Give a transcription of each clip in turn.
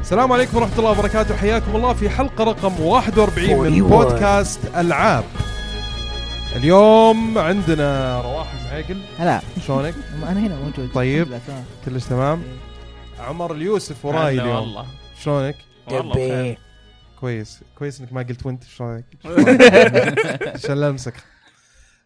السلام عليكم ورحمة الله وبركاته حياكم الله في حلقة رقم 41 من 41. بودكاست ألعاب اليوم عندنا رواح المعيقل هلا شلونك؟ انا هنا موجود طيب. الحمد لله، تمام. كلش تمام؟ عمر اليوسف وراي هلا اليوم والله شلونك؟ والله بخير. دبي كويس كويس انك ما قلت وانت شلونك؟ عشان لا امسك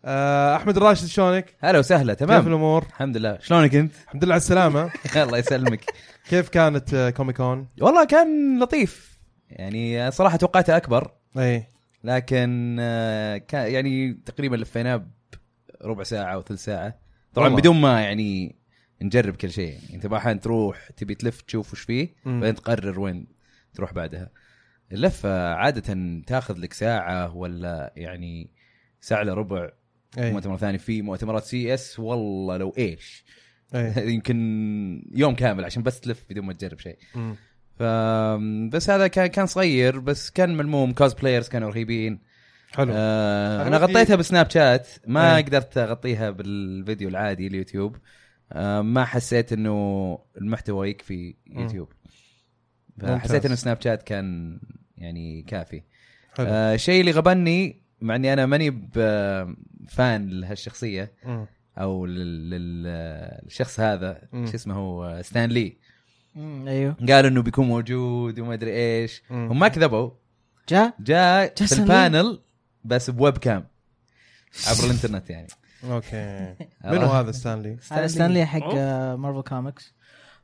آه، احمد الراشد شلونك؟ هلا وسهلا كيف تمام الامور؟ الحمد لله شلونك انت الحمد لله على السلامة الله يسلمك كيف كانت آه، كومي كون؟ والله كان لطيف يعني صراحه توقعته اكبر اي لكن آه، كان يعني تقريبا لفيناه بربع ساعه او ثلث ساعه طبعا والله. بدون ما يعني نجرب كل شيء يعني انت احيانا تروح تبي تلف تشوف وش فيه مم. بعدين تقرر وين تروح بعدها اللفه عاده تاخذ لك ساعه ولا يعني ساعه الا ربع اي مؤتمر ثاني في مؤتمرات سي اس والله لو ايش اي يمكن يوم كامل عشان بس تلف بدون ما تجرب شيء مم. ف بس هذا كان كان صغير بس كان ملموم كوز بلايرز كانوا رهيبين حلو آه أنا انا ودي- غطيتها بسناب شات ما إيه. قدرت اغطيها بالفيديو العادي اليوتيوب آه ما حسيت انه المحتوى يكفي يوتيوب ممتاز. فحسيت انه سناب شات كان يعني كافي حلو آه الشيء اللي غبني مع اني انا ماني ب- فان لهالشخصيه مم. او لل- لل- للشخص هذا مم. شو اسمه هو ستانلي أمم، ايوه قال انه بيكون موجود وما ادري ايش مم. هم ما كذبوا جاء جاء في ستان لي. البانل بس بويب كام عبر الانترنت يعني اوكي منو آه. هذا ستانلي؟ هذا ستانلي حق آه، مارفل كوميكس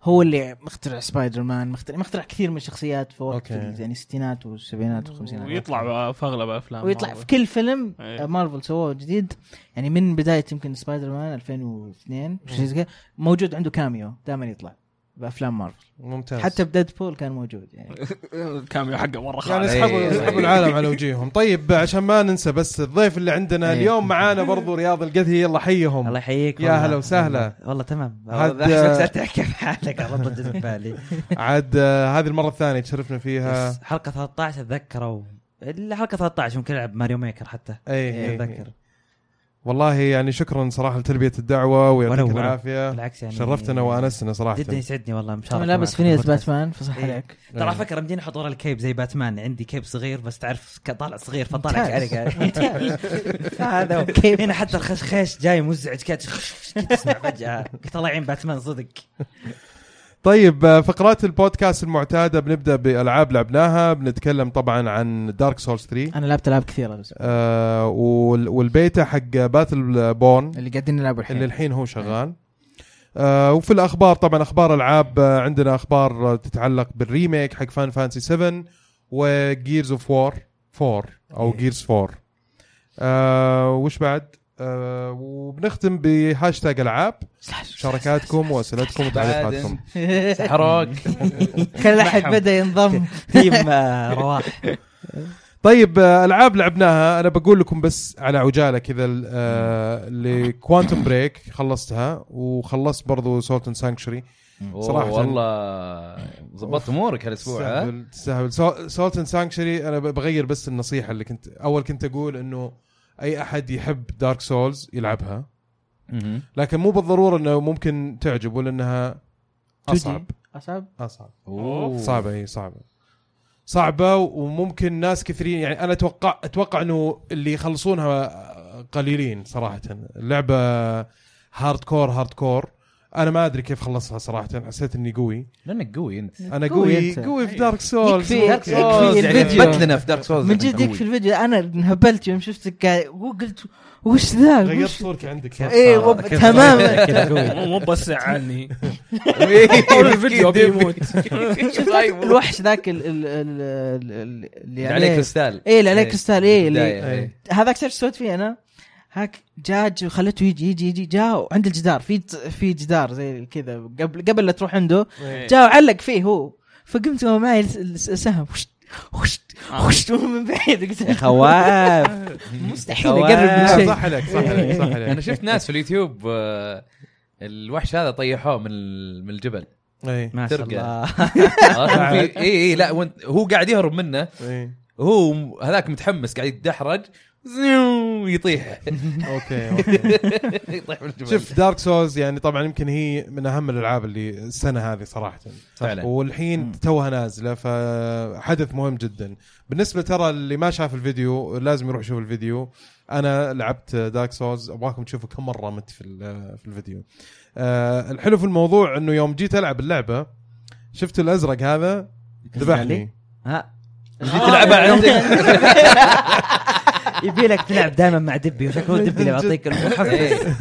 هو اللي مخترع سبايدر مان مخترع مخترع كثير من الشخصيات في وقت أوكي. ال- يعني الستينات والسبعينات والخمسينات ويطلع في اغلب افلام ويطلع في مارفل. كل فيلم إيه. آه، مارفل سووه جديد يعني من بدايه يمكن سبايدر مان 2002 شيء زي كذا، موجود عنده كاميو دائما يطلع بافلام مارفل ممتاز حتى بديدبول كان موجود يعني الكاميو حقه مره يعني خالص اسحبوا إيه. اسحبوا العالم على وجيههم طيب عشان ما ننسى بس الضيف اللي عندنا إيه. اليوم معانا برضو رياض القدهي يلا حيهم الله يحييك يا والله. هلا وسهلا. والله تمام هاد- احسن تحكي في حالك على طول جت في بالي عاد آه، هذه المره الثانيه تشرفنا بس فيها حلقه 13 اتذكروا الحلقه 13 ممكن العب ماريو ميكر حتى اي إي، اتذكر إي. إيه، والله يعني شكرا صراحه لتلبيه الدعوه ولو- ويعطيك ولو. العافيه بالعكس يعني شرفتنا وانسنا صراحه جدا يسعدني والله مشاركه انا لابس معك فينية في البودكاست. باتمان فصح إيه. عليك ترى على فكره مديني حضور الكيب زي باتمان عندي كيب صغير بس تعرف ك- طالع صغير فطالع ممتاز. شعرك هذا هو. كيب. هنا حتى الخشخيش جاي مزعج كذا تسمع فجاه قلت الله يعين باتمان صدق طيب آه، فقرات البودكاست المعتاده بنبدا بالعاب لعبناها بنتكلم طبعا عن دارك سورس 3 انا لعبت العاب كثيره بس آه وال- والبيتا حق باتل بورن اللي قاعدين نلعبه اللي الحين الحين هو شغال آه وفي الاخبار طبعا اخبار العاب آه عندنا اخبار آه، تتعلق بالريميك حق فان فانسي 7 وجيرز اوف وور 4 او إيه. جيرز 4 آه وش بعد؟ آه وبنختم بهاشتاج العاب شراكاتكم واسئلتكم وتعليقاتكم سحروك كل احد بدا ينضم تيم آه، رواح طيب آه، العاب لعبناها انا بقول لكم بس على عجاله كذا آه، لكوانتم بريك خلصتها وخلصت برضو سولت اند سانكشري صراحة. صراحه والله ظبطت امورك هالاسبوع ها تستهبل تستهبل سولت اند سانكشري انا ب- بغير بس النصيحه اللي كنت اول كنت اقول انه اي احد يحب دارك سولز يلعبها مهم. لكن مو بالضروره انه ممكن تعجبه لانها اصعب اصعب اصعب أوه. صعبه اي صعبه صعبه وممكن ناس كثيرين يعني انا اتوقع اتوقع انه اللي يخلصونها قليلين صراحه اللعبه هارد كور هارد كور انا ما ادري كيف خلصها صراحه حسيت اني قوي لانك قوي انت انا قوي قوي أنت. قوي في دارك سولز يكفي- ممكن. يكفي أوه، يعني الفيديو. اثبت لنا في دارك سولز من إنك جد يكفي قوي. الفيديو انا انهبلت يوم شفتك قاعد وقلت وش ذا غيرت وش صورك عندك إيه، وب- تماما. مو مو بس عني الفيديو بيموت طيب. الوحش ذاك ال- ال- ال- ال- ال- اللي عليه عليه يعني كريستال إيه. ايه اللي عليه إيه، كريستال ايه اللي- بداية، إيه. هذاك تعرف ايش سويت فيه انا؟ هاك جاج وخليته يجي يجي يجي جاء عند الجدار في في جدار زي كذا قبل قبل لا تروح عنده إيه. إيه. جاء وعلق فيه هو فقمت هو معي الس- الس- السهم وشت وشت وشت من بعيد آه. يا قلت خواف مستحيل اقرب من لا، شيء صح عليك صح عليك صح انا عليك شفت ناس في اليوتيوب آه، الوحش هذا طيحوه من ال- من الجبل إيه، ما شاء ترقى. الله عرفت؟ في- اي اي لا وانت- هو قاعد يهرب منه إيه. هو م- هذاك متحمس قاعد يتدحرج زيو، ويطيح اوكي اوكي يطيح من الجبل شوف دارك سولز يعني طبعا يمكن هي من اهم الالعاب اللي السنه هذه صراحه فعلا والحين توها نازله فحدث مهم جدا بالنسبه ترى اللي ما شاف الفيديو لازم يروح يشوف الفيديو انا لعبت دارك سولز ابغاكم تشوفوا كم مره مت في ال- في الفيديو آه، الحلو في الموضوع انه يوم جيت العب اللعبه شفت الازرق هذا ذبحني ها جيت تلعبها آه، عندك يبي لك تلعب دائما مع دبي وشكله دبي اللي يعطيك إيه.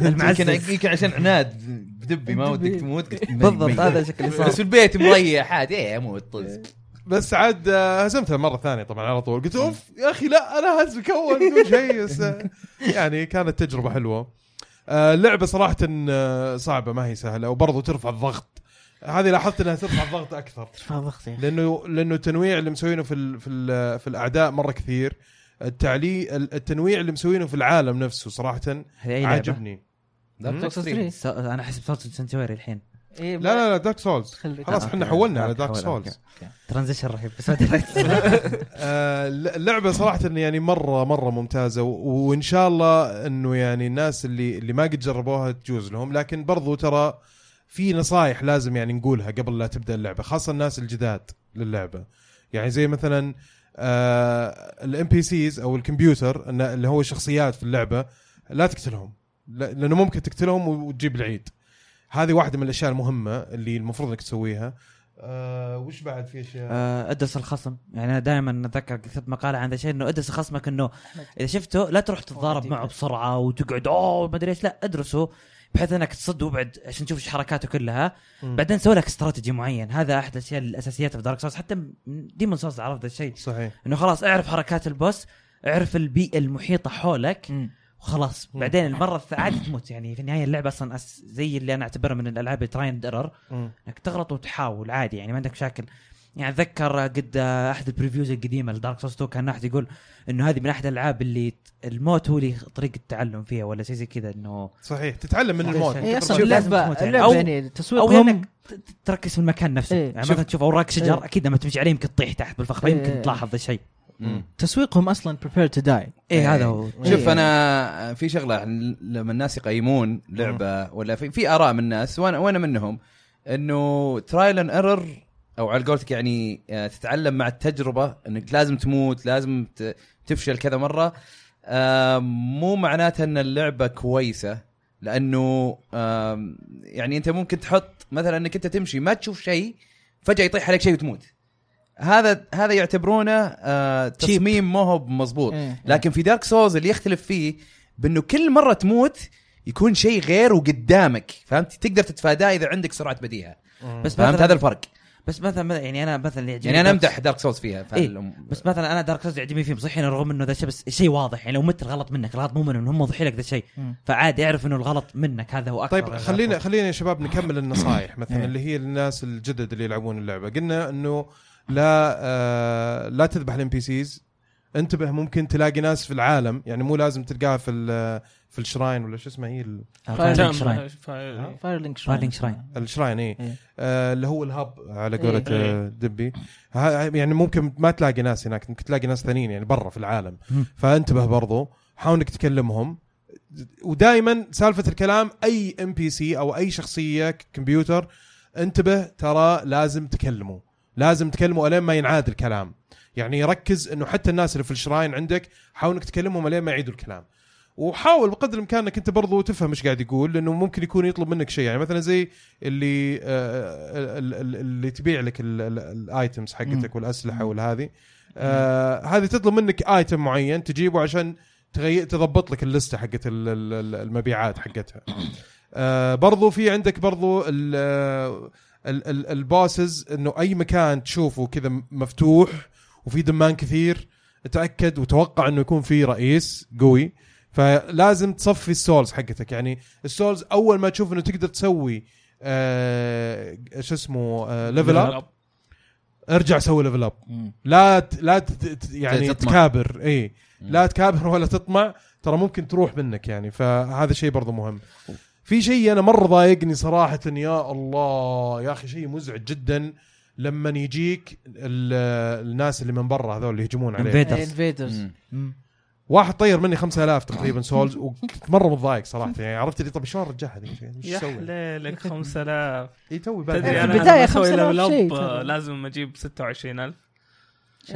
المحفز يمكن المعزز يمكن عشان عناد بدبي ما ودك تموت قلت بالضبط هذا إيه. الشكل اللي بس في صار البيت مريح عادي ايه اموت طز بس عاد آه، هزمتها مره ثانيه طبعا على طول قلت اوف يا اخي لا انا هزمك اول بدون شيء بس، آه، يعني كانت تجربه حلوه آه، اللعبه صراحه آه، صعبه ما هي سهله وبرضه ترفع الضغط هذه لاحظت انها ترفع الضغط اكثر ارفع ضغطي لانه لانه التنويع اللي مسوينه في ال في ال في الاعداء مره كثير التعلي ال- التنويع اللي مسوينه في العالم نفسه صراحه هذه أي إيه، لعبة؟ عاجبني دارك Souls 3. سولز 3 س- انا احسب صارت سنتوري الحين لا لا لا دارك سولز خلاص آه. احنا حولنا على دارك دارك حول، سولز ترانزيشن رهيب بس ما دريت. آه، اللعبه صراحه يعني مره مره ممتازه و- وان شاء الله انه يعني الناس اللي اللي ما قد جربوها تجوز لهم لكن برضو ترى في نصائح لازم يعني نقولها قبل لا تبدا اللعبه خاصه الناس الجداد للعبه يعني زي آه، مثلا الام بي سيز او الكمبيوتر إن- اللي هو شخصيات في اللعبه لا تقتلهم لا- لانه ممكن تقتلهم و- وتجيب العيد هذه واحده من الاشياء المهمه اللي المفروض انك تسويها آه وش بعد في اشياء آه، ادرس الخصم يعني انا دائما اتذكر كتبت مقاله عن ذا الشيء انه ادرس خصمك انه اذا شفته لا تروح تتضارب معه بسرعه وتقعد اوه ما ادري ايش لا ادرسه بحيث انك تصد وابعد عشان تشوف ايش حركاته كلها مم. بعدين سوي لك استراتيجي معين هذا احد الاشياء الاساسيات في دارك سورس حتى ديمون سورس عرف ذا الشيء صحيح انه خلاص اعرف حركات البوس اعرف البيئه المحيطه حولك مم. وخلاص مم. بعدين المره الث- عادي تموت يعني في النهايه اللعبه اصلا أس زي اللي انا اعتبرها من الالعاب تراي اند ايرور مم. انك تغلط وتحاول عادي يعني ما عندك مشاكل يعني اتذكر قد آه، احد البريفيوز القديمه لدارك سورس 2 كان احد يقول انه هذه من احد الالعاب اللي ت- الموت هو اللي طريقه التعلم فيها ولا شيء زي كذا انه صحيح تتعلم من صحيح. الموت صحيح. اي اصلا شوف، لازم اللعبه تموت يعني. اللعبه أو- يعني التسويق او هم انك ت- ت- تركز في المكان نفسه إيه. يعني شوف. مثلا تشوف اوراق شجر إيه. اكيد لما تمشي عليه يمكن تطيح تحت بالفخ إيه. يمكن تلاحظ ذا الشيء تسويقهم اصلا بريبير تو داي ايه هذا هو شوف إيه. انا في شغله عن- لما الناس يقيمون لعبه ولا في, في اراء من الناس وانا وانا منهم انه ترايل ان ايرور او على قولتك يعني آه، تتعلم مع التجربه انك لازم تموت لازم ت- تفشل كذا مره آم، آه، مو معناته ان اللعبه كويسه لانه آم، يعني انت ممكن تحط مثلا انك انت تمشي ما تشوف شيء فجاه يطيح عليك شيء وتموت هذا هذا يعتبرونه آه، تصميم ما هو مضبوط إيه. لكن في دارك سوز اللي يختلف فيه بانه كل مره تموت يكون شيء غير وقدامك فهمت تقدر تتفاداه اذا عندك سرعه بديهه بس مثلاً- فهمت هذا الفرق بس مثلا يعني انا مثلا اللي يعجبني يعني انا Dark امدح دارك سوز فيها إيه، فهل- بس مثلا انا دارك سولز يعجبني فيه مصحين رغم انه ذا الشيء بس شيء واضح يعني لو مت الغلط منك الغلط مو منهم هم وضحوا لك ذا الشيء مم. فعادي اعرف انه الغلط منك هذا هو اكثر طيب خلينا خلينا يا شباب نكمل النصائح مثلا اللي هي الناس الجدد اللي يلعبون اللعبه قلنا انه لا آه لا تذبح الام بي سيز انتبه ممكن تلاقي ناس في العالم يعني مو لازم تلقاها في ال- آه، في الشراين ولا شو اسمه هي ال- فايرلينج شراين شراين فايرلينج فايرلينج شراين الشراين اي إيه. آه اللي هو الهب على قولة إيه. آه دبي ها- يعني ممكن ما تلاقي ناس هناك ممكن تلاقي ناس ثانيين يعني برا في العالم مم. فانتبه برضو حاول انك تكلمهم ودائما سالفه الكلام اي ام بي سي او اي شخصيه ك- كمبيوتر انتبه ترى لازم تكلمه لازم تكلمه الين ما ينعاد الكلام يعني ركز انه حتى الناس اللي في الشراين عندك حاول انك تكلمهم الين ما يعيدوا الكلام وحاول بقدر الامكان انك انت برضو تفهم ايش قاعد يقول لانه ممكن يكون يطلب منك شيء يعني مثلا زي اللي آه، ال- ال- اللي تبيع لك ال- ال- الايتمز حقتك والاسلحه والهذه آه، هذه تطلب منك ايتم معين تجيبه عشان تغي... تضبط لك اللسته حقت ال- ال- ال- المبيعات حقتها آه، برضو في عندك برضو ال- آه، ال- ال- الباسز انه اي مكان تشوفه كذا مفتوح وفي دمان كثير تاكد وتوقع انه يكون في رئيس قوي فلازم تصفي السولز حقتك يعني السولز اول ما تشوف انه تقدر تسوي آه شو اسمه آه ليفل اب ارجع سوي ليفل اب لا ت... لا ت... ت- يعني تطمع. تكابر اي مم. لا تكابر ولا تطمع ترى ممكن تروح منك يعني فهذا شيء برضو مهم في شيء انا مره ضايقني صراحه يا الله يا اخي شيء مزعج جدا لما يجيك ال- الناس اللي من برا هذول اللي يهجمون عليك إيه، Invaders. انفيدرز مم. واحد طير مني 5000 تقريبا سولز وكنت مره متضايق صراحه يعني عرفت اللي طب شلون ارجعها ذيك الشيء؟ ايش يا اسوي؟ حليلك 5000 اي إيه، توي يعني بادئ. تدري في انا البداية لما اسوي 5000 ليفل شيء اب ترى. آه، لازم اجيب 26000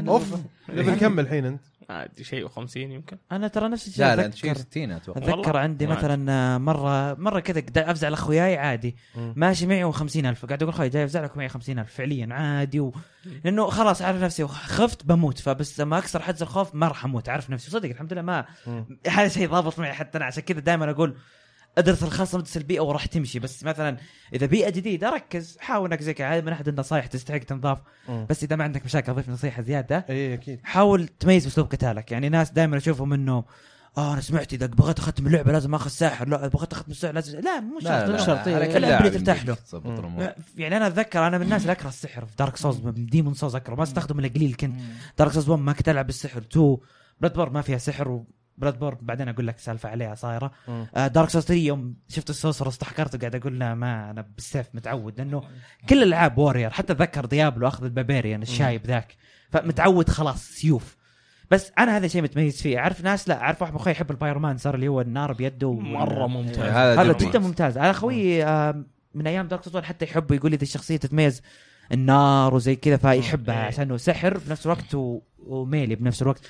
اوف نبي نكمل الحين انت ما ادري شيء و50 يمكن انا ترى نفس الشيء لا لا أتذكر. تشيل 60 اتوقع اتذكر والله. عندي يعني. ما مثلا آه، مره مره كذا قد- افزع لاخوياي عادي مم. ماشي معي و50000 قاعد اقول خوي جاي افزع لك معي 50000 فعليا عادي و... لانه خلاص عارف نفسي خفت بموت فبس لما اكسر حد الخوف ما راح اموت عارف نفسي صدق الحمد لله ما مم. هذا شيء ضابط معي حتى انا عشان كذا دائما اقول ادرس الخصم ادرس البيئه وراح تمشي بس مثلا اذا بيئه جديده ركز حاول انك زي كذا عادي من احد النصائح تستحق تنضاف مم. بس اذا ما عندك مشاكل اضيف نصيحه زياده إيه، اي اكيد حاول تميز اسلوب قتالك يعني ناس دائما اشوفهم انه اه انا سمعت اذا بغيت اختم اللعبه لازم اخذ ساحر لا إذا بغيت اختم السحر لازم لا مو شرط لا. لا. شرط، إيه. على كل الأبلي لاعب ترتاح يمديك له. تظبط الامور يعني انا اتذكر انا من الناس اللي اكره السحر في دارك سوز ديمون سوز اكره ما استخدم الا قليل كنت دارك سوز 1 ما كنت العب بالسحر 2 بلاد بورن ما فيها سحر وبلاد بورن بعدين اقول لك سالفه عليها صايره مم. آه دارك سوز 3 يوم شفت السوسر استحكرت وقاعد اقول لا ما انا بالسيف متعود لانه كل العاب وورير حتى اتذكر ديابلو اخذ البابيريان الشايب ذاك فمتعود خلاص سيوف بس انا هذا الشيء متميز فيه اعرف ناس لا اعرف واحد من اخوي يحب البايرمان صار اللي هو النار بيده و- مره ممتاز إيه، هذا هذا جميل. جدا ممتاز انا اخوي آه، من ايام دارك سوز حتى يحب يقول لي ذي الشخصيه تتميز النار وزي كذا فيحبها إيه. عشان هو سحر في نفس الوقت و... وميلي بنفس الوقت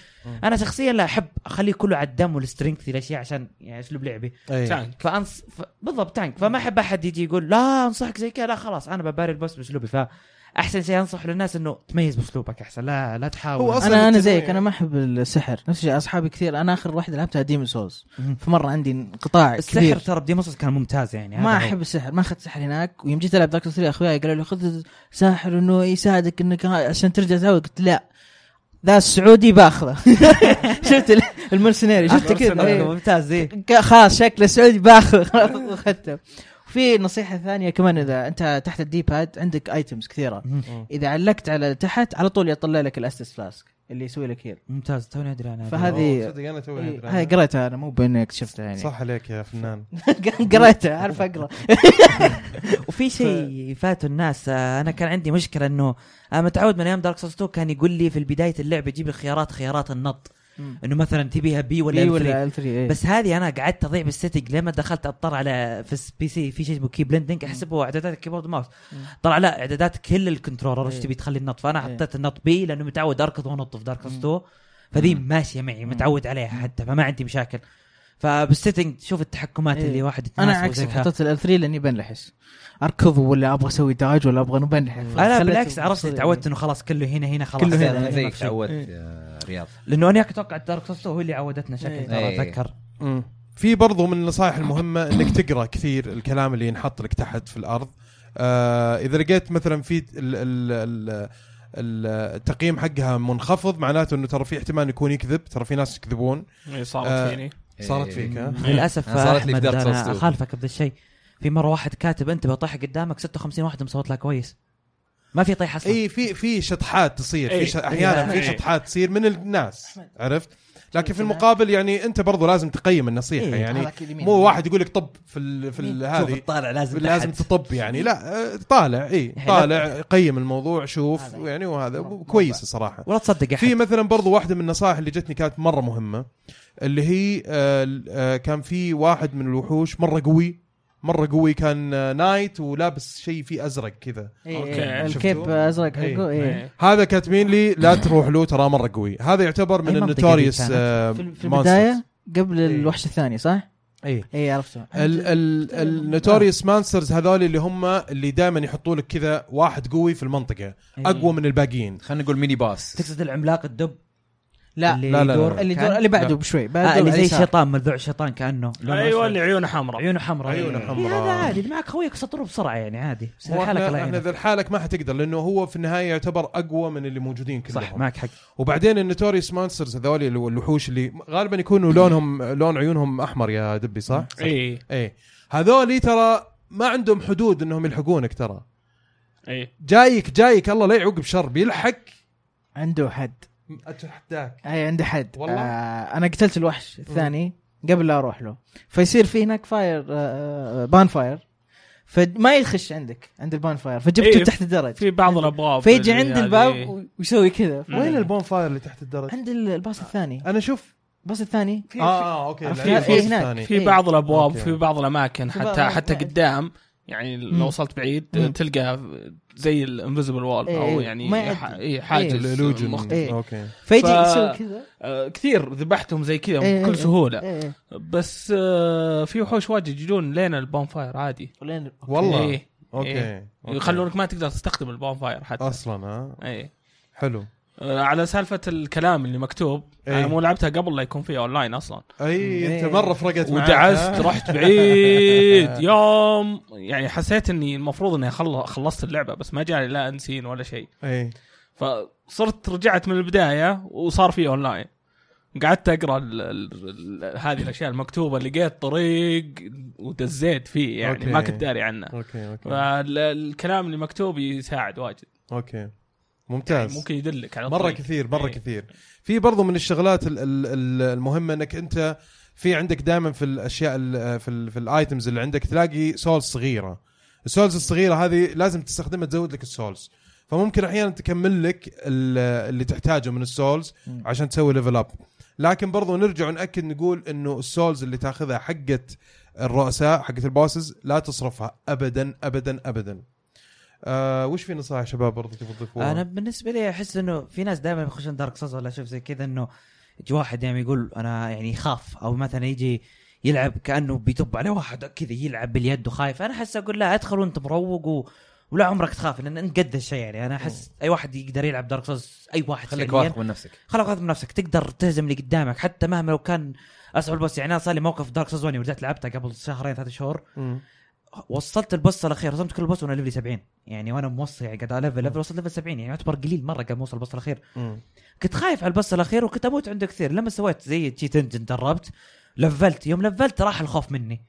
انا شخصيا لا احب اخليه كله على الدم والسترينث الاشياء عشان يعني اسلوب لعبي اي تانك فانص ف... بالضبط تانك فما احب احد يجي يقول لا انصحك زي كذا لا خلاص انا بباري البوس باسلوبي فاحسن شيء انصح للناس انه تميز باسلوبك احسن لا لا تحاول هو أصلاً انا انا التنويع- زيك انا ما احب السحر نفس الشيء اصحابي كثير انا اخر واحده لعبتها ديمون سولز مم. فمره عندي انقطاع السحر كبير ترى بدي مصر كان ممتاز يعني هذا ما هو. احب السحر ما اخذت سحر هناك ويوم جيت العب دارك 3 اخوياي قالوا لي خذ ساحر انه يساعدك انك ها- عشان ترجع تعود قلت لا ذا السعودي باخذه شفت ال- المرسنيري شفت كذا أوكي، إيه. ممتاز ايه ك- خلاص شكله سعودي باخذه خلاص اخذته وفي نصيحه ثانيه كمان اذا انت تحت الدي باد عندك ايتمز كثيره اذا علقت على تحت على طول يطلع لك الاستس فلاسك اللي يسوي لك هيل ممتاز توني ادري انا فهذه- أوه، صدق انا توي إيه، أدري هاي عنها. قريتها انا مو باني اكتشفتها يعني صح عليك يا فنان قريتها اعرف اقرا وفي شيء فات الناس آه، انا كان عندي مشكله انه انا متعود من ايام دارك سولز 2 كان يقول لي في البدايه اللعبه جيب لي خيارات خيارات النط مم. انه مثلا تبيها بي ولا ولا بي إيه، ولا ولا ال3 بس هذه انا قعدت اضيع بالسيتنج لما دخلت اضطر على في البي سي في شيء اسمه كي بلندنج احسب هو اعدادات الكيبورد ماوس مم. طلع لا اعدادات كل الكنترولر ايش إيه. تبي تخلي النط فانا إيه. حطيت النط بي لانه متعود اركض وانط في دارك مم. 2 فذي ماشيه معي متعود عليها حتى فما عندي مشاكل فبالسيتنج شوف التحكمات إيه. اللي واحد انا يتناسب عكسك وزي كذا. حطيت ال3 لاني بنلحس اركض ولا ابغى اسوي داج ولا ابغى بنلحس انا خليت- بالعكس عرفت تعودت انه خلاص كله هنا هنا خلاص يعني كله هنا، إيه، ما انا في يعني. زيك شيء. تعودت آه، رياض لانه انا اتوقع دارك سوستو هو اللي عودتنا شكل إيه. ترى إيه. اتذكر مم. في برضو من النصائح المهمة انك تقرا كثير الكلام اللي ينحط لك تحت في الارض آه اذا لقيت مثلا في ال- ال- ال- ال- التقييم حقها منخفض معناته انه ترى في احتمال يكون يكذب ترى في ناس يكذبون إيه، صارت آه. فيني صارت إيه. فيك ها للاسف أنا صارت لي احمد في Dark Souls انا 2. اخالفك بهذا الشيء في مره واحد كاتب انتبه طيحه قدامك 56 واحد مصوت لها كويس ما في طيحه اصلا اي في في شطحات تصير في إيه. ش- احيانا إيه. في شطحات تصير من الناس عرفت لكن في المقابل يعني انت برضو لازم تقيم النصيحة إيه. يعني هذاك اليمين. مو واحد يقول لك طب في ال في ال- شوف هذه الطالع لازم يعني لازم تحت. تطب يعني لا آه، طالع اي طالع قيم الموضوع شوف هذا. يعني وهذا كويس الصراحه ولا تصدق في احد مثلا برضو واحده من النصائح اللي جتني كانت مره مهمه اللي هي آه، ال- آه، كان في واحد من الوحوش مره قوي مره قوي كان آه، نايت ولابس شيء فيه ازرق كذا إيه، أوكي. إيه، شفتوا؟ الكيب ازرق إيه. حقه ايه إيه. هذا كاتبين لي لا تروح له ترى مره قوي هذا يعتبر من أي منطقة دي النوتوريوس كانت؟ آه، في في monsters. البدايه قبل إيه. الوحش الثاني صح؟ اي اي عرفته ال ال النوتوريوس مانسترز هذول اللي هم اللي دائما يحطوا لك كذا واحد قوي في المنطقه اقوى من الباقيين خلينا نقول ميني باس إيه. تقصد العملاق الدب لا اللي لا، لا، لا. يدور اللي كان؟ دور اللي بعده لا. بشوي آه بعده اللي زي اليسار. الشيطان ملذوع الشيطان كانه لونه ايوه أسود. اللي عيونه حمراء عيونه حمراء عيونه إيه. حمراء. إيه، هذا عادي اللي معك خويك سطره بسرعه يعني عادي بس هو لحالك الله احنا احنا يعينك. ذا لحالك ما حتقدر لانه هو في النهايه يعتبر اقوى من اللي موجودين كلهم صح معك حق وبعدين النوتوريوس مانسترز هذول ال- الوحوش اللي غالبا يكونوا لونهم لون عيونهم احمر يا دبي صح؟ اي اي هذول ترى ما عندهم حدود انهم يلحقونك ترى اي جايك جايك الله لا يعوق بشر بيلحق عنده حد اتحداك اي عنده حد والله؟ آه انا قتلت الوحش الثاني قبل لا اروح له فيصير في هناك فاير آه بان فاير فما يخش عندك عند البان فاير فجبته إيه، تحت الدرج في بعض الابواب فيجي اللي عند هذه- الباب ويسوي كذا مم. وين البون فاير اللي تحت الدرج؟ عند الباص الثاني انا شوف بس الثاني آه، اه اه اوكي عرفت لا، في- البوس هناك. الثاني. في بعض الابواب إيه. أوكي. في بعض الاماكن في بعض حتى حتى الأماكن. قدام يعني مم. لو وصلت بعيد مم. تلقى زي الانفيزبل وال إيه، او إيه. يعني ما يعد- ح- إيه، حاجز الالوجن مختلف. إيه. اوكي فيجي ف- يسوي كذا آه، كثير ذبحتهم زي كذا إيه، إيه. بكل سهوله إيه، إيه. بس آه، في وحوش واجد يجون لين البونفاير عادي ولين- والله إيه. اوكي إيه. أوكي. يخلونك ما تقدر تستخدم البونفاير حتى اصلا ها اي آه. حلو على سالفه الكلام اللي مكتوب إيه. انا مو لعبتها قبل لا يكون فيها اونلاين اصلا اي إيه. انت مره فرقت معك ودعست رحت بعيد يوم يعني حسيت اني المفروض اني خل- خلصت اللعبه بس ما جاني لا انسين ولا شيء اي فصرت رجعت من البدايه وصار في اونلاين قعدت اقرا ال ال ال هذه الاشياء المكتوبه لقيت طريق ودزيت فيه يعني أوكي. ما كنت داري عنه اوكي اوكي فالكلام اللي مكتوب يساعد واجد اوكي يعني ممتاز ممكن يدلك على مره الطريق. كثير مره إيه. كثير في برضو من الشغلات ال- ال- ال- المهمه انك انت في عندك دائما في الاشياء ال- في ال في الايتمز اللي عندك تلاقي سولز صغيره السولز الصغيره هذه لازم تستخدمها تزود لك السولز فممكن احيانا تكمل لك ال- اللي تحتاجه من السولز مم. عشان تسوي ليفل اب لكن برضو نرجع ناكد نقول انه السولز اللي تاخذها حقت الرؤساء حقت البوسز لا تصرفها ابدا ابدا ابدا آه وش في نصائح شباب برضو تبغى تضيفوها انا بالنسبه لي احس انه في ناس دائما يخشون دارك سوز ولا اشوف زي كذا انه يجي واحد يعني يقول انا يعني يخاف او مثلا يجي يلعب كانه بيطب عليه واحد كذا يلعب باليد وخايف انا احس اقول لا ادخل وانت مروق و... ولا عمرك تخاف لان انت قد الشيء يعني انا احس اي واحد يقدر يلعب دارك سوز اي واحد خليك فعلياً. واثق من نفسك خلق واثق من نفسك تقدر تهزم اللي قدامك حتى مهما لو كان اصعب البوس يعني انا صار لي موقف دارك سوز واني رجعت لعبتها قبل شهرين ثلاث شهور مم. وصلت البوس الاخير وصلت كل بوس وانا ليفلي 70 يعني وانا موصل يعني قاعد ليفل ليفل وصلت ليفل 70 يعني يعتبر قليل مره قبل ما اوصل البوس الاخير مم. كنت خايف على البوس الاخير وكنت اموت عنده كثير لما سويت زي تشيت انجن دربت لفلت يوم لفلت راح الخوف مني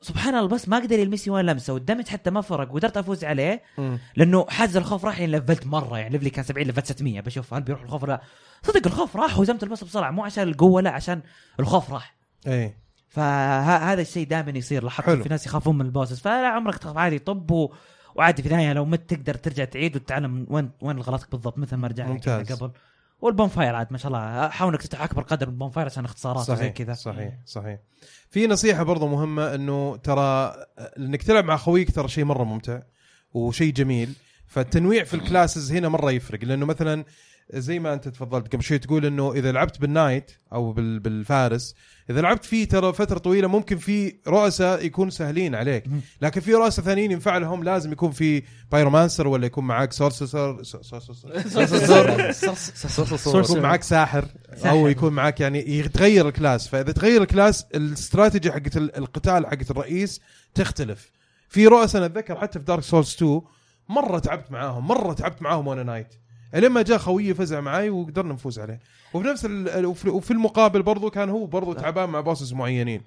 سبحان الله بس ما قدر يلمسني ولا لمسه والدمج حتى ما فرق وقدرت افوز عليه مم. لانه حاز الخوف راح يعني لفلت مره يعني ليفلي كان 70 لفلت 600 بشوف هل بيروح الخوف ولا لا صدق الخوف راح وهزمت البوس بسرعه مو عشان القوه لا عشان الخوف راح ايه فهذا الشيء دائما يصير لاحظت حلو. في ناس يخافون من البوسس فلا عمرك تخاف عادي طب و- وعادي في النهايه لو مت تقدر ترجع تعيد وتتعلم من وين وين غلطك بالضبط مثل ما رجعنا ممتاز. قبل والبونفاير عاد ما شاء الله حاول انك تفتح اكبر قدر من البونفاير عشان اختصارات وزي صحيح كذا صحيح صحيح في نصيحه برضو مهمه انه ترى انك تلعب مع خويك ترى شيء مره ممتع وشيء جميل فالتنويع في الكلاسز هنا مره يفرق لانه مثلا زي ما انت تفضلت قبل شوي تقول انه اذا لعبت بالنايت او بال- بالفارس اذا لعبت فيه ترى فتره طويله ممكن في رؤساء يكون سهلين عليك مم. لكن في رؤساء ثانيين ينفع لهم لازم يكون في بايرومانسر ولا يكون معاك سورسسر يكون معك ساحر او ساحر. يكون معك يعني يتغير الكلاس فاذا تغير الكلاس الاستراتيجي حقت ال- القتال حقت الرئيس تختلف في رؤساء انا اتذكر حتى في دارك سولز 2 مره تعبت معاهم مره تعبت معاهم وانا نايت لما جاء خويي فزع معي وقدرنا نفوز عليه وفي نفس ال... وفي وفي المقابل برضو كان هو برضو تعبان مع بوسس معينين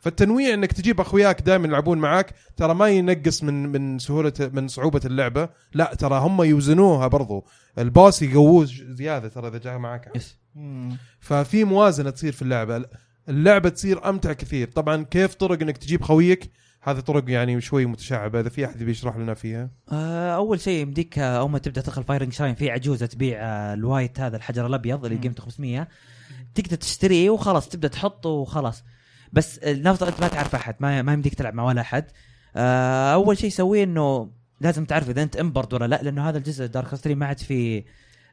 فالتنويع انك تجيب اخوياك دائما يلعبون معاك ترى ما ينقص من من سهوله من صعوبه اللعبه لا ترى هم يوزنوها برضو الباص يقووه زياده ترى اذا جاء معك مم. ففي موازنه تصير في اللعبه اللعبه تصير امتع كثير طبعا كيف طرق انك تجيب خويك هذه طرق يعني شوي متشعبه اذا في احد بيشرح لنا فيها آه، اول شيء يمديك آه، اول ما تبدا تدخل فايرنج شاين في عجوزه تبيع آه، الوايت هذا الحجر الابيض اللي مم. قيمته 500 تقدر تشتريه وخلاص تبدا تحطه وخلاص بس آه، نفط انت ما تعرف احد ما, ما يمديك تلعب مع ولا احد آه، اول شيء سويه انه لازم تعرف اذا انت امبرد ولا لا لانه هذا الجزء دارك 3 ما عاد في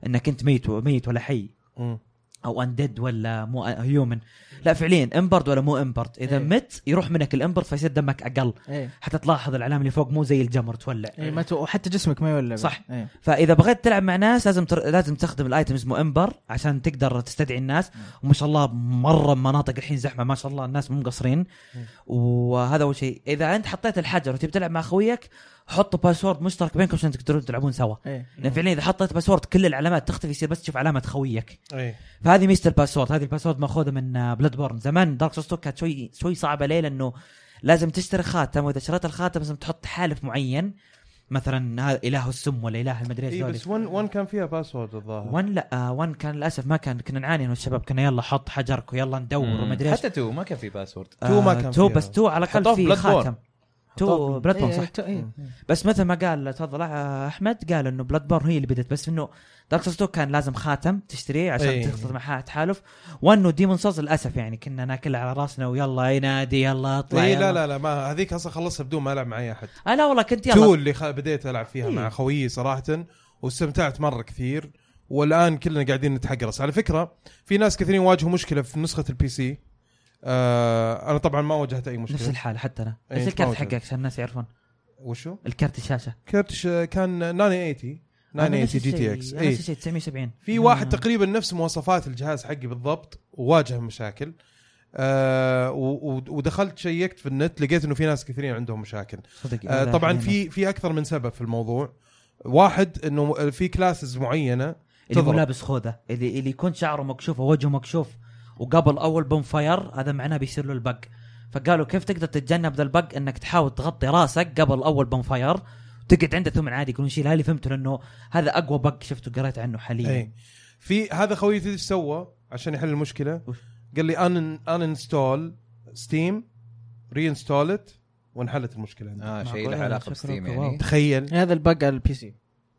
انك انت ميت ميت ولا حي مم. او اندد ولا مو هيومن لا فعليا امبرد ولا مو امبرد اذا إيه. مت يروح منك الامبرد فيصير دمك اقل ايه حتى تلاحظ العلامه اللي فوق مو زي الجمر تولع إيه، ما تو... حتى جسمك ما يولع صح. ايه فاذا بغيت تلعب مع ناس لازم تر... لازم تستخدم الايتم اسمه امبر عشان تقدر تستدعي الناس وما شاء الله مره مناطق الحين زحمه ما شاء الله الناس مو مقصرين وهذا اول شيء اذا انت حطيت الحجر وتبي تلعب مع اخويك حطوا باسورد مشترك بينكم عشان تقدرون تلعبون سوا ايه لان فعليا اذا حطيت باسورد كل العلامات تختفي يصير بس تشوف علامه خويك اي فهذه ميزه الباسورد هذه الباسورد ماخوذه من بلاد بورن زمان دارك سوستو كانت شوي شوي صعبه ليه لانه لازم تشتري خاتم واذا شريت الخاتم لازم تحط حالف معين مثلا هذا اله السم ولا اله المدري ايش إيه ذولي. بس ون ون كان فيها باسورد الظاهر ون لا آه، ون كان للاسف ما كان كنا نعاني انا والشباب كنا يلا حط حجرك ويلا ندور وما ادري ايش حتى تو ما كان في باسورد تو ما كان تو فيها. بس تو على حطوه في الاقل في Bloodborne. خاتم تو بلاد بورن إيه، صح تو- إيه. بس مثل ما قال تفضل آه، احمد قال انه بلاد بورن هي اللي بدت بس انه دارك سولز 2 كان لازم خاتم تشتريه عشان إيه. أيه. تخطط معها تحالف وانه ديمون سولز للاسف يعني كنا ناكل على راسنا ويلا اي نادي يلا اطلع اي يلا. إيه، لا لا لا ما هذيك اصلا خلصها بدون ما العب مع اي احد آه لا والله كنت تو يلا اللي خ... بديت العب فيها إيه. مع خويي صراحه واستمتعت مره كثير والان كلنا قاعدين نتحقرس على فكره في ناس كثيرين واجهوا مشكله في نسخه البي سي آه انا طبعا ما واجهت اي نفس مشكله الحاله حتى انا إيه، بس الكرت موجود. حقك عشان الناس يعرفون وشو الكرت الشاشه كرت ش- كان 980 980 جي تي اكس اي اي نفس الشيء 970 إيه. في آه. واحد تقريبا نفس مواصفات الجهاز حقي بالضبط وواجه مشاكل آه و- و- ودخلت شيكت في النت لقيت انه في ناس كثيرين عندهم مشاكل صدق آه، لا، طبعا يعني. في في اكثر من سبب في الموضوع واحد انه في كلاسز معينه اللي هو تضرب. لابس خوذه اللي اللي يكون شعره مكشوف ووجهه مكشوف وقبل اول بوم فاير هذا معناه بيصير له البق فقالوا كيف تقدر تتجنب ذا البق انك تحاول تغطي راسك قبل اول بوم فاير تقعد عنده ثم عادي يقولون شيلها لي فهمته لانه هذا اقوى بق شفته قريت عنه حاليا اي إيه. في هذا خويي تدري ايش سوى عشان يحل المشكله وش؟ قال لي ان ان انستول ستيم ري انستولت وانحلت المشكله عندي. آه. اه شيء معقولة، له علاقه شكرا بستيم والله. يعني تخيل هذا البق على البي سي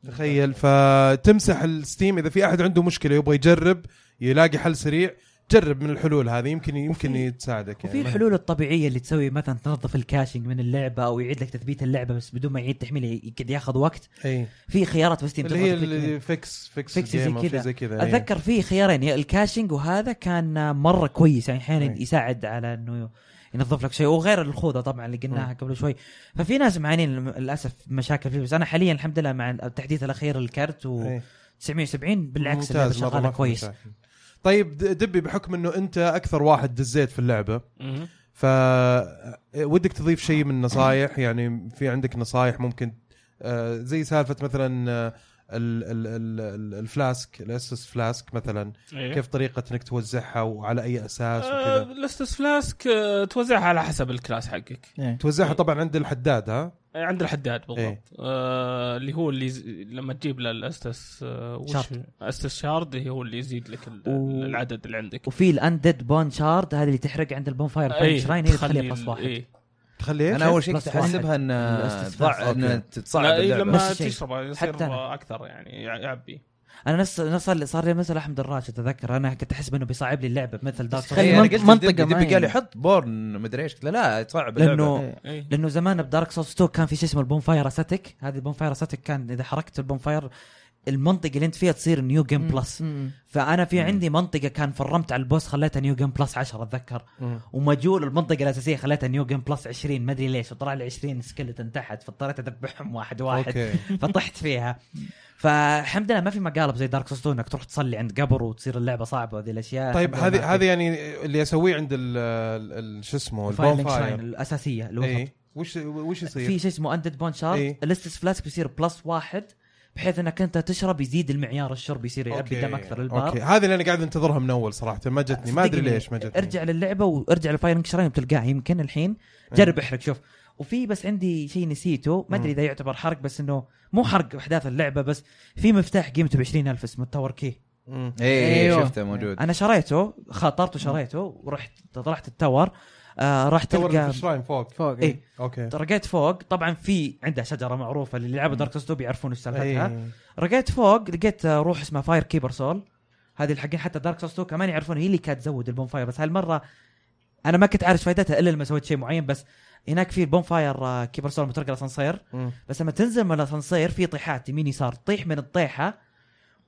تخيل فتمسح الستيم اذا في احد عنده مشكله يبغى يجرب يلاقي حل سريع جرب من الحلول هذه يمكن يمكن تساعدك وفي يعني الحلول الطبيعيه اللي تسوي مثلا تنظف الكاشنج من اللعبه او يعيد لك تثبيت اللعبه بس بدون ما يعيد تحميل يقعد ياخذ وقت اي في خيارات بس اللي هي الفكس فيكس فيكس زي الجيم أو شيء كذا. زي كذا أي. اتذكر في خيارين يا الكاشنج وهذا كان مره كويس يعني احيانا أي. يساعد على انه ينظف لك شيء وغير الخوذه طبعا اللي إيه. قلناها قبل شوي ففي ناس معانين للم- للاسف مشاكل فيه بس انا حاليا الحمد لله مع التحديث الاخير للكرت و أي. 970 بالعكس اللعبه إيه. ممتاز مرة، ما شغاله في كويس مشاكل. طيب د- دبي بحكم انه انت اكثر واحد دزيت في اللعبه مهم. ف ودك تضيف شيء من النصائح يعني في عندك نصائح ممكن آه، زي سالفه مثلا آه، ال- ال- ال- ال- الفلاسك الاسس فلاسك مثلا إيه. كيف طريقه انك توزعها وعلى اي اساس آه، وكذا الاستس فلاسك آه، توزعها على حسب الكلاس حقك توزعها طبعا عند الحداد ها آه، عند الحداد بالضبط إيه. آه اللي هو اللي ز... لما تجيب له الاستس آه وش- شارد. استس شارد هي هو اللي يزيد لك ال... و- العدد اللي عندك وفي الاندد بون شارد هذه اللي تحرق عند البون فاير أي، شراين هي إيه، تخلي تخليها بلس ال- واحد إيه. تخلي انا اول شيء بلس كنت آه، احسبها ان واحد. ضع ان تتصعب لا، إيه، اللعبه لما نفس الشيء. تشربه يصير حتى أنا. اكثر يعني يع- يعبي انا نفس نفس اللي صار لي مثل احمد الراشد اتذكر انا كنت احسب انه بيصعب لي اللعبه مثل دارك تخيل تخيل سولز انا من- قلت منطقة منطقه دبي معينة. قال لي حط بورن مدري ايش قلت له لا تصعب اللعبه لانه إيه. لانه زمان بدارك سولز 2 كان في شيء اسمه البونفاير اساتيك هذه البونفاير اساتيك كان اذا حركت البونفاير المنطقه اللي انت فيها تصير نيو جيم بلس فانا في عندي منطقه كان فرمت على البوس خليتها نيو جيم بلس 10 اتذكر مم. ومجول المنطقه الاساسيه خليتها نيو جيم بلس 20 ما ادري ليش وطلع لي 20 سكلتن تحت فاضطريت اذبحهم واحد واحد اوكي فطحت فيها فالحمد لله ما في مقالب زي دارك سولز 2 انك تروح تصلي عند قبر وتصير اللعبه صعبه وهذه الاشياء طيب الحمد لله هذه ما في. هذه يعني اللي اسويه عند ال- ال- ال- شو اسمه Fire البون Link Shrine فاير الاساسيه اللي هو اي وش وش في يصير؟ شيء اسمه اندد بون إيه. شارد الاستس فلاسك بيصير بلس واحد بحيث انك انت تشرب يزيد المعيار الشرب يصير يعبي دم اكثر اوكي للبار هذه اللي انا قاعد انتظرها من اول صراحه ما جتني يعني ما ادري صدقني، ليش ما جتني ارجع للعبه وارجع للفايرنج شراين بتلقاها يمكن الحين إيه. جرب احرق شوف وفي بس عندي شيء نسيته ما ادري اذا يعتبر حرق بس انه مو حرق احداث اللعبه بس في مفتاح قيمته ب 20000 اسمه التاور كي مم. اي أيوه. إيه، شفته موجود انا شريته خاطرت وشريته ورحت طلعت التاور آه راح تلقى تلقى الشراين فوق فوق يعني. ايه اوكي رقيت فوق طبعا في عندها شجره معروفه اللي لعبوا دارك سولز 2 بيعرفون ايش سالفتها إيه. رقيت فوق لقيت آه، روح اسمها فاير كيبر سول هذه الحقين حتى دارك سولز 2 كمان يعرفون هي اللي كانت تزود البونفاير بس هالمره انا ما كنت عارف فائدتها الا لما سويت شيء معين بس هناك في البونفاير آه، كيبر سول لما ترقى الاسانسير مم. بس لما تنزل من الاسانسير في طيحات يمين يسار طيح من الطيحه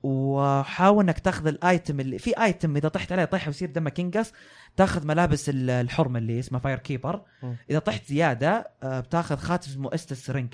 وحاول انك تاخذ الايتم اللي في ايتم اذا طحت عليه طيحه ويصير دمك ينقص تاخذ ملابس ال- الحرمه اللي اسمها فاير كيبر مم. اذا طحت زياده آه، بتاخذ خاتم اسمه استس رينج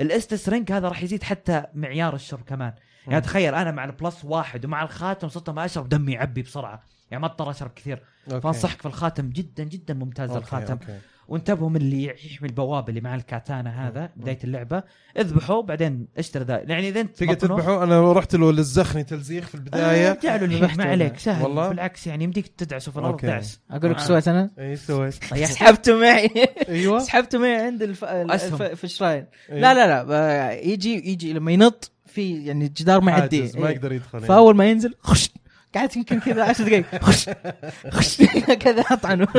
الاستس رينج هذا راح يزيد حتى معيار الشرب كمان يعني مم. تخيل انا مع البلس واحد ومع الخاتم صرت ما اشرب دمي يعبي بسرعه يعني ما اضطر اشرب كثير أوكي. فانصحك في الخاتم جدا جدا ممتاز أوكي، الخاتم أوكي. وانتبهوا من اللي يحمي البوابه اللي مع الكاتانا هذا بدايه اللعبه اذبحوا بعدين اشتري ذا يعني اذا انت تقدر مطنوخ- تذبحه انا رحت له لزخني تلزيخ في آه، البدايه ارجع له الحين ذبحته ما أنا. عليك سهل والله؟ بالعكس يعني يمديك تدعسه في الارض أوكي. دعس اقول لك ايش سويت انا؟ اي إيه، سويت طيحت سحبته معي ايوه سحبته معي عند الف... الف... وأسهم. في الشراين إيه. لا لا لا آه، يجي يجي لما ينط في يعني الجدار ما عاجز، يعديه ما إيه. يقدر يعني. يدخل فاول ما ينزل خش قعدت يمكن كذا 10 دقائق خش خش كذا اطعنه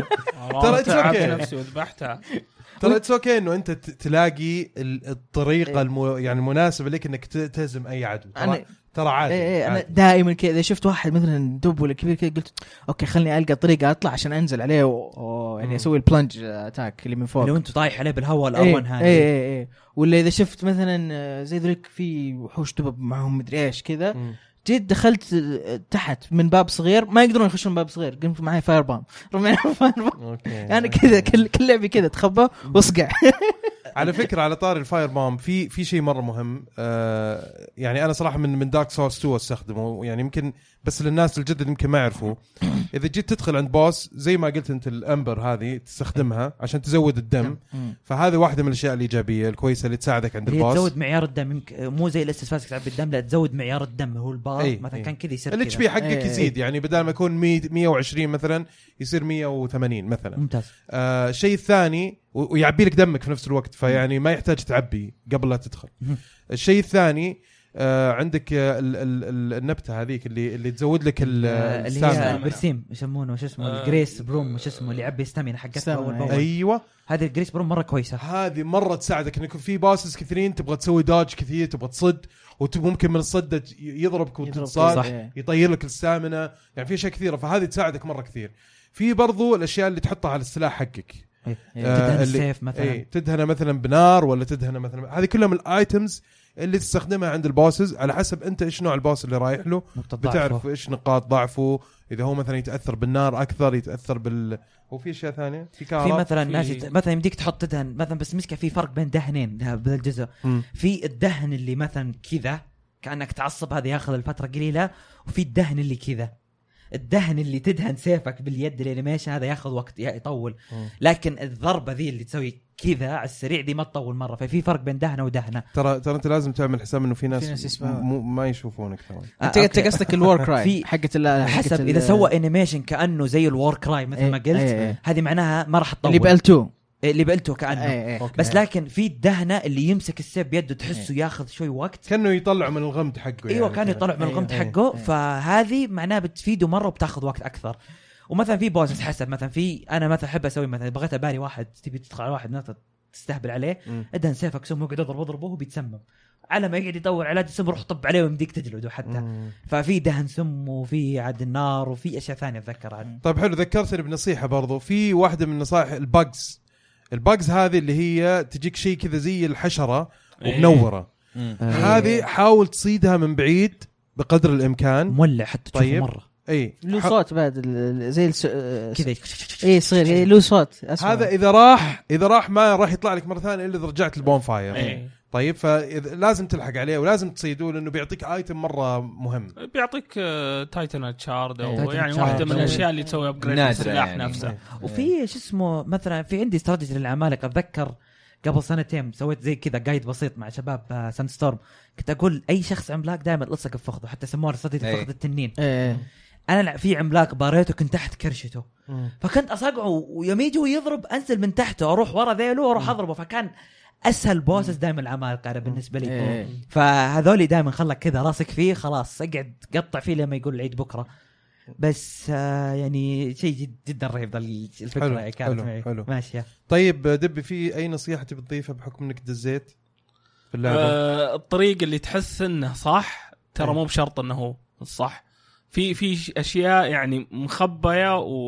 ترى it's okay. تعبت نفسي آه، وذبحتها ترى اتس اوكي انه انت ت- تلاقي ال- الطريقه المو... يعني المناسبه لك انك ت- تهزم اي عدو ترى, إيه. أنا- ترى عادي, إيه إيه انا عادي. دائما كذا اذا شفت واحد مثلا دب ولا كبير كذا قلت اوكي خلني القى طريقه اطلع عشان انزل عليه و... و... يعني مم. اسوي البلنج اتاك اللي من فوق لو انت طايح عليه بالهواء إيه، الاون هذا إيه إيه إيه. ولا اذا شفت مثلا آه، زي ذوليك في وحوش دبب معهم مدري ايش كذا مم. جيت دخلت آه، تحت من باب صغير ما يقدرون يخشون باب صغير قمت معي فاير بام رمينا فاير بام اوكي انا كذا كل كل لعبي كذا اتخبى واصقع على فكره على طاري الفاير بام في في شيء مره مهم آه يعني انا صراحه من من دارك سورس 2 استخدمه يعني يمكن بس للناس الجدد يمكن ما يعرفوا اذا جيت تدخل عند بوس زي ما قلت انت الامبر هذه تستخدمها عشان تزود الدم فهذه واحده من الاشياء الايجابيه الكويسه اللي تساعدك عند هي البوس تزود معيار الدم يمكن مو زي الاستفاسك تلعب بالدم لا تزود معيار الدم هو البار إيه، مثلا إيه. كان كذا يصير الاتش كذا. بي حقك إيه. يزيد يعني بدل ما يكون 100 120 مثلا يصير 180 مثلا ممتاز آه، الشيء الثاني و- ويعبي لك دمك في نفس الوقت فيعني ما يحتاج تعبي قبل لا تدخل مم. الشيء الثاني آه عندك آه، ال ال ال النبته ههذيك اللي اللي تزود لك ال- آه، اللي السtamina. هي برسيم يسمونه شو اسمه آه، الجريس بروم شو اسمه اللي يعبي ستامينا حقتها ستامينا، اول باول ايوه هذه الجريس بروم مره كويسه هذه مره تساعدك انك في باسس كثيرين تبغى تسوي داج كثير تبغى تصد وممكن من الصده ت- يضربك وتنصاد صح. يطير لك السامنه يعني في اشياء كثيره فهذه تساعدك مره كثير في برضو الاشياء اللي تحطها على السلاح حقك إيه. آه، تدهن اللي- إيه. السيف مثلا اي تدهنه مثلا بنار ولا تدهنه مثلا هذه كلها من الايتمز اللي تستخدمها عند البوسز على حسب انت ايش نوع البوس اللي رايح له نقطة ضعفه. بتعرف ايش نقاط ضعفه اذا هو مثلا يتاثر بالنار اكثر يتاثر بال وفي اشياء ثانيه في كهرباء في مثلا في- ناس يت... مثلا يمديك تحط تدهن مثلا بس مسكه في فرق بين دهنين ده- بهذا الجزء مم. في الدهن اللي مثلا كذا كانك تعصب هذا ياخذ الفتره قليله وفي الدهن اللي كذا الدهن اللي تدهن سيفك باليد الانيميشن هذا ياخذ وقت يا- يطول مم. لكن الضربه ذي اللي تسوي كذا على السريع دي ما تطول مره ففي فرق بين دهنه ودهنه ترى ترى انت لازم تعمل حساب انه في ناس, ناس يسمعون. مو ما يشوفونك ترى آه، انت انت أوكي. قصدك الور كراي في- حقت ال- حقت حسب ال- اذا سوى انيميشن كانه زي الور كراي مثل إيه، ما إيه، قلت إيه. هذه معناها ما راح تطول اللي بال إيه. 2 إيه، اللي بقلته كانه بس لكن في الدهنه اللي يمسك السيف بيده تحسه إيه. ياخذ شوي وقت كانه يطلع من الغمد حقه ايوه يعني كان كذا. يطلع من أيوة. الغمد أيوة. حقه أيوة. فهذه معناه بتفيده مره وبتاخذ وقت اكثر ومثلا في بوسس حسب مثلا في انا مثلا احب اسوي مثلا بغيت اباري واحد تبي تدخل على واحد مثلا تستهبل عليه مم. ادهن سيفك سم يقعد اضرب اضربه وهو بيتسمم على ما يقعد يدور علاج السم روح طب عليه ويمديك تجلده حتى مم. ففي دهن سم وفي عاد النار وفي اشياء ثانيه اتذكرها طيب حلو ذكرتني بنصيحه برضو في واحده من النصائح البجز البجز هذه اللي هي تجيك شيء كذا زي الحشره ومنوره أه. هذه حاول تصيدها من بعيد بقدر الامكان مولع حتى تشوفه طيب. مره اي له ح- صوت بعد ال- ال- زي الس... آه، كذا إيه. اي صغير إيه، له صوت اسمع هذا اذا راح اذا راح ما راح يطلع لك مره ثانيه الا اذا رجعت البون فاير إيه. طيب فلازم تلحق عليه ولازم تصيده لانه بيعطيك ايتم مره مهم بيعطيك آه، تايتن تشارد إيه، تايتن او يعني شارد. واحده من أو- الاشياء اللي تسوي ابجريد نادرة للسلاح يعني. نفسه وفي شو اسمه مثلا في عندي استراتيجي للعمالقه اتذكر قبل سنتين سويت زي كذا جايد بسيط مع شباب ساند ستورم كنت اقول اي شخص عملاق دائما الصق في فخذه حتى سموها استراتيجي أي. فخذ التنين إيه، إيه. انا لا في عملاق باريته كنت تحت كرشته فكنت اصقعه ويوم يجي ويضرب انزل من تحته اروح ورا ذيله واروح اضربه فكان اسهل بوسس دائما العمالقه انا بالنسبه لي إيه. فهذولي دائما خلك كذا راسك فيه خلاص اقعد قطع فيه لما يقول العيد بكره بس آه يعني شيء جد- جدا رهيب ذا الفكره حلو، كانت حلو، معي حلو. ماشيه طيب دبي في اي نصيحه تبي تضيفها بحكم انك دزيت في اللعبه؟ آه، الطريق اللي تحس انه صح ترى إيه. مو بشرط انه هو الصح في في ش- اشياء يعني مخبيه و...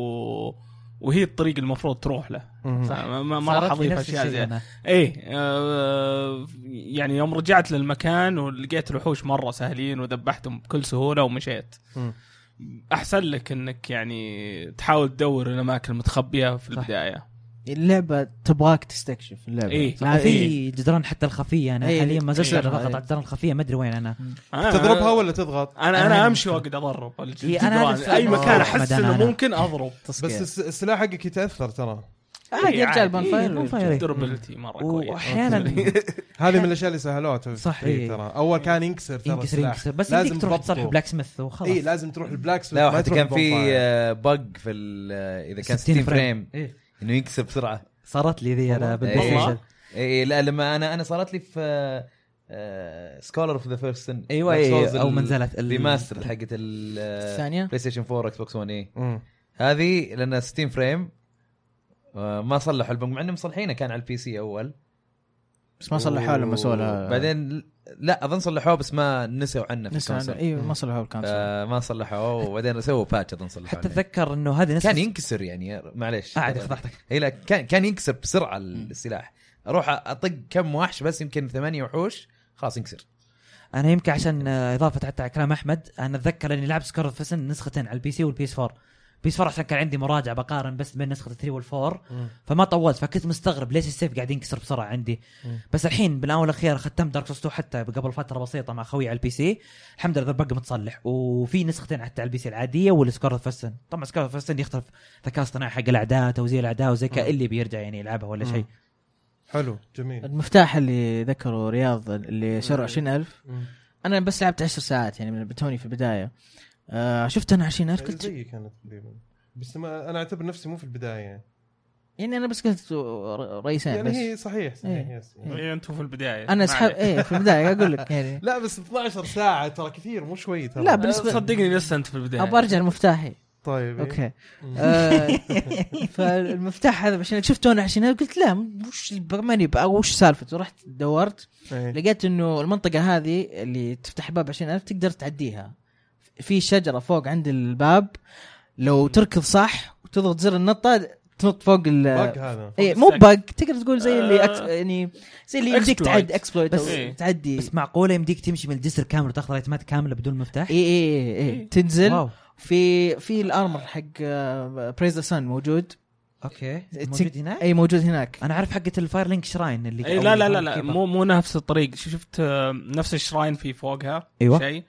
وهي الطريق المفروض تروح له مهم. صح، ما- ما ما صارت راح لي اضيف نفس اشياء الشيء زي أنا. ايه آه يعني يوم رجعت للمكان ولقيت الوحوش مره سهلين وذبحتهم بكل سهوله ومشيت مم. احسن لك انك يعني تحاول تدور الاماكن المتخبيه في صح. البدايه اللعبه إيه. تبغاك تستكشف اللعبه إيه. لا، إيه. في جدران حتى الخفيه انا إيه، حاليا ما زلت تكسرها، اضغط إيه. على الجدران الخفيه ما ادري وين انا أنا- تضربها ولا تضغط؟ انا أنا انا امشي واقعد اضرب إيه، أنا هذا الجدران. السبب. اي مكان آه، احس أبداً انه أنا. ممكن اضرب بس تصقيع الس- السلاح حقك يتاثر ترى عادي يرجع عادي. إيه، البانفاير البانفاير. ويرجع. دوربلتي مره طيب كويس واحيانا هذه من الاشياء اللي سهلوها ترى. صح، إيه، إيه. ترى اول كان ينكسر ترى ينكسر السلاح. ينكسر بس لازم لازم تروح ضبطه. تصلح بلاك سميث وخلاص اي إيه، لازم تروح البلاك سميث، لا ما حتى تروح كان في البونفاير. آه، بج في ال- آه، اذا كان 60 فريم إيه. انه يكسب بسرعه صارت لي ذي والله. انا إيه. بالبلاي اي لا لما انا انا صارت لي في آه، سكولر اوف ذا فيرست سن ايوه إيه، ايوه او من زلت ال- آه، ريماستر حقت آه، البلاي الثانية إيه. ستيشن 4 اكس بوكس 1 اي مم. هذه لانها 60 فريم آه، ما صلحوا البنج مع انهم مصلحينه كان على البي سي اول بس ما صلحوها لما سووا لها بعدين لا اظن صلحوه بس ما نسوا عنه في نسى الكونسول ايوه ما صلحوها الكونسول آه، ما صلحوه وبعدين سووا باتش اظن صلحوه حتى عليه. اتذكر انه هذه نسخه كان ينكسر يعني معليش آه، عادي فضحتك اي لا كان كان ينكسر بسرعه السلاح اروح اطق كم وحش بس يمكن ثمانية وحوش خلاص ينكسر انا يمكن عشان آه، اضافه حتى على كلام احمد انا اتذكر اني لعبت سكر فيسن نسختين على البي سي والبي اس 4 بي اس 4 عشان كان عندي مراجعه بقارن بس بين نسخه 3 والفور فما طولت فكنت مستغرب ليش السيف قاعد ينكسر بسرعه عندي مم. بس الحين بالاول الاخير ختمت دارك سوس 2 حتى قبل فتره بسيطه مع خوي على البي سي الحمد لله بقى متصلح وفي نسختين حتى على البي سي العاديه والسكور فيسن طبعا سكور فيسن يختلف ذكاء اصطناعي حق الاعداء توزيع الاعداء وذكاء اللي بيرجع يعني يلعبها ولا شيء حلو جميل المفتاح اللي ذكره رياض اللي شروا 20000 انا بس لعبت 10 ساعات يعني من توني في البدايه آه شفت انا 20000 كنت قلت زيي كانت تقريبا بس ما انا اعتبر نفسي مو في البدايه يعني انا بس قلت ر- رئيسين يعني بس هي صحيح صحيح إيه. يس. إيه، انتم في البدايه انا ما اسحب عليك. ايه في البدايه اقول لك يعني لا بس 12 ساعه ترى كثير مو شوي ترى لا، بالنسبة- صدقني لسه انت في البدايه ابغى ارجع لمفتاحي طيب إيه. اوكي مم. آه، فالمفتاح هذا عشان شفته انا عشان قلت لا وش ماني بقى- وش سالفته رحت دورت إيه. لقيت انه المنطقه هذه اللي تفتح الباب 20000 تقدر تعديها في شجره فوق عند الباب لو تركض صح وتضغط زر النطه تنط فوق ال باق هذا اي مو بق تقدر تقول زي اللي أكس... آه. يعني زي اللي يمديك Exploit. تعد اكسبلويت بس- او تعدي بس معقوله يمديك تمشي من الجسر كامل وتاخذ ايتمات كامله بدون مفتاح؟ اي اي اي إيه، تنزل واو في في الارمر حق آه، بريز ذا سن موجود اوكي تك- موجود هناك؟ اي موجود هناك انا عارف حقه الفاير لينك شراين اللي اي إيه، لا لا لا لا مو مو نفس الطريق شو- شفت آه، نفس الشراين في فوقها أيوة. شيء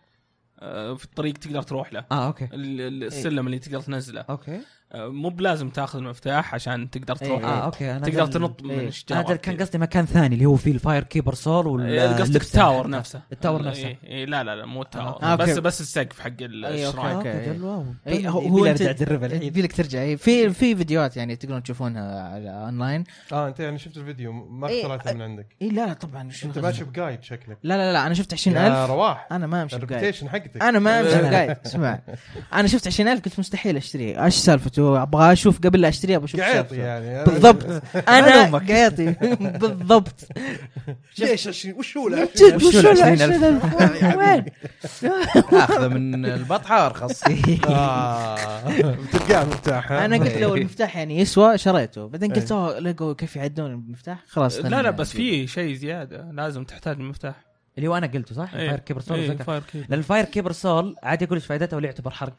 آه، في الطريق تقدر تروح له اه اوكي ال- ال- السلم اللي تقدر تنزله اوكي آه، مو بلازم تاخذ المفتاح عشان تقدر إيه. تروح له. اه اوكي انا تقدر ده- تنط من إيه. انا الشجره ده كان قصدي مكان ثاني اللي هو فيه الفاير كيبر سول ولا إيه، قصدك اللبسة التاور حتى. نفسه التاور ال- نفسه إيه، إيه، لا لا لا مو التاور آه، أوكي. بس بس السقف حق ال- أي، أوكي. الشراين أوكي. جل واو إيه، طيب، اي هو يبي هو لي أنت- ارجع ادربها الحين يبي لك ترجع إيه، في في فيديوهات يعني تقدرون تشوفونها على اونلاين اه انت يعني شفت الفيديو ما إيه. اقتريته من عندك اي لا لا طبعا شو انت لا ماشي بقايد شكلك لا لا انا شفت يا 20000 رواح انا ما امشي بقايد الريبتيشن حقتك انا ما امشي لا، لا، لا. بقايد اسمع انا شفت 20000 قلت مستحيل اشتريه ايش سالفته ابغى اشوف قبل لا اشتريه ابغى اشوف إيش قعيط سالفته. يعني بالضبط أنا انا أمك. قيطي بالضبط ليش عشرين- وش هو لا جد وش وشو ال ال 20,000 يعني. 20,000 وين اخذه من البطحه ارخص آه. بتلقاه مرتاح ها؟ انا قلت لو المفتاح يعني يسوى شريته بعدين إيه. قلت اوه لقوا كيف يعدون المفتاح خلاص لا لا بس في شيء زياده لازم تحتاج المفتاح اللي هو انا قلته صح؟ الفاير كيبر سول إيه، وذكر. فاير كيبر. لان الفاير كيبر سول عادي اقول ايش فائدته ولا يعتبر حرق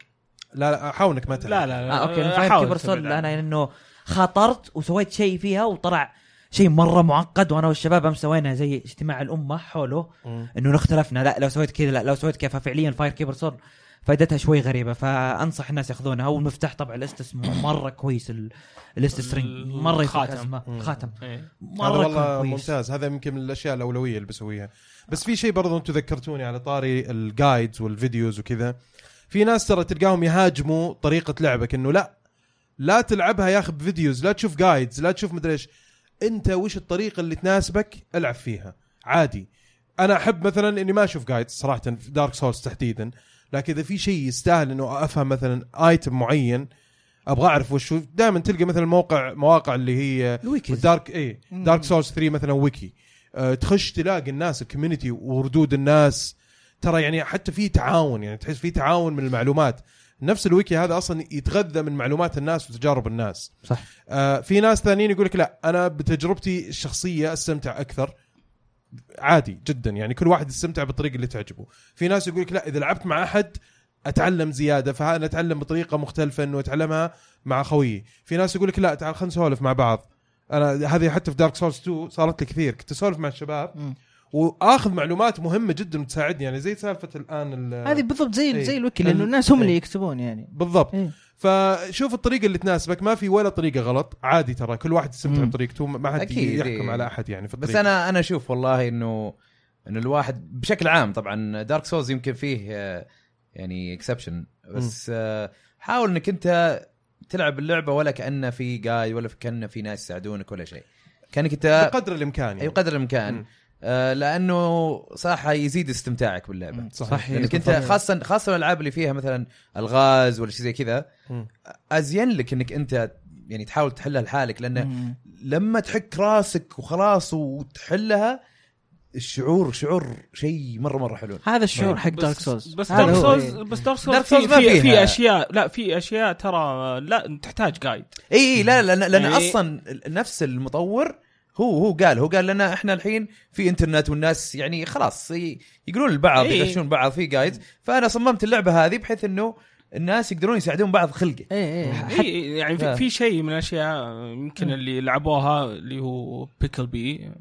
لا لا حاول انك ما تلعب لا لا لا اه آه، اوكي آه، الفاير حاول كيبر سول تبعد عنه. انا انه خاطرت وسويت شيء فيها وطلع شيء مره معقد وانا والشباب امس سوينا زي اجتماع الامه حوله مم. انه نحن اختلفنا لا لو سويت كذا لا لو سويت كذا ففعليا فاير كيبر سول فائدتها شوي غريبه فانصح الناس ياخذونها والمفتاح طبعا الاستس مره كويس ال- الاستسرينج مره يفك الخاتم. أزمة. مم. خاتم إيه. هذا مره والله كان كويس ممتاز هذا يمكن من الاشياء الاولويه اللي بسويها بس في شيء برضو انتم ذكرتوني على طاري الجايدز والفيديوز وكذا في ناس ترى تلقاهم يهاجموا طريقه لعبك انه لا لا تلعبها يا اخي بفيديوز لا تشوف جايدز لا تشوف مدري ايش انت وش الطريقه اللي تناسبك العب فيها عادي انا احب مثلا اني ما اشوف جايدز صراحه في دارك سولز تحديدا لكن اذا في شيء يستاهل انه افهم مثلا ايتم معين ابغى اعرف وش دائما تلقى مثلا موقع مواقع اللي هي إيه، الويكيز دارك اي دارك سورس 3 مثلا ويكي أه تخش تلاقي الناس الكوميونتي وردود الناس ترى يعني حتى في تعاون يعني تحس في تعاون من المعلومات نفس الويكي هذا اصلا يتغذى من معلومات الناس وتجارب الناس صح. آه في ناس ثانيين يقول لك لا انا بتجربتي الشخصيه استمتع اكثر عادي جدا يعني كل واحد يستمتع بالطريقه اللي تعجبه في ناس يقول لك لا اذا لعبت مع احد اتعلم زياده فانا اتعلم بطريقه مختلفه انه اتعلمها مع خويي في ناس يقول لك لا تعال خلينا نسولف مع بعض انا هذه حتى في دارك سولز 2 صارت لي كثير كنت اسولف مع الشباب مم. واخذ معلومات مهمه جدا تساعدني يعني زي سالفه الان ال- هذه بالضبط إيه. زي زي الوكي لانه الناس هم اللي يكتبون يعني بالضبط إيه. فشوف الطريقه اللي تناسبك ما في ولا طريقه غلط عادي ترى كل واحد يستمتع مم. بطريقته ما حد أكيد، يحكم إيه. على احد يعني في الطريق بس انا انا اشوف والله انه انه الواحد بشكل عام طبعا دارك سولز يمكن فيه آه، يعني اكسبشن بس آه، حاول انك انت تلعب اللعبه ولا كانه في جاي ولا كانه في ناس يساعدونك ولا شيء كانك انت بقدر الامكان اي يعني. قدر الامكان مم. آه، لانه صراحه يزيد استمتاعك باللعبه مم. صحيح لانك انت صحيح. خاصه خاصه الالعاب اللي فيها مثلا الغاز ولا شيء زي كذا مم. ازين لك انك انت يعني تحاول تحلها لحالك لانه مم. لما تحك راسك وخلاص وتحلها الشعور شعور شيء مره مره حلو هذا الشعور حق بس- دارك سولز بس هذا دارك هو. سولز بس دارك سولز Dark Souls في, ما في, في فيها. اشياء لا في اشياء ترى لا تحتاج جايد اي اي لا لا لان, لأن يعني- اصلا نفس المطور هو هو قال هو قال لنا احنا الحين في انترنت والناس يعني خلاص ي- يقولون لبعض إي. يغشون بعض في جايدز فانا صممت اللعبه هذه بحيث انه الناس يقدرون يساعدون بعض خلقه اي اي إيه يعني لا. في, في شيء من الاشياء يمكن آه. مم. اللي لعبوها اللي هو بيكل بي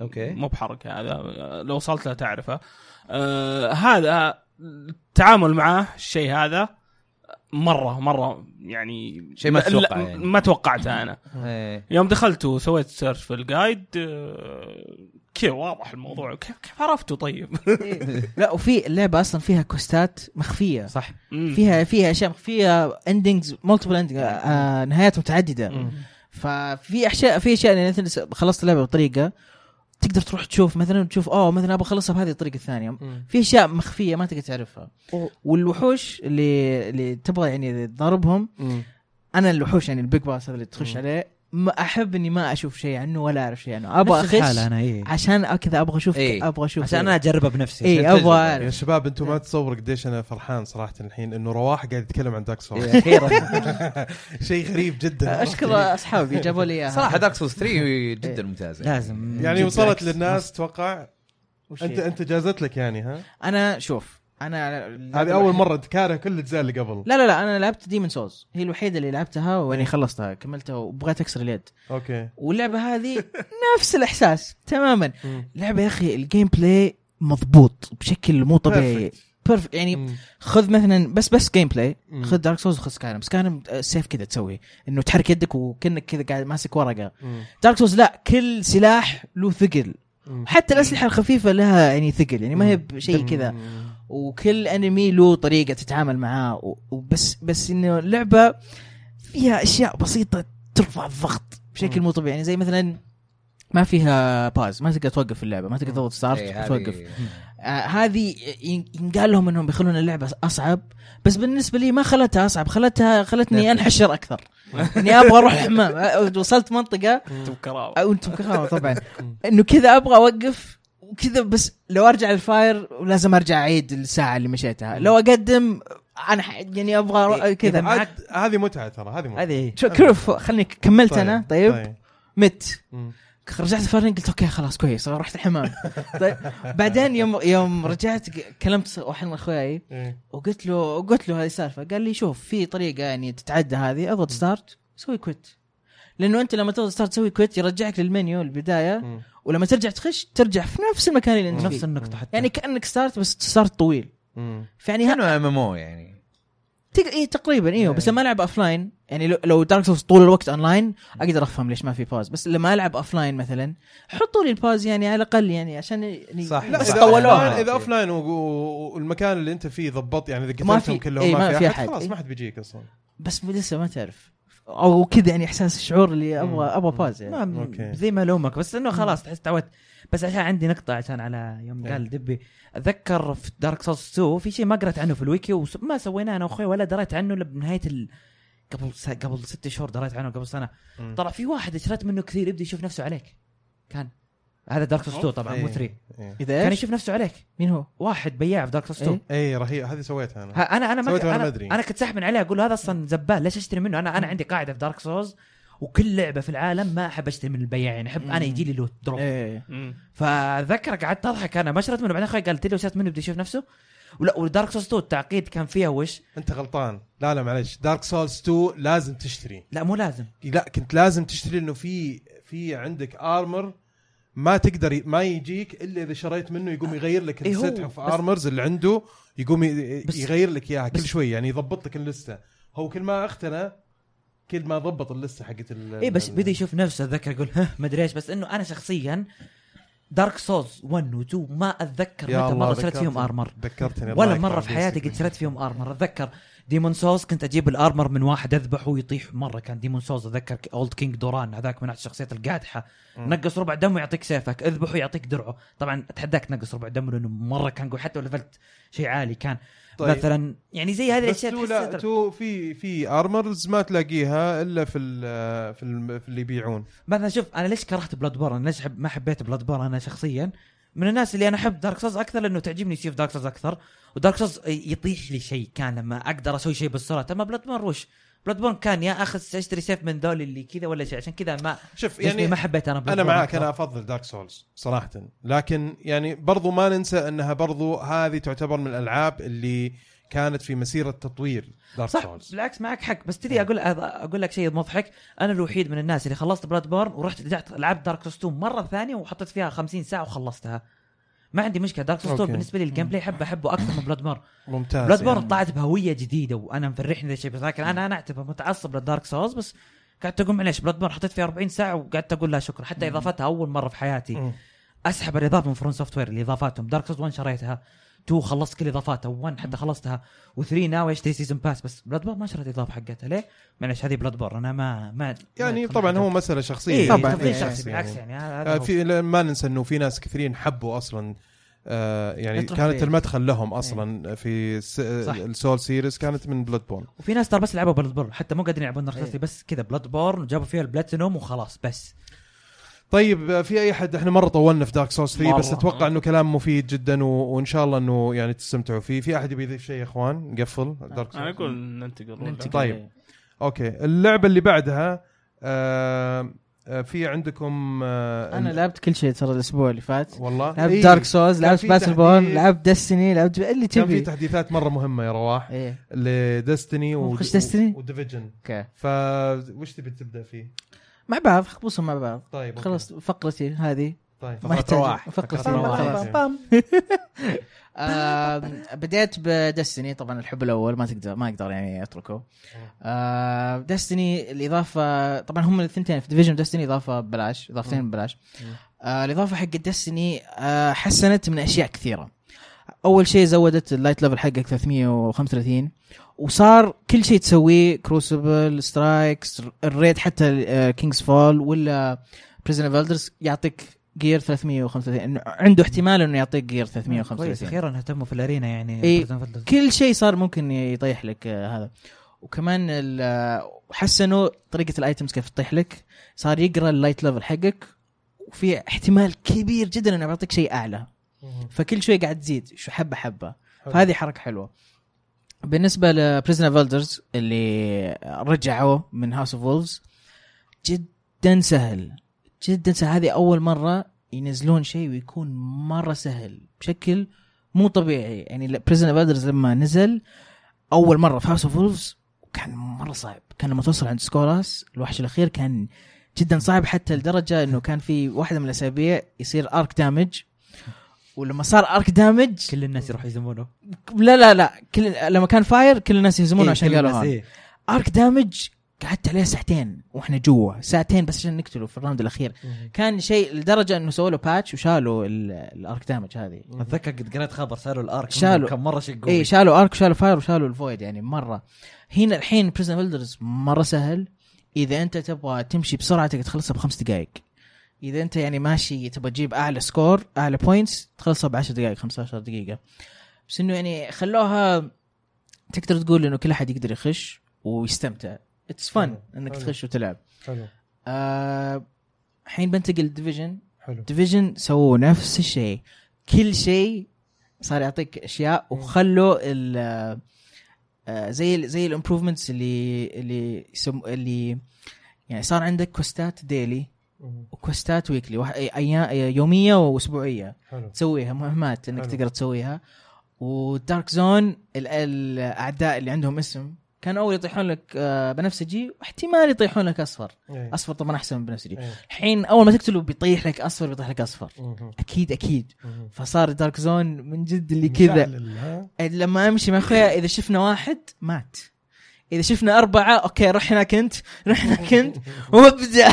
اوكي مو بحركه هذا لو وصلت له تعرفه آه هذا التعامل معاه الشيء هذا مره مره يعني شيء ما لا- تتوقعه لا- يعني. ما توقعته انا إيه. يوم دخلت وسويت سيرش في الجايد آه، كذا واضح الموضوع كيف كيف عرفته طيب؟ لا وفي اللعبه اصلا فيها كوستات مخفيه صح مم. فيها فيها اشياء فيها اندنجز مالتيبل اندنج آه، نهايات متعدده مم. ففي اشياء في اشياء يعني مثلا س- خلصت اللعبه بطريقه تقدر تروح تشوف مثلا تشوف اوه مثلا ابغى اخلصها بهذه الطريقه الثانيه في اشياء مخفيه ما تقدر تعرفها والوحوش اللي اللي تبغى يعني تضاربهم انا الوحوش يعني البيج باس هذا اللي تخش عليه ما احب اني ما اشوف شيء عنه ولا اعرف شيء عنه ابغى نفس الحالة اخش انا ايه عشان كذا ابغى اشوف إيه. ابغى اشوف عشان انا اجربها بنفسي إيه. اي عشان ابغى تجربة. يا اعرف شباب انتم ما تصور قديش انا فرحان صراحه الحين انه رواح قاعد يتكلم عن دارك سولز إيه، اخيرا شيء غريب جدا اشكر اصحابي جابوا لي اياها صراحه دارك سولز 3 جدا ممتازه لازم يعني وصلت بالعكس. للناس توقع وش انت هي؟ انت جازت لك يعني ها انا شوف انا هذه اول مره انت كاره كل الاجزاء اللي قبل لا لا لا انا لعبت ديمن سولز هي الوحيده اللي لعبتها إيه. واني خلصتها كملتها وبغيت اكسر اليد اوكي واللعبه هذه نفس الاحساس تماما مم. لعبه يا اخي الجيم بلاي مضبوط بشكل مو طبيعي Perfect. بيرفكت يعني مم. خذ مثلا بس بس جيم بلاي مم. خذ دارك سولز وخذ سكايرم سكايرم سيف كذا تسوي انه تحرك يدك وكانك كذا قاعد ماسك ورقه مم. دارك سولز لا كل سلاح له ثقل مم. حتى الاسلحه الخفيفه لها يعني ثقل يعني ما هي مم. بشيء كذا مم. وكل انمي له طريقه تتعامل معاه و- وبس بس انه اللعبه فيها اشياء بسيطه ترفع الضغط بشكل مم. مو طبيعي يعني زي مثلا ما فيها باز ما تقدر توقف اللعبه ما تقدر تضغط ستارت إيه، هذه- توقف آه، هذه ين- ينقال لهم انهم بيخلون اللعبه اصعب بس بالنسبه لي ما خلتها اصعب خلتها خلتني انحشر اكثر اني ابغى اروح الحمام آه، وصلت منطقه انتم كراو او انتم كرامه طبعا انه كذا ابغى اوقف وكذا بس لو ارجع الفاير لازم ارجع اعيد الساعه اللي مشيتها لو اقدم انا ح- يعني ابغى أرو- إذا كذا معك- إيه، عاد هذه متعه ترى هذه متعه هذه هي. شو- كيف خلني كملت انا طيب مت مم. رجعت الفاير قلت اوكي خلاص كويس رحت الحمام طيب بعدين يوم يوم رجعت ق- كلمت واحد من اخوياي إيه. وقلت له قلت له هذه السالفه قال لي شوف في طريقه يعني تتعدى هذه اضغط ستارت سوي كويت لانه انت لما تضغط ستارت تسوي كويت يرجعك للمنيو البدايه مم. ولما ترجع تخش ترجع في نفس المكان اللي انت نفس فيه النقطة حتى يعني كانك ستارت بس ستارت طويل مم. فيعني ها- كانوا ام ام او يعني تق... إيه تقريبا ايوه بس لما العب اوف لاين يعني لو- لو دارك سولز طول الوقت اون لاين اقدر افهم ليش ما في باز بس لما العب اوف لاين مثلا حطوا لي الباز يعني على الاقل يعني عشان يعني صح. لا بس اذا طولوها. طولوها اذا اوف لاين والمكان اللي انت فيه ضبط يعني اذا ما قتلتهم في- كلهم إيه، ما في احد إيه. خلاص ما حد بيجيك اصلا بس لسه ما تعرف او كذا يعني احساس الشعور اللي ابغى مم. ابغى باز يعني ما أوكي. زي ما لومك بس انه خلاص تحس تعودت بس عشان عندي نقطة عشان على يوم إيه. قال دبي اتذكر في دارك سولز 2 في شيء ما قرأت عنه في الويكي وما سويناه انا واخوي ولا دريت عنه الا بنهاية ال... قبل س... قبل ست شهور دريت عنه قبل سنة مم. طلع في واحد اشتريت منه كثير يبدا يشوف نفسه عليك كان هذا دارك سولز 2 طبعا مو إيه. 3 إيه. اذا كان ايش يشوف نفسه عليك مين هو؟ واحد بياع في دارك سولز 2 إيه. اي رهيب هذه سويتها انا ها- انا انا ما سويته ك- وأنا انا ما أدري. انا كنت ساحب من عليه اقول هذا اصلا زبال ليش اشتري منه انا انا عندي قاعده في دارك سولز وكل لعبه في العالم ما احب اشتري من البياعين احب انا يجي لي لوت دروب إيه. ايه فذكر قعدت اضحك انا ما شريت منه بعدين اخوي قال لي لو شريت منه بدي اشوف نفسه ولا ودارك سولز 2 التعقيد كان فيها وش انت غلطان لا لا معلش دارك سولز 2 لازم تشتري لا مو لازم لا كنت لازم تشتري انه في في عندك ارمر ما تقدر ي- ما يجيك الا اذا شريت منه يقوم يغير لك إيه هو، الست اوف بس- ارمرز اللي عنده يقوم ي- بس- يغير لك اياها كل بس- شوي يعني يضبط لك اللسته هو كل ما اختنى كل ما ضبط اللسته حقت ال اي إيه، بس ال- بدا يشوف نفسه اتذكر يقول ها ما ادري ايش بس انه انا شخصيا دارك سولز 1 و 2 ما اتذكر يا متى الله مره شريت ذكرتني- فيهم ارمر ذكرتني ولا الله طيب. مره يكرم في حياتي فيك. قد شريت فيهم ارمر اتذكر ديمون سولز كنت اجيب الارمر من واحد اذبحه ويطيح مره كان ديمون سولز اتذكر اولد كينج دوران هذاك من الشخصيات القادحه مم. نقص ربع دم ويعطيك سيفك اذبحه يعطيك درعه طبعا اتحداك تنقص ربع دم لانه مره كان قوي حتى لو لفلت شيء عالي كان طيب. طيب. مثلا يعني زي هذه بس الاشياء تو تحسها لا ترى- تو في في ارمرز ما تلاقيها الا في ال- في, ال- في اللي يبيعون مثلا شوف انا ليش كرهت بلاد بورن ليش حب ما حبيت بلاد بورن انا شخصيا من الناس اللي انا احب دارك سوز اكثر لانه تعجبني سيف دارك سوز اكثر ودارك سوز يطيح لي شيء كان لما اقدر اسوي شيء بالسرعه اما بلاد بورن وش بلاد بورن كان يا اخذ اشتري سيف من ذول اللي كذا ولا شيء عشان كذا ما شوف يعني يعني ما حبيت انا بلاد انا معاك انا افضل دارك سولز صراحه لكن يعني برضو ما ننسى انها برضو هذه تعتبر من الالعاب اللي كانت في مسيره تطوير دارك صح سولز بالعكس معك حق بس تدري اقول اقول لك شيء مضحك انا الوحيد من الناس اللي خلصت بلاد بورن ورحت رجعت لعبت دارك سوز 2 مره ثانيه وحطيت فيها 50 ساعه وخلصتها ما عندي مشكله دارك سوز 2 أوكي. بالنسبه لي الجيم بلاي احبه احبه اكثر من بلاد بورن ممتاز بلاد بورن يعني. طلعت بهويه جديده وانا مفرحني ذا الشيء بس لكن انا انا اعتبر متعصب للدارك سولز بس قعدت اقول معليش بلاد بورن حطيت فيها 40 ساعه وقعدت اقول لا شكرا حتى اضافتها اول مره في حياتي مم. اسحب الاضافه من فرون سوفت وير اللي اضافاتهم دارك سولز 1 شريتها 2 خلصت كل اضافاتها 1 حتى خلصتها و3 ناوي اشتري سيزون باس بس بلاد بورن ما شريت الاضافه حقتها ليه؟ معليش هذه بلاد بورن انا ما ما يعني ما- طبعا هو مساله شخصيه إيه طبعاً. طبعا تفضيل إيه، شخصي بالعكس يعني هذا آه، هو. في لا- ما ننسى انه في ناس كثيرين حبوا اصلا آه يعني يطرح كانت فيه. المدخل لهم اصلا في الس- إيه. صح. السول سيريز كانت من بلاد بون وفي ناس ترى بس لعبوا بلاد بورن حتى مو قادرين يلعبون دارك إيه. سولز بس كذا بلاد بورن وجابوا فيها البلاتينوم وخلاص بس طيب آه، في اي احد احنا مره طولنا في دارك سورس 3 بس مرة. اتوقع انه كلام مفيد جدا و... وان شاء الله انه يعني تستمتعوا فيه في احد يبي يضيف شيء يا اخوان نقفل طيب. دارك انا سورس اقول ننتقل ولا؟ ننتقل. طيب. اوكي اللعبه اللي بعدها آه آه في عندكم آه انا ال- لعبت كل شيء ترى الاسبوع اللي فات والله لعبت إيه، دارك سولز كان لعبت في باتل بورن تحديث. لعبت ديستني لعبت اللي كان في تبي تحديثات مره مهمه يا رواح ايه لدستني و... نخش Destiny؟ وديفيجن اوكي فوش تبي تبدا فيه؟ مع بعض خبصهم مع بعض طيب أوكي. خلصت فقرتي هذه طيب ما يحتاج فقرة فقرة رواح. رواح. بام- بام. آم، بديت بدستني طبعا الحب الاول ما تقدر ما اقدر يعني اتركه دستني الاضافه طبعا هم الثنتين في ديفيجن دستني اضافه ببلاش اضافتين ببلاش آه، الاضافه حق دستني آه، حسنت من اشياء كثيره اول شيء زودت اللايت ليفل حقك 335 وصار كل شيء تسويه كروسبل سترايكس الريد حتى كينجز فول ولا بريزن اوف الدرز يعطيك جير 335 إنه عنده احتمال انه يعطيك جير كويس 335 اخيرا اهتموا في الارينا يعني إيه. Breath of the Wild. كل شيء صار ممكن يطيح لك آه، هذا وكمان ال- آه، حسنوا طريقه الايتمز كيف تطيح لك صار يقرا اللايت ليفل حقك وفي احتمال كبير جدا انه بيعطيك شيء اعلى فكل شوي قاعد تزيد شو حبه حبه فهذه حركه حلوه بالنسبه لبريزن اوف الدرز اللي رجعوا من هاوس اوف وولفز جدا سهل جدا سهل هذه اول مره ينزلون شيء ويكون مره سهل بشكل مو طبيعي يعني بريزن اوف الدرز لما نزل اول مره في هاوس اوف وولفز كان مره صعب كان لما توصل عند سكوراس الوحش الاخير كان جدا صعب حتى لدرجه انه كان في واحده من الاسابيع يصير ارك دامج ولما صار ارك دامج كل الناس يروحوا يزمونه لا لا لا كل لما كان فاير كل الناس يهزمونه إيه، عشان كل قالوا الناس، هذا إيه. ارك دامج قعدت عليه ساعتين واحنا جوا ساعتين بس عشان نقتله في الراوند الاخير كان شيء لدرجه انه سووا له باتش وشالوا ال- الارك دامج هذه اتذكر قد قريت خبر سالوا الارك شالوا. كم مره شيء قوي اي إيه، شالوا ارك وشالوا فاير وشالوا الفويد يعني مره هنا الحين بريزن بيلدرز مره سهل اذا انت تبغى تمشي بسرعه تقدر تخلصها بخمس دقائق اذا انت يعني ماشي تبغى تجيب اعلى سكور اعلى بوينتس تخلصها ب 10 دقائق 15 دقيقه بس انه يعني خلوها تقدر تقول انه كل احد يقدر يخش ويستمتع اتس فن حلو، انك حلو. تخش وتلعب حلو آه، الحين بنتقل ديفيجن حلو ديفيجن سووا نفس الشيء كل شيء صار يعطيك اشياء وخلوا ال آه، زي ال زي الامبروفمنتس اللي اللي يسم اللي يعني صار عندك كوستات ديلي وكوستات ويكلي وح- أي- ايام يوميه واسبوعيه حلو تسويها مهمات انك حلو. تقدر تسويها ودارك زون ال- الاعداء اللي عندهم اسم كان اول يطيحون لك آه، بنفسجي واحتمال يطيحون لك اصفر إيه. اصفر طبعا احسن من بنفسجي إيه. الحين اول ما تقتله بيطيح لك اصفر بيطيح لك اصفر مهم. اكيد اكيد مهم. فصار دارك زون من جد اللي كذا إيه، مشعل، ها؟ لما امشي مع اخويا اذا شفنا واحد مات اذا شفنا اربعه اوكي روح هناك انت روح هناك انت وابدا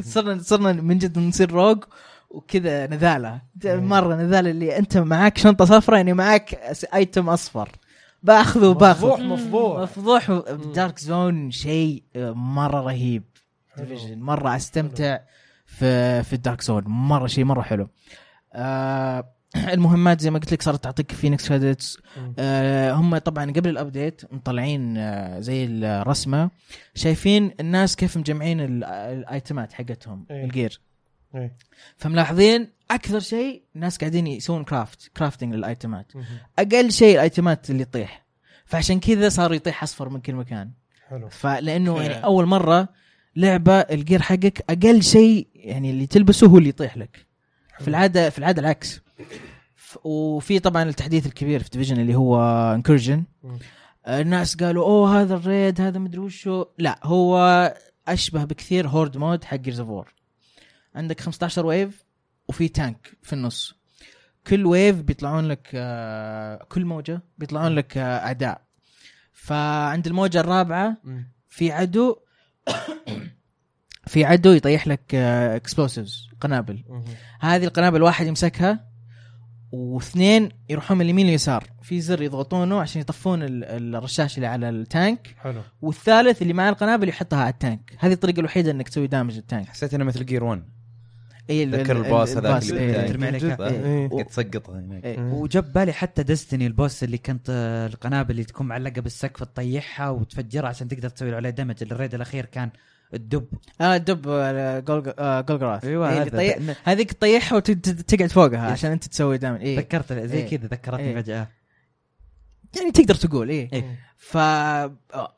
صرنا صرنا من جد نصير روج وكذا نذاله مره نذاله اللي انت معاك شنطه صفراء يعني معاك أس- ايتم اصفر باخذه وباخذه مفضوح مفضوح مفضوح دارك زون شيء مره رهيب ديفيجن مره استمتع في في الدارك زون مره شيء مره حلو آه المهمات زي ما قلت لك صارت تعطيك فينيكس كريدتس آه هم طبعا قبل الابديت مطلعين آه زي الرسمه شايفين الناس كيف مجمعين ال- الايتمات حقتهم إيه. الجير إيه. فملاحظين اكثر شيء الناس قاعدين يسوون كرافت كرافتنج للايتمات اقل شيء الايتمات اللي يطيح فعشان كذا صار يطيح اصفر من كل مكان حلو فلانه Yeah. يعني اول مره لعبه الجير حقك اقل شيء يعني اللي تلبسه هو اللي يطيح لك في العاده في العاده العكس ف- وفي طبعا التحديث الكبير في ديفيجن اللي هو انكرجن مم. الناس قالوا اوه هذا الريد هذا مدري وشو لا هو اشبه بكثير هورد مود حق جيرز عندك 15 ويف وفي تانك في النص كل ويف بيطلعون لك آه، كل موجه بيطلعون لك آه، اعداء فعند الموجه الرابعه مم. في عدو في عدو يطيح لك اكسبلوسيفز قنابل هذه القنابل واحد يمسكها واثنين يروحون من اليمين لليسار في زر يضغطونه عشان يطفون ال- الرشاش اللي على التانك حلو والثالث اللي معاه القنابل يحطها على التانك هذه الطريقه الوحيده انك تسوي دامج التانك حسيت انه مثل جير 1 اي تذكر الباص هذاك الباص، اللي إيه. بتاعي. ترمي عليك صح؟ إيه. قاعد تسقطها هناك إيه. وجاب بالي حتى ديستني البوس اللي كانت آه، القنابل اللي تكون معلقه بالسقف تطيحها وتفجرها عشان تقدر تسوي له عليه دمج الريد الاخير كان الدب اه دب آه، جولج- آه، جولجراث أيوة، ايوه إيه، هذا اللي طي- ت- هذيك تطيحها وتقعد فوقها إيه. عشان انت تسوي دامج اي تذكرت زي إيه. كذا ذكرتني إيه. فجاه يعني تقدر تقول ايه إيه. ف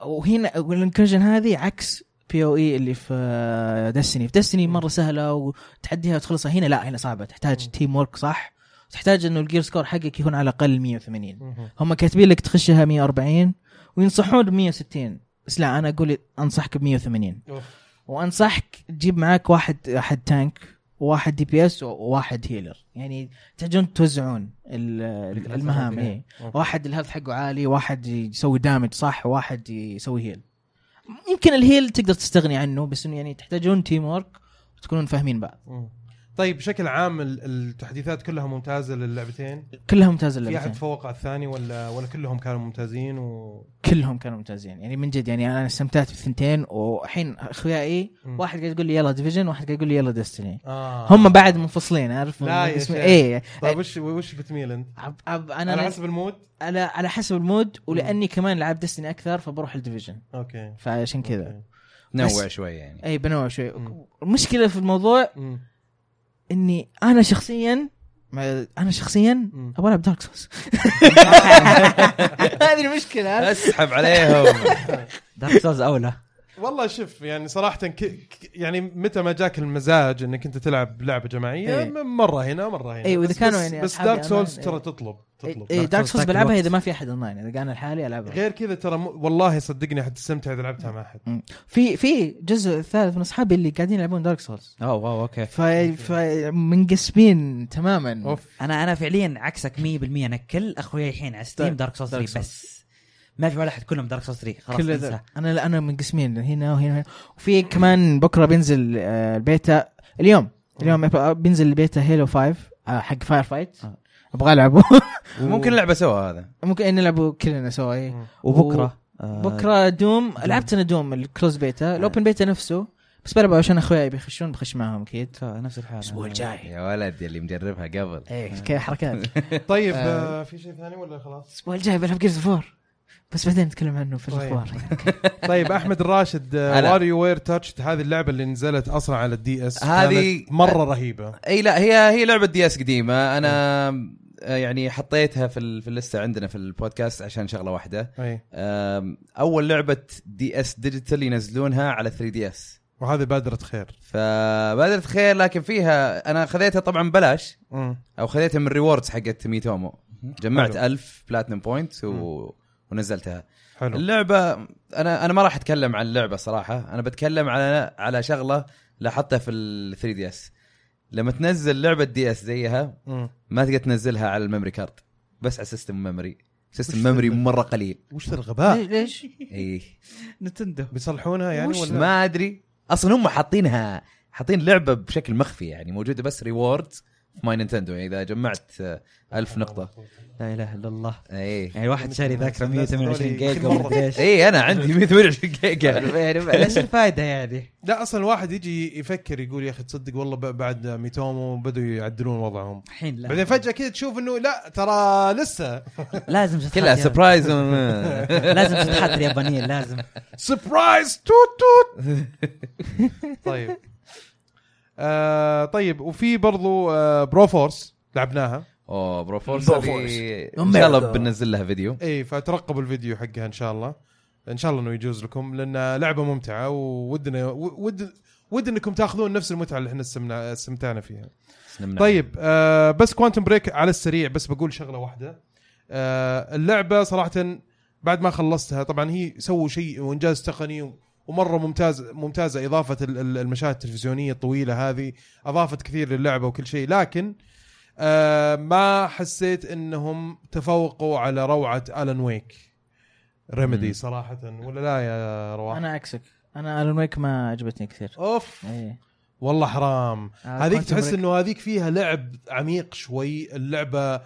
وهنا والانكرجن هذه عكس بي او اي اللي في دستني في دستني مره سهله وتحديها وتخلصها هنا لا هنا صعبه تحتاج تيم ورك صح تحتاج انه الجير سكور حقك يكون على الاقل 180 هم كاتبين لك تخشها 140 وينصحون ب 160 بس لا انا اقول انصحك ب 180 أوف. وانصحك تجيب معاك واحد واحد تانك وواحد دي بي اس وواحد هيلر يعني تحتاجون توزعون ال- الكلاسات المهام هذه. إيه. أوكي. واحد الهيلث حقه عالي واحد يسوي دامج صح وواحد يسوي هيل يمكن الهيل تقدر تستغني عنه بس انه يعني تحتاجون تيم ورك وتكونون فاهمين بعض مم. طيب بشكل عام ال- التحديثات كلها ممتازه للعبتين كلها ممتازه في احد اللعبتين فوق على الثاني ولا ولا كلهم كانوا ممتازين و كلهم كانوا ممتازين يعني من جد يعني انا استمتعت بالثنتين والحين اخوياي مم. واحد قاعد يقول لي يلا ديفيجن واحد قاعد يقول لي يلا ديستني آه. هم بعد منفصلين عارف لا يا اسمه- شيخ. ايه طيب وش وش بتميل انت؟ عب عب انا انا على على, حسب المود؟ على, على حسب المود ولاني كمان لعبت ديستني اكثر فبروح الديفيجن اوكي فعشان كذا أوكي. نوع شوي يعني اي بنوع شوي مم. المشكله في الموضوع مم. اني انا شخصيا ما- انا شخصيا مم. ابغى العب دارك سوس هذه المشكله اسحب عليهم دارك سولز اولى والله شوف يعني صراحه ك... ك- يعني متى ما جاك المزاج انك انت تلعب لعبه جماعيه إيه. م- مره هنا مره هنا إيه، وإذا بس- كانوا بس- يعني بس أصحابي دارك سولز أمان، ترى إيه. تطلب تطلب اي دارك Dark Souls سوس تاكل بلعبها وقت. اذا ما في احد اونلاين اذا انا لحالي العبها غير كذا ترى م... والله صدقني حتستمتع اذا لعبتها مع احد في في جزء ثالث من اصحابي اللي قاعدين يلعبون دارك سولز اوه واو اوكي فمنقسمين تماما اوف انا انا فعليا عكسك 100% انا كل اخوياي الحين على ستيم طيب، دارك سولز Dark 3 بس ما في ولا احد كلهم دارك سولز 3 خلاص كل انسى ذا- انا لا انا منقسمين هنا وهنا وفي كمان بكره بينزل آه، البيتا اليوم اليوم بينزل البيتا هيلو 5 آه، حق فاير فايت آه. ابغى العبه ممكن لعبه سوا هذا ممكن نلعبه كلنا سوا إيه. وبكره آه، بكره دوم لعبت انا دوم الكلوز بيتا الاوبن بيتا نفسه بس بلعبه عشان اخوياي بيخشون بخش معاهم اكيد آه، نفس آه. الحال الاسبوع الجاي يا ولد اللي مجربها قبل ايه كذا حركات طيب آه في شيء ثاني ولا خلاص؟ الاسبوع الجاي بلعب جيرز فور بس بعدين نتكلم عنه في طيب. الاخبار طيب احمد الراشد هلا. واري وير تاتش هذه اللعبه اللي نزلت اصلا على الدي اس هذه- آه. مره رهيبه اي لا هي هي لعبه دي اس قديمه انا آه، يعني حطيتها في ال- في اللسته عندنا في البودكاست عشان شغله واحده اي آم، اول لعبه دي اس ديجيتال ينزلونها على 3 دي اس وهذه بادره خير فبادرة خير لكن فيها انا خذيتها طبعا ببلاش مم. او خذيتها من ريوردز حقت ميتومو جمعت حلو. 1000 بلاتنم بوينت و... ونزلتها حلو اللعبه انا انا ما راح اتكلم عن اللعبه صراحه انا بتكلم على على شغله لاحظتها في ال 3 دي اس لما تنزل لعبه دي اس زيها مم. ما تقدر تنزلها على الميموري كارد بس على سيستم ميموري سيستم وش ميموري ذا- مره قليل وش ذا آه. إيه. الغباء؟ ليش؟ اي نتندو بيصلحونها يعني ولا ما ادري اصلا هم حاطينها حاطين لعبه بشكل مخفي يعني موجوده بس ريورد في ماي نينتندو يعني اذا جمعت آه، ألف إيه. نقطه لا اله الا الله اي يعني واحد شاري ذاكره 128 جيجا مرة. ومدري ايش اي انا إيه، عندي 128 جيجا يعني ايش الفائده يعني؟ لا اصلا الواحد يجي يفكر يقول يا اخي تصدق والله ب- بعد ميتومو بدوا يعدلون وضعهم الحين لا بعدين فجاه كذا تشوف انه لا ترى لسه لازم شطحات كلها يا- سبرايز لازم شطحات اليابانيين لازم سبرايز توت توت طيب آه طيب وفي برضو آه برو فورس لعبناها اوه برو فورس برو هذه فورس. ان شاء الله بننزل لها فيديو اي فترقبوا إيه، الفيديو حقها ان شاء الله ان شاء الله انه يجوز لكم لان لعبه ممتعه وودنا ود ود انكم تاخذون نفس المتعه اللي احنا استمنا- استمتعنا فيها نمنع. طيب آه بس كوانتم بريك على السريع بس بقول شغله واحده آه اللعبه صراحه بعد ما خلصتها طبعا هي سووا شيء وانجاز تقني ومره ممتاز ممتازه اضافه ال- ال- المشاهد التلفزيونيه الطويله هذه اضافت كثير للعبه وكل شيء لكن آه ما حسيت انهم تفوقوا على روعه الان ويك ريميدي مم. صراحه ولا لا يا رواح انا عكسك انا الون ويك ما عجبتني كثير اوف إيه. والله حرام آه، هذيك Quantum تحس Break. انه هذيك فيها لعب عميق شوي اللعبه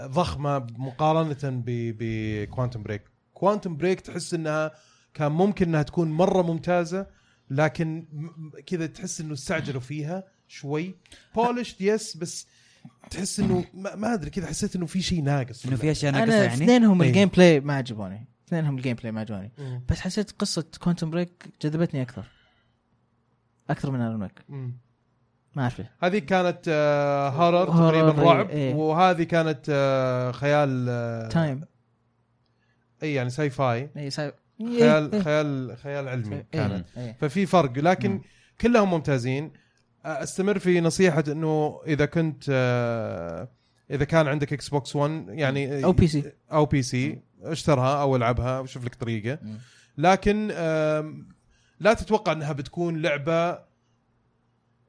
ضخمه مقارنه بكوانتم بريك كوانتم بريك تحس انها كان ممكن انها تكون مره ممتازه لكن م- م- كذا تحس انه استعجلوا فيها شوي بولشد يس بس تحس انه ما ما ادري كذا حسيت انه في شيء ناقص انه في اشياء ناقصه انا يعني اثنينهم إيه. الجيم بلاي ما عجبوني اثنينهم الجيم بلاي ما عجبوني مم. بس حسيت قصه كوانتم بريك جذبتني اكثر اكثر من الون ويك مم. ما اعرف ليه. هذه كانت آه هورر هورر، تقريبا رعب إيه. وهذه كانت آه خيال آه، تايم اي يعني ساي فاي اي سايب إيه. خيال خيال خيال علمي كانت ففي فرق لكن مم. كلهم ممتازين استمر في نصيحه انه اذا كنت آه، اذا كان عندك اكس بوكس 1 يعني أو PC. او بي سي اشترها او العبها وشوف لك طريقه مم. لكن آم، لا تتوقع انها بتكون لعبه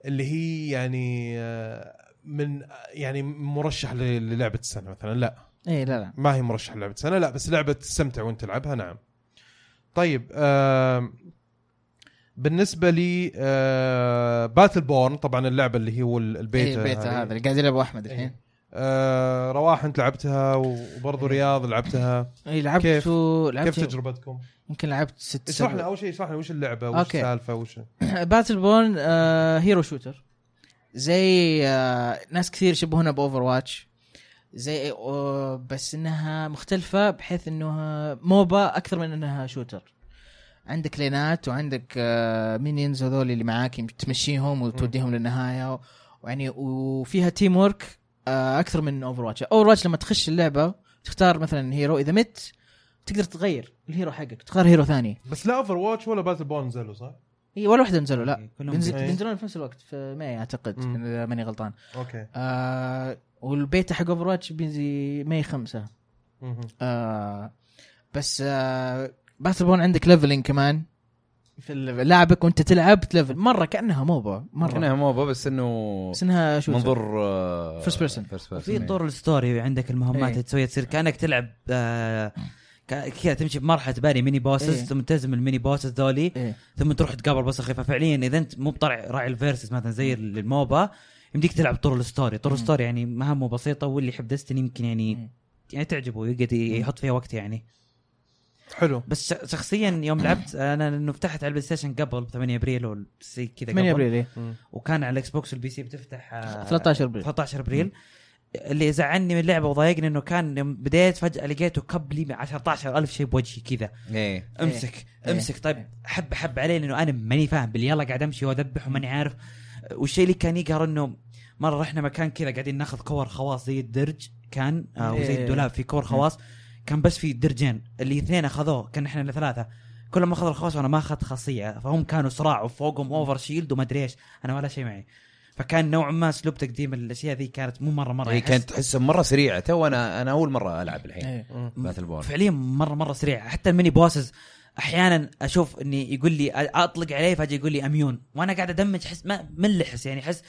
اللي هي يعني آه، من يعني مرشح ل- للعبه السنه مثلا لا اي إيه، لا لا ما هي مرشحه لعبه سنه لا بس لعبه تستمتع وانت تلعبها نعم طيب آه بالنسبه لي آه باتل بورن طبعا اللعبه اللي هو ال- البيتا إيه، بيتا هذه. هذا اللي قاعد يلعبه احمد إيه. الحين آه رواح انت لعبتها إيه. وبرضه رياض لعبتها اي إيه. كيف؟ إيه، لعبت و- لعبت كيف تجربتكم؟ يمكن لعبت ست اشرح لنا سبع اول شيء اشرح لنا وش اللعبه وش أوكي. السالفه وش باتل بورن آه هيرو شوتر زي آه ناس كثير يشبهونها باوفر واتش زي آه بس انها مختلفه بحيث انها موبا اكثر من انها شوتر عندك لينات وعندك آه مينيونز هذول اللي معاك يم- تمشيهم وتوديهم للنهايه و- ويعني وفيها تيم ورك آه اكثر من اوفر واتش اوفر واتش لما تخش اللعبه تختار مثلا هيرو اذا مت تقدر تغير الهيرو حقك تختار هيرو ثاني بس لا اوفر واتش ولا باتل بورن نزلوا صح؟ اي ولا واحده نزلوا لا كلهم بينزل- إيه. بينزلون في نفس الوقت في ماي اعتقد مم. اذا ماني غلطان اوكي آه والبيتا حق اوفر واتش بينزل ماي خمسة مهم. آه بس آه باتل بون عندك ليفلينج كمان في ال- لاعبك وانت تلعب تلفل مره كانها موبا مره كانها موبا بس انه بس انها شو منظور آه، First person. فيرست في طور الستوري عندك المهمات إيه. اللي تسويها تصير كانك تلعب آه، ك- كذا تمشي بمرحله بالي ميني بوسز إيه. ثم تلزم الميني بوسز ذولي إيه. ثم تروح تقابل بوس خفيف ففعليا اذا انت مو بطلع راعي الفيرسز مثلا زي ال- الموبا يمديك تلعب طور الستوري طور الستوري يعني مهمه بسيطه واللي يحب دستني يمكن يعني مم. يعني تعجبه يقعد ي- يحط فيها وقت يعني حلو بس ش- شخصيا يوم لعبت انا لانه فتحت على البلاي ستيشن قبل ب 8 ابريل ولا زي كذا 8 قبل. ابريل إيه. وكان على الاكس بوكس والبي سي بتفتح آه، 13 ابريل 13 ابريل اللي زعلني من اللعبه وضايقني انه كان يوم بديت فجاه لقيته كب لي 17000 شيء بوجهي كذا ايه امسك إيه. امسك طيب حب حب علي لانه انا ماني فاهم باللي يلا قاعد امشي واذبح وماني عارف والشيء اللي كان يقهر انه مره رحنا مكان كذا قاعدين ناخذ كور خواص زي الدرج كان او زي إيه. الدولاب في كور خواص كان بس في درجين اللي اثنين اخذوه كان احنا ثلاثه كل ما اخذ الخواص وانا ما اخذت خاصيه فهم كانوا صراع وفوقهم اوفر شيلد وما ادري ايش انا ولا شيء معي فكان نوعا ما اسلوب تقديم الاشياء ذي كانت مو مره مره إيه، هي أحس- كانت تحسها مره سريعه تو انا انا اول مره العب الحين إيه. باتل بورن فعليا مره مره سريع حتى الميني بوسز احيانا اشوف اني يقول لي اطلق عليه فجاه يقول لي اميون وانا قاعد ادمج حس ما ملحس يعني حس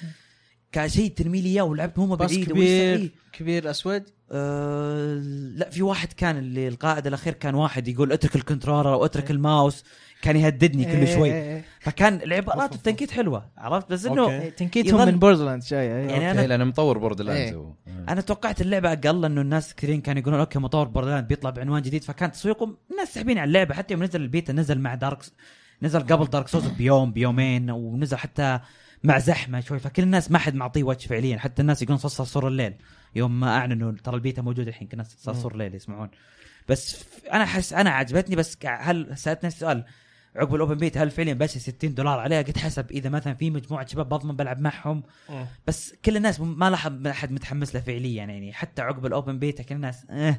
كشيء ترمي لي اياه ولعبت هم باص بعيد آه، كبير كبير اسود أه لا في واحد كان اللي القائد الاخير كان واحد يقول اترك الكنترولر او اترك الماوس كان يهددني إيه، كل شوي إيه، إيه. فكان العبارات والتنكيت حلوه عرفت بس انه أوكي. إيه، تنكيتهم يظل- من بوردرلاند جايه إيه. يعني يعني انا لانه مطور بورد لاند إيه. هو. انا توقعت اللعبه اقل لانه الناس كثيرين كانوا يقولون اوكي مطور بوردرلاند بيطلع بعنوان جديد فكان تسويقهم الناس ساحبين على اللعبه حتى يوم نزل البيتا نزل مع دارك س- نزل قبل دارك سوز بيوم بيومين ونزل حتى مع زحمه شوي فكل الناس ما حد معطيه وجه فعليا حتى الناس يقولون صار صور الليل يوم ما اعلنوا ترى البيتا موجود الحين كل الناس صار صور الليل يسمعون بس ف- انا حس انا عجبتني بس ك- هل سالت نفسي سؤال عقب الاوبن بيت هل فعليا بس 60 دولار عليها قد حسب اذا مثلا في مجموعه شباب بضمن بلعب معهم بس كل الناس ما لاحظ احد متحمس له فعليا يعني حتى عقب الاوبن بيتا كل الناس اه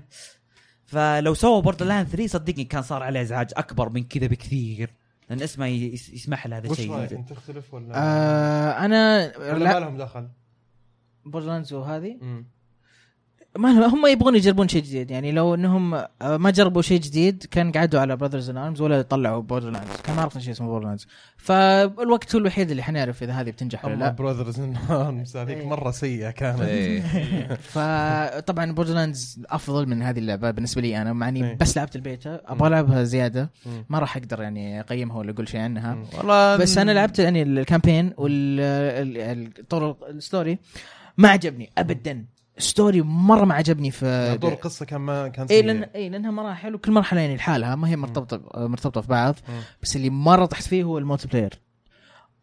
فلو سووا بوردر لاند 3 صدقني كان صار عليه ازعاج اكبر من كذا بكثير لان اسمه ي- يس- يسمح له هذا وش الشيء رايك يوجد. انت تختلف ولا آه انا ولا ما لا لهم دخل؟ بوردرلاندز وهذه ما لهم- هم يبغون يجربون شيء جديد يعني لو انهم آه، ما جربوا شيء جديد كان قعدوا على براذرز ان ارمز ولا طلعوا بوردر لاندز كان ما عرفنا شيء اسمه بوردر لاندز فالوقت هو الوحيد اللي حنعرف اذا هذه بتنجح ولا اما لا براذرز ان ارمز هذيك إيه. مره سيئه كانت إيه. فطبعا بوردر لاندز افضل من هذه اللعبه بالنسبه لي انا مع اني إيه. بس لعبت البيتا مم. ابغى العبها زياده مم. ما راح اقدر يعني اقيمها ولا اقول شيء عنها مم. والله بس انا لعبت يعني الكامبين والطور الستوري ما عجبني ابدا ستوري مره ما عجبني في دور القصه كان ما كان اي سيء لان اي لانها مراحل وكل مرحله يعني لحالها ما هي مرتبطه مرتبطه في بعض مم. بس اللي مره طحت فيه هو المولتي بلاير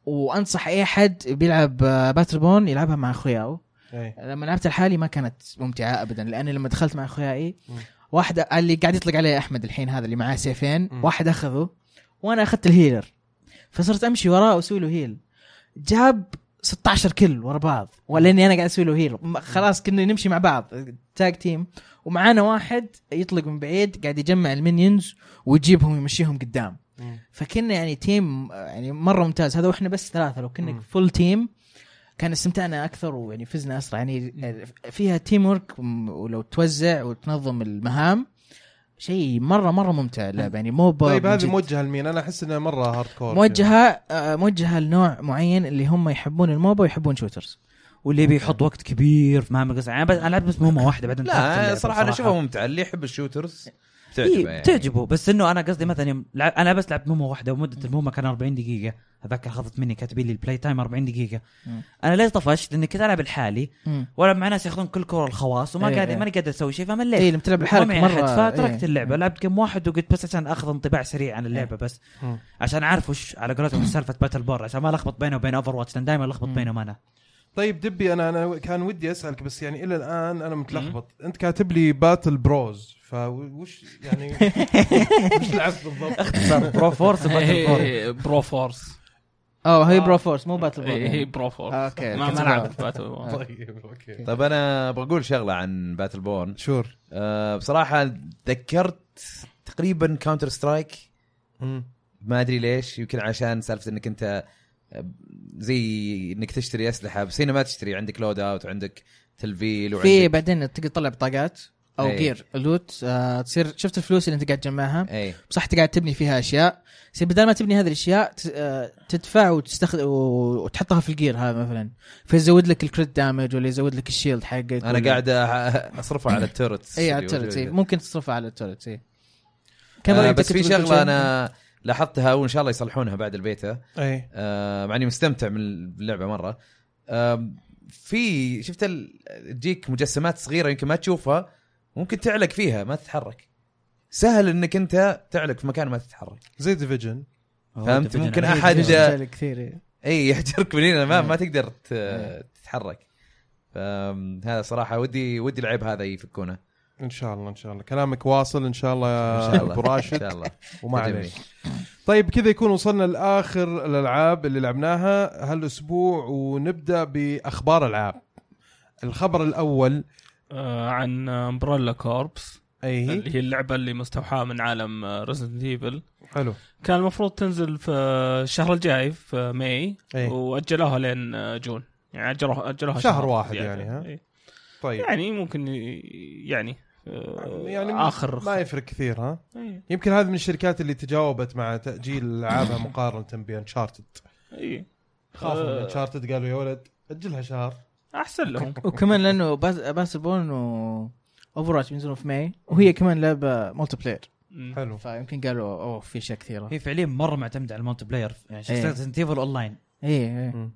وانصح اي احد بيلعب باتربون يلعبها مع اخوياه إيه. لما لعبت لحالي ما كانت ممتعه ابدا لاني لما دخلت مع اخوياي مم. واحد اللي قاعد يطلق عليه احمد الحين هذا اللي معاه سيفين مم. واحد اخذه وانا اخذت الهيلر فصرت امشي وراه واسوي له هيل جاب 16 كل ورا بعض ولا اني انا قاعد اسوي له هيل م- خلاص كنا نمشي مع بعض تاج تيم ومعانا واحد يطلق من بعيد قاعد يجمع المينيونز ويجيبهم ويمشيهم قدام مم. فكنا يعني تيم آه، يعني مره ممتاز هذا واحنا بس ثلاثه لو كنا مم. فول تيم كان استمتعنا اكثر ويعني فزنا اسرع يعني آه، فيها تيم ورك م- ولو توزع وتنظم المهام شيء مره مره ممتع اللعبه يعني مو ب- طيب من هذه جد. موجهه لمين؟ انا احس انها مره هارد كور موجهه آه، موجهه لنوع معين اللي هم يحبون الموبا ويحبون شوترز واللي بيحط وقت كبير في مهام القصه يعني أنا بس انا لعبت بس مهمه واحده بعدين تركت لا اللعبة صراحه انا اشوفها ممتعه اللي يحب الشوترز تعجبه إيه يعني. بتعجبه بس انه انا قصدي مثلا يوم لعب انا بس لعبت مهمه واحده ومده المهمه كان 40 دقيقه اتذكر اخذت مني كاتبين لي البلاي تايم 40 دقيقه مم. انا ليش طفشت؟ لاني كنت العب لحالي مم. والعب مع ناس ياخذون كل كور الخواص وما إيه، قاعد إيه. ماني قادر اسوي شيء فمليت اي لما تلعب لحالك ما معي أحد، مره فتركت إيه. اللعبه لعبت جيم واحد وقلت بس عشان اخذ انطباع سريع عن اللعبه بس مم. عشان اعرف وش على قولتهم سالفه باتل بور عشان ما الخبط بينه وبين اوفر واتش لان دائما الخبط مم. بينهم انا طيب دبي انا انا كان ودي اسالك بس يعني الى الان انا متلخبط انت كاتب لي باتل بروز فوش يعني وش لعبت بالضبط؟ اختصار برو فورس وباتل بور إيه، برو فورس اه هي آه. برو فورس مو باتل إيه، هي بول برو فورس آه، أوكي، ما أوكي. ما لعبت باتل طيب اوكي طيب انا بقول شغله عن باتل بورن شور أه بصراحه تذكرت تقريبا كاونتر سترايك ما ادري ليش يمكن عشان سالفه انك انت آه، زي انك تشتري اسلحه بس هنا ما تشتري عندك لود اوت وعندك تلفيل في وعندك بعدين تقدر تطلع بطاقات او إيه. جير لوت آه، تصير شفت الفلوس اللي انت قاعد تجمعها اي صح انت قاعد تبني فيها اشياء بس بدل ما تبني هذه الاشياء ت- آه، تدفع وتستخدم وتحطها في الجير هذا مثلا فيزود لك الكريت دامج ولا يزود لك الشيلد حقك انا قاعد أ- اصرفها على التورتس اي على اللي التورت إيه، موجودة. ممكن تصرفها على التورت إيه. اي آه بس في شغله انا لاحظتها وان شاء الله يصلحونها بعد البيتا اي آه مع اني مستمتع من اللعبه مره آه في شفت ال- تجيك مجسمات صغيره يمكن ما تشوفها ممكن تعلق فيها ما تتحرك سهل انك انت تعلق في مكان ما تتحرك زي ديفيجن فهمت؟ ممكن أحد- إيه، كثير إيه. اي يحجرك من هنا ما, إيه. ما تقدر ت- إيه. تتحرك آم، هذا صراحه ودي ودي العيب هذا يفكونه ان شاء الله ان شء الله كلامك واصل ان شاء الله ان شاء يا الله ابو ان راشد شاء الله وما تدري. عليك طيب كذا يكون وصلنا لاخر الالعاب اللي لعبناها هالاسبوع ونبدا باخبار العاب الخبر الاول آه، عن امبريلا كوربس اي هي اللي هي اللعبه اللي مستوحاه من عالم ريزنت ايفل حلو كان المفروض تنزل في الشهر الجاي في ماي إيه. واجلوها لين جون يعني اجلوها اجلوها شهر واحد زيادة. يعني، ها؟ إيه. طيب يعني ممكن ي- يعني آه، يعني ما- اخر ما يفرق كثير ها إيه. يمكن هذه من الشركات اللي تجاوبت مع تاجيل العابها مقارنه بانشارتد إيه. خافوا من آه. انشارتد قالوا يا ولد اجلها شهر احسن لهم وكمان لانه باس باسبون و اوفر بينزلون في ماي وهي كمان لعبه ملتي بلاير حلو فيمكن قالوا اوه في اشياء كثيره هي فعليا مره معتمده على المالتي بلاير يعني شخصيات ريزنت ايفل اون لاين اي مم.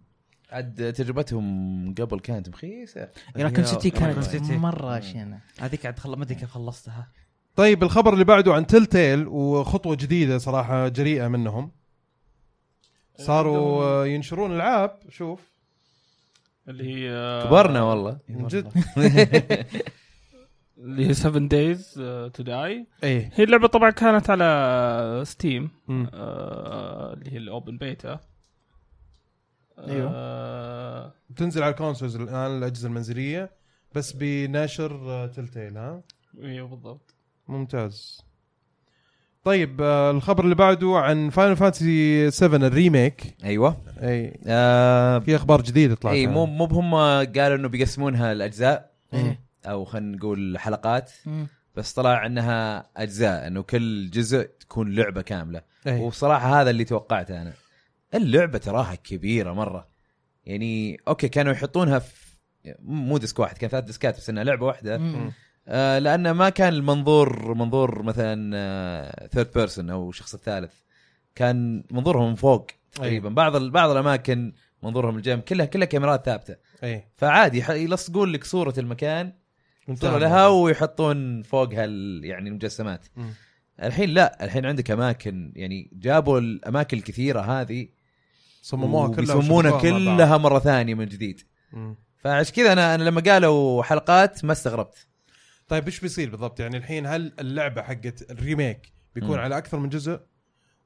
عاد تجربتهم قبل كانت مخيسه راكن سيتي راكن كانت سيتي. مره شينه هذيك عاد خل... ما ادري كيف خلصتها طيب الخبر اللي بعده عن تيل تيل وخطوه جديده صراحه جريئه منهم صاروا آه، ينشرون العاب شوف اللي هي آه، كبرنا والله من جد اللي هي 7 دايز تو داي ايه هي اللعبه طبعا كانت على ستيم مم. آه، اللي هي الاوبن بيتا أيوه. ايوه بتنزل على الكونسولز الان الاجهزه المنزليه بس بناشر آه، تيل تيل ها ايوه بالضبط ممتاز طيب آه، الخبر اللي بعده عن فاينل فانتسي 7 الريميك ايوه اي آه في اخبار جديده طلعت اي مو عنها. مو هم قالوا انه بيقسمونها لاجزاء إيه. او خلينا نقول حلقات مم. بس طلع انها اجزاء انه كل جزء تكون لعبه كامله إيه. وبصراحه هذا اللي توقعته انا اللعبه تراها كبيره مره يعني اوكي كانوا يحطونها في مو ديسك واحد كان ثلاث ديسكات بس انها لعبه واحده مم. آه لانه ما كان المنظور منظور آه، مثلا ثيرد بيرسون او الشخص الثالث كان منظورهم من فوق تقريبا بعض ال- بعض الاماكن منظورهم الجيم كلها كلها كاميرات ثابته اي فعادي ح- يلصقون لك صوره المكان انتهى صورة لها الموضوع. ويحطون فوقها ال- يعني المجسمات مم. الحين لا الحين عندك اماكن يعني جابوا الاماكن الكثيره هذه صمموها كلها ويصممونها وشبكوها مع بعض. كلها مره ثانيه من جديد مم. فعش كذا انا انا لما قالوا حلقات ما استغربت طيب ايش بيصير بالضبط يعني الحين هل اللعبه حقت الريميك بيكون مم. على اكثر من جزء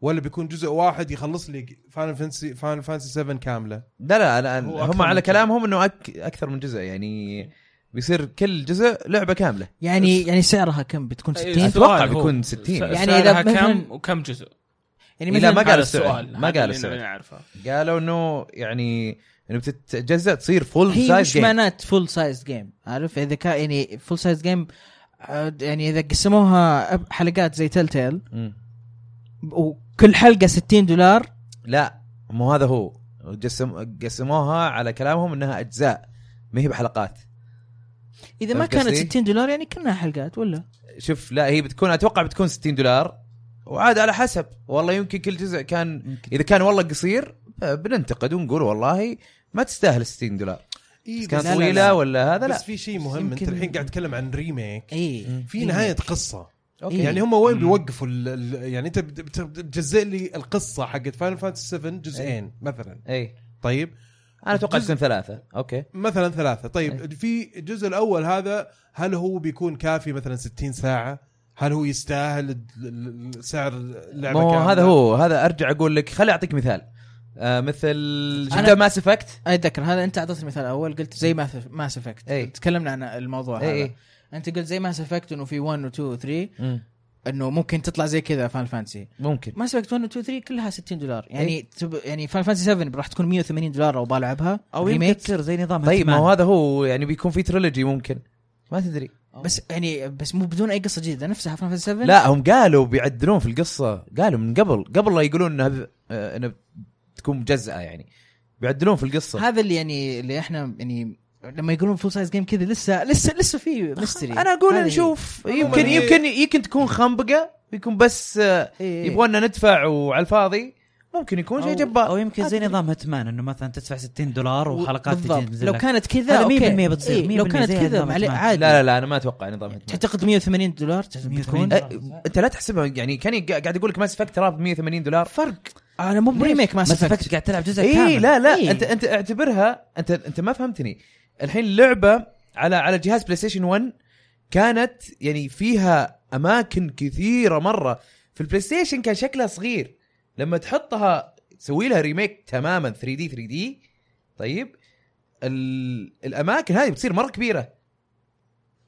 ولا بيكون جزء واحد يخلص لي فاينل فانسي فاينل فانسي 7 كامله لا لا لا هو هم أكثر على من كلامهم انه أك اكثر من جزء يعني بيصير كل جزء لعبه كامله يعني يعني سعرها كم بتكون 60 السؤال. أتوقع هو بيكون 60. إيه، س- يعني سعرها إذا مثلاً- كم وكم جزء؟ يعني إيه، لا، مثلا ما قال هذا السعر. ما هذا قال اللي السعر. نعرفه قالوا انه يعني انه بتتجزأ تصير فول هي سايز مش جيم معنات فول سايز جيم عارف اذا كان يعني فول سايز جيم يعني اذا قسموها أب- حلقات زي تيل تيل مم. وكل حلقه 60 دولار لا مو هذا هو جسم قسموها على كلامهم انها اجزاء ما هي بحلقات اذا ما فهمت كانت قصدي؟ 60 دولار يعني كلها حلقات ولا شوف لا هي بتكون اتوقع بتكون 60 دولار وعاد على حسب والله يمكن كل جزء كان اذا كان والله قصير بننتقد ونقول والله ما تستاهل 60 دولار إيه كانت لا، لا، طويله لا. ولا هذا بس لا في شيء مهم يمكن- انت الحين قاعد تتكلم عن ريميك إيه. اي في نهايه قصه اوكي إيه. يعني هم وين مم. بيوقفوا ال- ال- يعني انت بت- بت- بتجزئ لي القصه حقت فاينل فانتسي 7 جزئين مثلا اي طيب انا اتوقع جزء- إيه. تكون ثلاثه اوكي مثلا ثلاثه طيب في الجزء الاول هذا هل هو بيكون كافي مثلا 60 ساعه هل هو يستاهل ال- ال- ال- سعر اللعبه ما هو كاملة؟ هذا هو هذا ارجع اقول لك خليني اعطيك مثال آه مثل أنا- شفت ماس افكت اتذكر هذا انت اعطيتني مثال اول قلت زي ماس ماس افكت إيه. تكلمنا عن الموضوع إيه، هذا إيه. انت قلت زي ماس افكت انه في 1 و 2 و 3 انه ممكن تطلع زي كذا فان فانسي ممكن ماس افكت 1 و 2 و 3 كلها 60 دولار يعني إيه. تب... يعني فان فانسي 7 راح تكون 180 دولار لو بلعبها او يمكن تصير زي نظام طيب ما هيتمان. هو هذا هو يعني بيكون في تريلوجي ممكن ما تدري بس يعني بس مو بدون اي قصه جديده نفسها فان فانسي 7 لا هم قالوا بيعدلون في القصه قالوا من قبل قبل لا يقولون انها ب... آه، انها تكون مجزأه يعني بيعدلون في القصه هذا اللي يعني اللي احنا يعني لما يقولون فول سايز جيم كذا لسه لسه لسه في ميستري انا اقول هذه- نشوف هي. يمكن هي. يمكن يمكن تكون خنبقه يكون بس آه، إيه. يبغونا ندفع وعلى الفاضي ممكن يكون شيء أو- جبار او يمكن زي نظام هتمان انه مثلا تدفع 60 دولار وحلقات تجي بالضبط تنزل لو لك. كانت كذا هذا أوكي. 100% بتصير، إيه، لو 100% كانت زي كذا نظام معلي- لا إتمان. عادي لا لا انا ما اتوقع نظام هتمان. تعتقد 180 دولار بتكون 180 آه، انت لا تحسبها يعني كاني قا- قاعد اقول لك ماس افكت ترى ب 180 دولار فرق انا مو بريميك ما ما سفكت سفكت قاعد تلعب جزء كامل اي لا لا إيه. إيه؟ انت انت اعتبرها انت انت ما فهمتني الحين لعبه على على جهاز بلاي ستيشن 1 كانت يعني فيها اماكن كثيره مره في البلاي ستيشن كان شكلها صغير لما تحطها تسوي لها ريميك تماما 3 دي 3 دي طيب ال- الاماكن هذه بتصير مره كبيره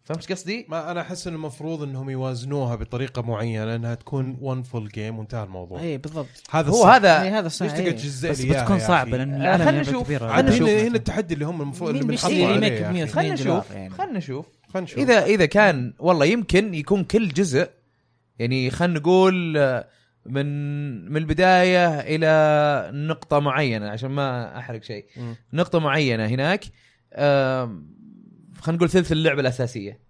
فهمت إيش قصدي؟ ما انا احس انه المفروض انهم يوازنوها بطريقه معينه انها تكون ون فول جيم وانتهى الموضوع اي بالضبط هذا هو الصح. يعني هذا إيه. هذا صح ليش تقعد إيه. تجزئ بس لي إياها بتكون يا صعبه أخي؟ لان آه، العالم خلنا لعبة نشوف. كبيره عاد خلنا هنا نشوف. هنا التحدي اللي هم المفروض مين اللي بيشتري بنحطه ريميك عليه يا ب أخي. 180 خلينا نشوف خلينا نشوف خلنا نشوف اذا اذا كان والله يمكن يكون كل جزء يعني خلينا نقول آه، من من البدايه الى نقطه معينه عشان ما احرق شيء مم. نقطه معينه هناك آم، خلينا نقول ثلث اللعبه الاساسيه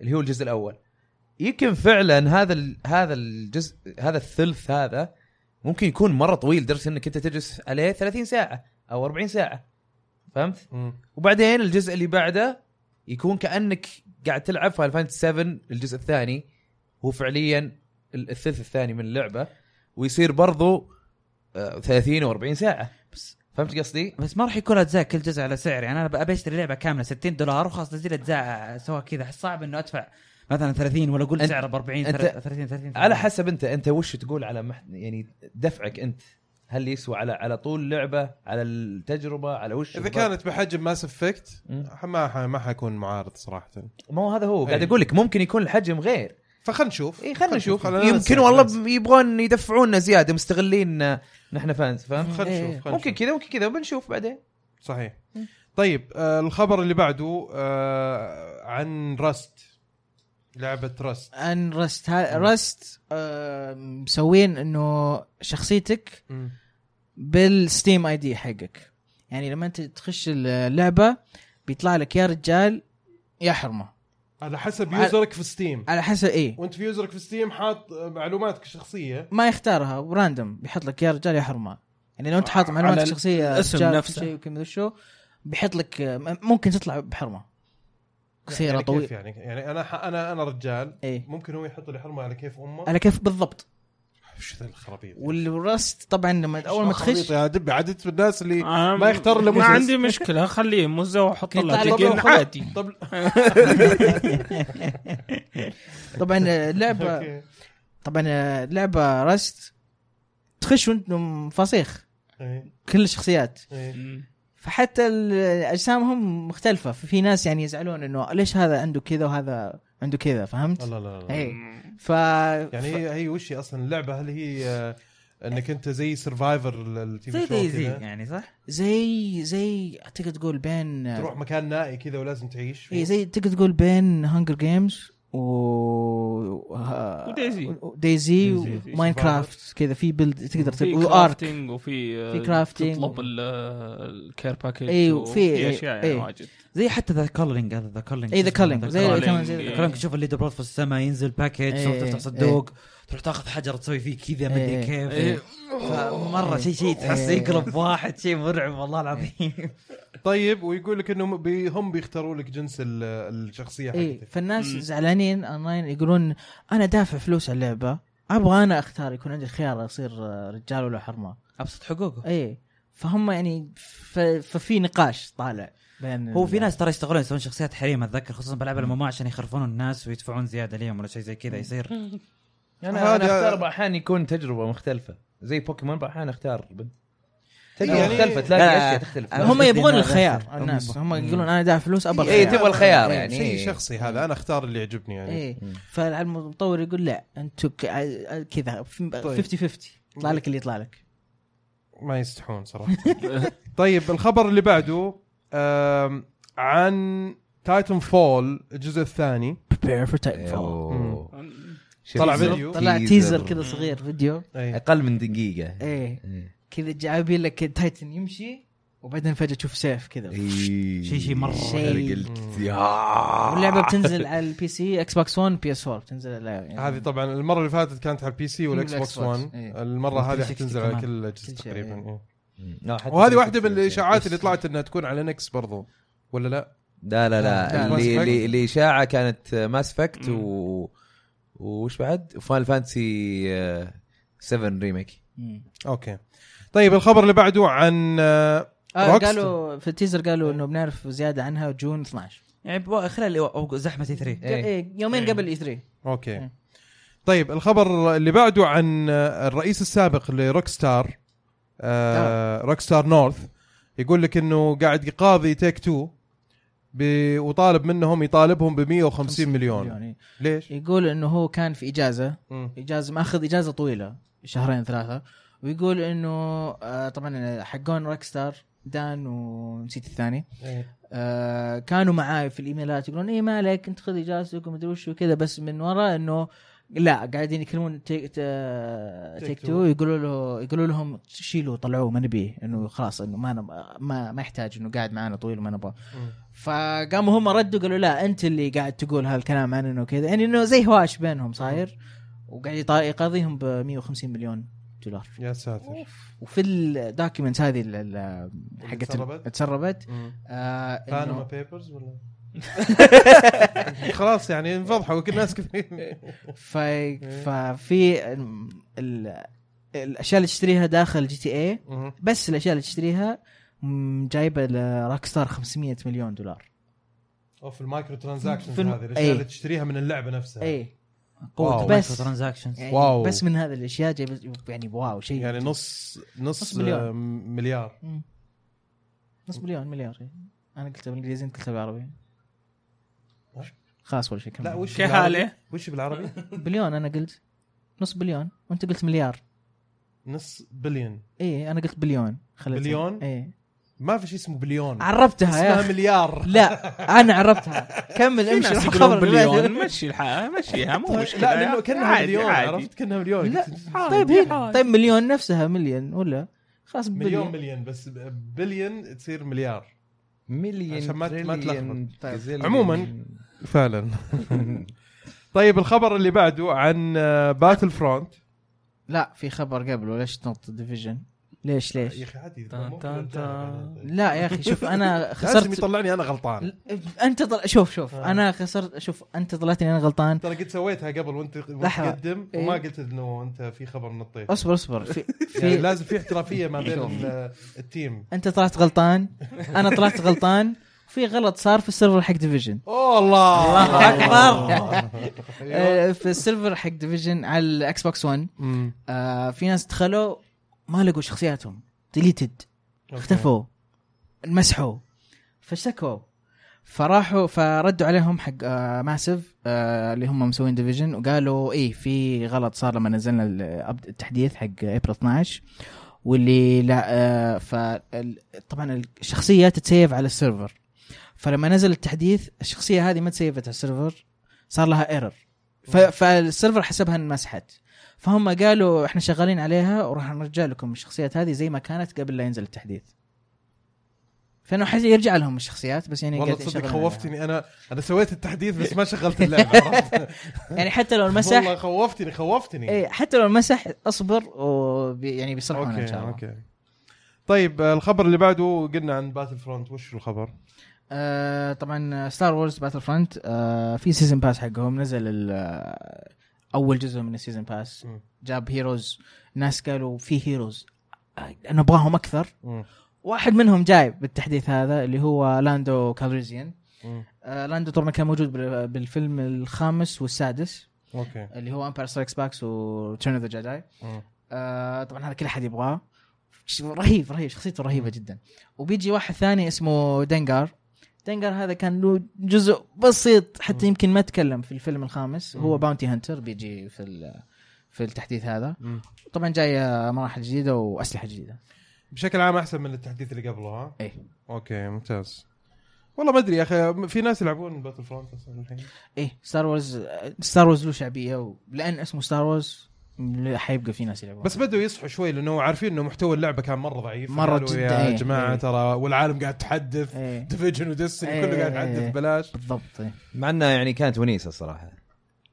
اللي هو الجزء الاول يمكن فعلا هذا ال- هذا الجزء هذا الثلث هذا ممكن يكون مره طويل لدرجه انك انت تجلس عليه 30 ساعه او 40 ساعه فهمت؟ مم. وبعدين الجزء اللي بعده يكون كانك قاعد تلعب فاينل فانتسي 7 الجزء الثاني هو فعليا ال- الثلث الثاني من اللعبه ويصير برضو آه، 30 و40 ساعه بس فهمت قصدي؟ بس ما راح يكون اجزاء كل جزء على سعر يعني انا ابي اشتري لعبه كامله 60 دولار وخلاص تنزل اجزاء سوا كذا أحس صعب انه ادفع مثلا 30 ولا أنت- اقول سعره ب 40 أنت- 30 30 30. على حسب انت انت وش تقول على مح... يعني دفعك انت هل يسوى على على طول اللعبه على التجربه على وش اذا بالضبط؟ كانت بحجم ماس افكت مم. ما ح- ما حيكون معارض صراحه ما هو هذا هو قاعد أي. اقول لك ممكن يكون الحجم غير فخلنا نشوف اي خلينا إيه، نشوف إيه. خلنا يمكن ننسى. والله ب- يبغون يدفعونا زياده مستغلين آه، نحن فانز فاهم خلنا نشوف خلنا إيه، ممكن نشوف. كذا ممكن كذا بنشوف بعدين صحيح طيب آه الخبر اللي بعده آه عن رست لعبه رست ان رست ها رست آه، مسوين انه شخصيتك بالستيم اي دي حقك يعني لما انت تخش اللعبه بيطلع لك يا رجال يا حرمه على حسب على- يوزرك في ستيم على حسب ايه وانت في يوزرك في ستيم حاط آه، معلوماتك يعني الشخصيه ما يختارها وراندوم بيحط لك يا رجال يا حرمه يعني لو انت حاط على معلومات ال- شخصيه الاسم رجال نفسه. شيء وكذا شو بيحط لك آه، م- ممكن تطلع بحرمه قصيره يعني كيف طويله يعني يعني انا ح- انا انا رجال ايه ممكن هو يحط لي حرمه على كيف امه على كيف بالضبط وش ذا الخرابيط والرست طبعا لما اول ما تخش يا دبي عدت في الناس اللي آه، ما يختار إلا ما مزز. عندي مشكله خليه مزه واحط يطلع له لك تقين خلاص. عادي طب طبعا اللعبه أوكي. طبعا آه، لعبه رست تخش وانت مفاصيخ إيه، كل الشخصيات إيه. فحتى ال- اجسامهم مختلفه في ناس يعني يزعلون انه ليش هذا عنده كذا وهذا عنده كذا فهمت؟ الله لا لا لا اي ف يعني هي هي وش هي اصلا اللعبه هل هي آه، انك انت زي سرفايفر التي زي في شو دايزي كذا يعني صح؟ زي زي تقدر تقول بين تروح مكان نائي كذا ولازم تعيش فيه. اي إيه، زي تقدر تقول بين هانجر جيمز و ودايزي. دايزي دايزي. وماينكرافت كذا في بيلد تقدر في تسوي وارك كرافتنج وفي آه، في كرافتنج. تطلب ال- آه، الكير باكيج إيه، وفي وفي- اشياء يعني إيه. واجد زي حتى ذا كولرنج هذا ذا كولرنج اي ذا كلينج إيه، زي Culling. كمان زي كلرنج تشوف الليدر بورد في السماء ينزل باكج إيه، تروح إيه، تفتح صندوق تروح تاخذ حجر تسوي فيه كذا إيه. مدري إيه. كيف مره شيء شيء تحس إيه. يقلب واحد شيء مرعب والله العظيم طيب ويقول لك انه بي هم بيختاروا لك جنس ال- الشخصيه اي حقتك إيه، فالناس مم. زعلانين اونلاين يقولون انا دافع فلوس على اللعبه ابغى انا اختار يكون عندي الخيار اصير آه، رجال ولا حرمه ابسط حقوقه اي إيه. فهم يعني ف... ففي نقاش طالع بين هو في ناس ترى يشتغلون يسوون شخصيات حريم اتذكر خصوصا بالعاب الموماء عشان يخرفون الناس ويدفعون زياده ليهم ولا شيء زي كذا يصير انا هذا- انا اختار احيانا يكون تجربه مختلفه زي بوكيمون احيانا اختار بنت تجربه يعني- مختلفه تلاقي لا. اشياء تختلف أنا هم قصدي يبغون إنه- الخيار هم- الناس هم مم. يقولون انا دافع فلوس ابغى إيه، الخيار. تبغى الخيار يعني شيء إيه. شخصي هذا انا اختار اللي يعجبني يعني ايه مم. فالمطور يقول لا انتم ك- ع- كذا في- 50 50 يطلع لك اللي يطلع لك ما يستحون صراحه طيب الخبر اللي بعده آم، عن تايتن فول الجزء الثاني prepare for Titanfall أيوه. شوف طلع تيزر. فيديو. طلع تيزر كذا صغير فيديو أي. اقل من دقيقه ايه كذا جايبين لك تايتن يمشي وبعدين فجاه تشوف سيف كذا شيء شيء- شيء مرة. شيء. آه. واللعبه بتنزل على البي سي اكس بوكس 1 بي اس 4 بتنزل على يعني هذه طبعا المره اللي فاتت كانت على البي سي والاكس والإكس بوكس بوكس، 1 إيه. المره هذه 360 حتنزل على كمان. كل الاجهزه كل شيء، تقريبا إيه. إيه. وهذه واحده من الاشاعات اللي بس. طلعت انها تكون على نكس برضو ولا لا؟ لا لا لا. لا اللي Mass Effect. اللي اللي اشاعه كانت ماس افكت مم. و وش بعد؟ آه، فاينل فانتسي 7 ريميك مم. اوكي طيب الخبر اللي بعده عن آه، آه Rockstar. قالوا في التيزر قالوا انه بنعرف زياده عنها جون 12 يعني بو- خلال أو- E أو زحمه 3 إيه. إيه يومين إيه. قبل اي 3 اوكي إيه. طيب الخبر اللي بعده عن آه، الرئيس السابق لروك ستار روك ستار نورث يقول لك انه قاعد يقاضي تيك تو ب- وطالب منهم يطالبهم ب 150 مليون إيه. ليش؟ يقول انه هو كان في اجازه مم. اجازه ماخذ اجازه طويله شهرين ثلاثه ويقول انه آه طبعا حقون روك ستار دان ونسيت الثاني إيه. "إيه، آه كانوا معاي في الايميلات يقولون ايه مالك انت خذ اجازتك ومدري وش وكذا بس من وراء انه لا قاعدين يكلمون تيك تيك تو يقولوا له يقولوا لهم شيلوا طلعوه ما نبيه انه خلاص انه ما نب- ما ما يحتاج انه قاعد معنا طويل وما نبغاه فقاموا هم ردوا قالوا لا انت اللي قاعد تقول هالكلام عننا وكذا يعني انه زي هواش بينهم صاير وقاعد يطا- يقاضيهم ب 150 مليون دولار يا ساتر وفي الدوكيومنت هذه ال- ال- حقت تسربت؟ تسربت مم. آه إنه- بانما بيبرز ولا خلاص يعني انفضحوا كل الناس كثير ف... ففي ال... ال... الاشياء اللي تشتريها داخل جي تي اي مم. بس الاشياء اللي تشتريها مم، جايبه لروك ستار 500 مليون دولار او في المايكرو ترانزاكشنز في الم- هذه الاشياء أي. اللي تشتريها من اللعبه نفسها اي قوه واو. بس. بس ترانزاكشنز إيه، يعني واو. بس من هذه الاشياء جايبه يعني واو شيء يعني نص نص نص مليار. آه، مليار مم. نص مليون مليار إيه. إي. انا قلتها بالانجليزي انت قلتها بالعربي خلاص ولا شيء لا كمل وش كيف بالعربي؟ حاله؟ وش بالعربي؟ بليون انا قلت نص بليون وانت قلت مليار نص بليون اي انا قلت بليون خليتها بليون؟ اي ما في شيء اسمه بليون عرفتها يا اسمها أخي. مليار لا انا عرفتها كمل في امشي ناس روح يقولون خبر بليون بليون مشي الحال مشيها طيب، مو مشكله لا لانه كانها عادي، مليون عادي. عرفت كانها مليون لا قلت طيب هي طيب مليون نفسها مليون ولا خلاص مليون بليون مليون بس بليون تصير مليار مليون عشان ما- ما تريليون تلخبط. طيب. جزيليون. عموماً. فعلا طيب الخبر اللي بعده عن آه، باتل فرونت لا في خبر قبل وليش تنط ديفيجن ليش آه، يا ليش اخي عادي تان ممكن تان أرجع. لا يا اخي شوف انا لازم خسرت يطلعني انا غلطان انت طل... شوف شوف آه. انا خسرت شوف انت طلعتني انا غلطان ترى قد سويتها قبل وانت لحظة. متقدم إيه. وما قلت انه انت في خبر نطيت اصبر اصبر في... يعني في... إيه. لازم في احترافيه ما بين ال- التيم انت طلعت غلطان انا طلعت غلطان في غلط صار في السيرفر حق ديفيجن اوه الله الله أكبر. أيوه. آه، في السيرفر حق ديفيجن على الاكس بوكس 1 أمم. آه، في ناس دخلوا ما لقوا شخصياتهم ديليتد أوكي. اختفوا انمسحوا فشكوا فراحوا فردوا عليهم حق آه ماسف آه اللي هم مسوين ديفيجن وقالوا ايه في غلط صار لما نزلنا ال- أب- التحديث حق ابريل 12 واللي لا آه ف ال- طبعا الشخصيه تتسيف على السيرفر فلما نزل التحديث الشخصيه هذه ما تسيفت على السيرفر صار لها ايرور ف- فالسيرفر حسبها انمسحت فهم قالوا احنا شغالين عليها وراح نرجع لكم الشخصيات هذه زي ما كانت قبل لا ينزل التحديث فانه حس يرجع لهم الشخصيات بس يعني والله قاعد تصدق يشغلون خوفتني انا انا سويت التحديث بس ما شغلت اللعبه عرفت؟ عليها. يعني حتى لو والله المسح خوفتني خوفتني اي حتى لو المسح اصبر وبي يعني بيصلحونه ان اوكي شاء الله اوكي طيب آه، الخبر اللي بعده قلنا عن باتل فرونت وش الخبر؟ آه طبعا ستار وورز باتل فرونت آه في سيزون باس حقهم نزل ال- آه، اول جزء من السيزون باس مم. جاب هيروز ناس قالوا في هيروز آه، انا ابغاهم اكثر مم. واحد منهم جايب بالتحديث هذا اللي هو لاندو كالريزيان مم. آه، لاندو طبعا كان موجود بال- بالفيلم الخامس والسادس اوكي اللي هو امبير سترايكس باكس وتشيرن اوف ذا جداي مم. طبعا آه، هذا كل احد يبغاه ش- رهيب رهيب شخصيته رهيبه جدا وبيجي واحد ثاني اسمه دنجر دنجر هذا كان له جزء بسيط حتى يمكن ما تكلم في الفيلم الخامس هو مم. باونتي هانتر بيجي في ال- في التحديث هذا مم. طبعا جاي آه، مراحل جديده واسلحه جديده بشكل عام احسن من التحديث اللي قبله ها؟ ايه اوكي ممتاز والله ما ادري يا اخي في ناس يلعبون باتل فرونت اصلا الحين ايه ستار وورز ستار وورز له شعبيه و... لان اسمه ستار وورز حيبقى في ناس يلعبون بس بدوا يصحوا شوي لانه عارفين انه محتوى اللعبه كان مره ضعيف مرة قالوا يا جداً، إيه، جماعه إيه. ترى والعالم قاعد تحدث ايه ديفيجن وديستني إيه، كله قاعد إيه، إيه. يحدث ببلاش بالضبط ايه مع انها يعني كانت ونيسه الصراحه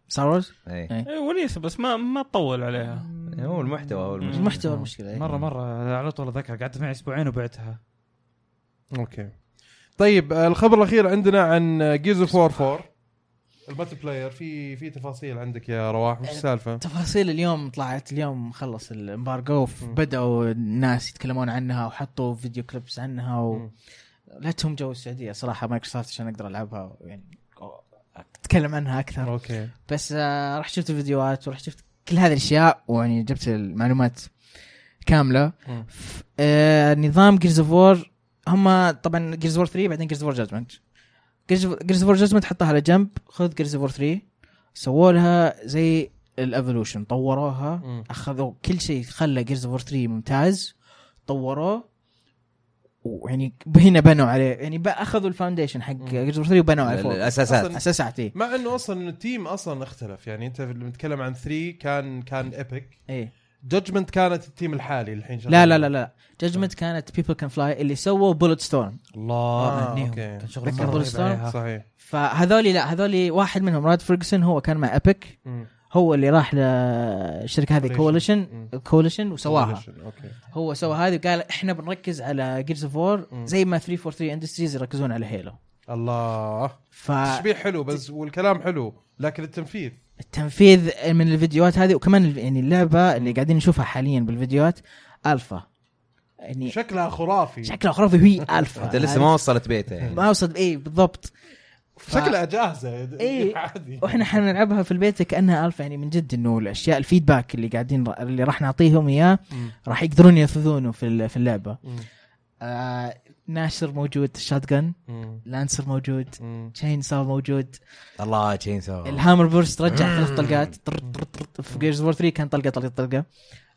ستار وورز اي إيه. إيه، ونيسه بس ما ما تطول عليها هو المحتوى هو المشكله المحتوى المشكله إيه. مره مره على طول اتذكر قعدت معي اسبوعين وبعتها اوكي طيب آه، الخبر الاخير عندنا عن جيز اوف وور 4 الملتي بلاير في في تفاصيل عندك يا رواح وش السالفه؟ تفاصيل اليوم طلعت اليوم خلص الامبارجو مم. بدأوا الناس يتكلمون عنها وحطوا فيديو كليبس عنها و... مم. لا تهم جو السعوديه صراحه مايكروسوفت عشان اقدر العبها يعني اتكلم عنها اكثر اوكي بس آه، رحت شفت فيديوهات ورحت شفت كل هذه الاشياء ويعني جبت المعلومات كامله مم. ف- آه، نظام جيرز اوف وور هم طبعا جيرز اوف 3 بعدين جيرز اوف جادجمنت جيرز اوف جادجمنت حطها على جنب خذ جيرز اوف 3 سووا لها زي الايفولوشن طوروها مم. اخذوا كل شيء خلى جيرز اوف 3 ممتاز طوروه ويعني هنا بنوا عليه يعني بقى اخذوا الفاونديشن حق جزر 3 وبنوا عليه فوق الاساسات أصلاً- اساسات اي مع انه اصلا التيم اصلا اختلف يعني انت لما تتكلم عن 3 كان كان ايبك ايه جادجمنت كانت التيم الحالي الحين لا لا لا لا جادجمنت كانت بيبل كان فلاي اللي سووا بولت ستورم الله آه، أوكي. كان شغل تذكر مرة بول رهيب ستار؟ عليها. صحيح فهذولي لا هذولي واحد منهم راد فيرجسون هو كان مع ايبك مم. هو اللي راح للشركه هذه كوليشن Coalition. كوليشن وسواها اوكي هو سوى هذه وقال احنا بنركز على جيرز اوف وور مم. زي ما 343 اندستريز يركزون على هيلو الله فالتنفيذ تشبيه حلو بس والكلام حلو لكن التنفيذ من الفيديوهات هذه وكمان الف- يعني اللعبه اللي قاعدين نشوفها حاليا بالفيديوهات الفا يعني شكلها خرافي شكلها خرافي هي الفا انت لسه ما وصلت بيته يعني ما وصل اي بالضبط ف- شكلها جاهزه إيه. عادي واحنا حنلعبها في البيت كانها الفا يعني من جد انه الاشياء الفيدباك اللي قاعدين اللي راح نعطيهم اياه مم. راح يقدرون ينفذونه في ال- في اللعبه مم. آه ناشر موجود شاتجن مم. لانسر موجود مم. تشين ساو موجود الله تشين سو الهامر بورست رجع ثلاث طلقات طر طر طر في جيرز وور 3 كان طلقه طلقه طلقه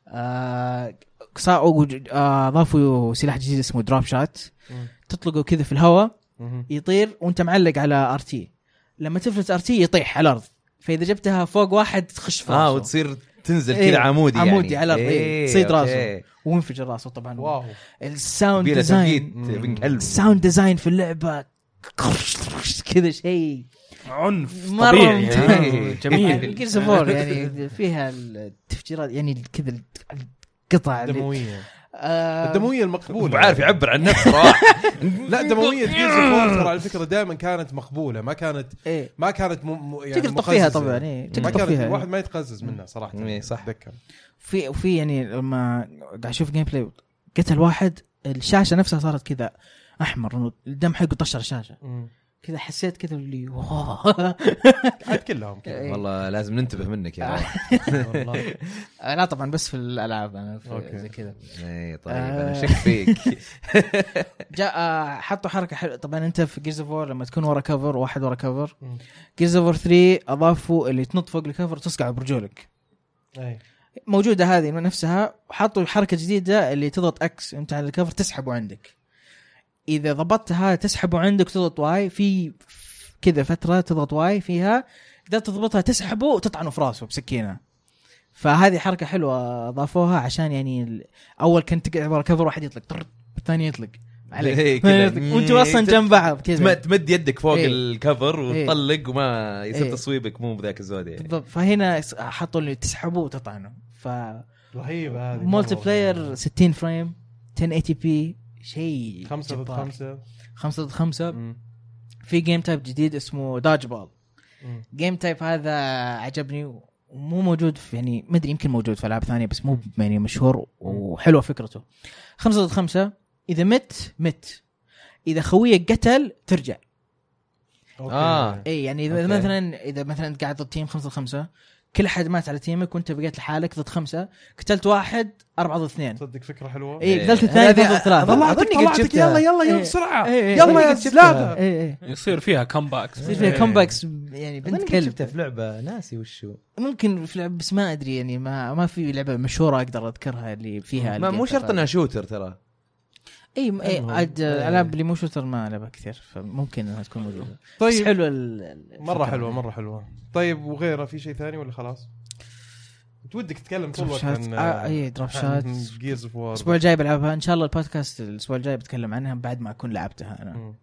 آه صاعوا وج- آه، اضافوا سلاح جديد اسمه دروب شات مم. تطلقه كذا في الهواء مم. يطير وانت معلق على ار تي لما تفلت ار تي يطيح على الارض فاذا جبتها فوق واحد تخش في اه راسه وتصير تنزل إيه، كذا عمودي يعني عمودي على الأرض، إيه، تصيد أوكي. راسه. وينفجر راسه طبعا واو الساوند بيلا ديزاين تنقيد من قلب الساوند ديزاين في اللعبه كرش- كذا شيء عنف مرة طبيعي ممتاز. يعني. يعني جميل جيرز فور يعني فيها التفجيرات يعني كذا القطع اللي- دمويه آه، الدمويه المقبوله وعارف يعبر عن نفسه صراحه لا دمويه جيرز فور ترى على فكره دائما كانت مقبوله ما كانت ايه ما كانت م... م... يعني تقدر تطفيها مقززة. طبعا ايه ما تقدر كانت تطفيها الواحد ما يتقزز منها صراحه إيه، صح. اتذكر في وفي يعني لما قاعد اشوف جيم بلاي قتل واحد الشاشه نفسها صارت كذا احمر الدم حقه طشر الشاشه كذا حسيت كذا اللي واو. عاد كلهم كذا إيه. والله لازم ننتبه منك يا رب. والله إيه. لا طبعا بس في الالعاب انا أوكي. في زي كذا اي طيب انا آه. شك فيك جاء آه، حطوا حركه حلوه طبعا انت في جيرز اوف وور لما تكون ورا كفر واحد ورا كفر مم. جيرز اوف وور 3 اضافوا اللي تنط فوق الكفر وتسقع برجولك إيه. موجوده هذه من نفسها وحطوا حركه جديده اللي تضغط اكس وانت على الكفر تسحبه عندك اذا ضبطتها تسحبه عندك تضغط واي في كذا فتره تضغط واي فيها اذا تضبطها تسحبه وتطعنه في راسه بسكينه فهذه حركه حلوه اضافوها عشان يعني ال- اول كنت تقعد ورا كفر واحد يطلق طر الثاني يطلق إيه عليك كذا. وانتوا اصلا إيه، جنب بعض تم- كذا تمد يدك فوق إيه. الكفر إيه. وتطلق وما يصير إيه. تصويبك مو بذاك الزود يعني بالضبط فهنا س- حطوا اللي تسحبه وتطعنه ف رهيبه هذه مولتي مرة بلاير رهيبة. 60 فريم 1080 بي شيء خمسة ضد جبار. خمسة خمسة ضد خمسة مم. في جيم تايب جديد اسمه داج بول مم. جيم تايب هذا عجبني ومو موجود في يعني ما ادري يمكن موجود في العاب ثانيه بس مو يعني مشهور وحلوه فكرته خمسة ضد خمسة اذا مت مت اذا خويك قتل ترجع أوكي. آه. اي يعني اذا أوكي. مثلا اذا مثلا أنت قاعد ضد تيم خمسة ضد خمسة كل احد مات على تيمك وانت بقيت لحالك ضد خمسة قتلت واحد أربعة ضد اثنين تصدق فكره حلوه اي إيه. قتلت الثاني ضد هذه ثلاثة طلعتك طلعتك يلا يلا يلا إيه. بسرعه إيه، إيه. يلا يا أظن قد شفتها. زلاده اي اي يصير فيها كمباك إيه، يصير فيها إيه. كومباكس يعني بنت كلب في لعبه ناسي وشو ممكن في لعب بس ما ادري يعني ما ما في لعبه مشهوره اقدر اذكرها اللي فيها ما مو شرط انها شوتر ترى اي م- إي، المهم. عاد إيه. العاب اللي مو شوتر ما العبها كثير فممكن انها تكون موجوده بس طيب حلوه ال- ال- مره الفكرة. حلوه مره حلوه طيب وغيره في شيء ثاني ولا خلاص؟ أنت ودك تتكلم طول دروب الوقت شات عن آه، اي دروب شات جيرز اوف وور الاسبوع الجاي بلعبها ان شاء الله البودكاست الاسبوع الجاي بتكلم عنها بعد ما اكون لعبتها انا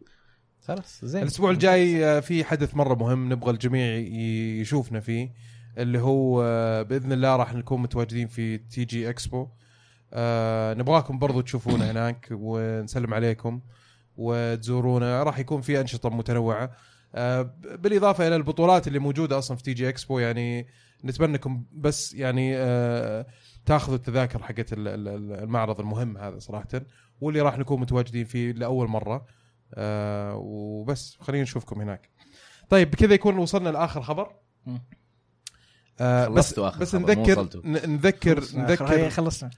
خلاص زين الاسبوع الجاي آه، في حدث مره مهم نبغى الجميع ي- يشوفنا فيه اللي هو آه، باذن الله راح نكون متواجدين في تي جي اكسبو آه، نبغاكم برضو تشوفونا هناك ونسلم عليكم وتزورونا راح يكون في انشطه متنوعه آه، ب- بالاضافه الى البطولات اللي موجوده اصلا في تي جي اكسبو يعني نتمنى انكم بس يعني آه، تاخذوا التذاكر حقت ال- ال- ال- المعرض المهم هذا صراحه واللي راح نكون متواجدين فيه لاول مره آه وبس خلينا نشوفكم هناك طيب بكذا يكون وصلنا لاخر خبر مم. آه بس خلصتوا آخر بس خبر، مو نذكر وصلتوا. ن- نذكر خلاص، نذكر خلصنا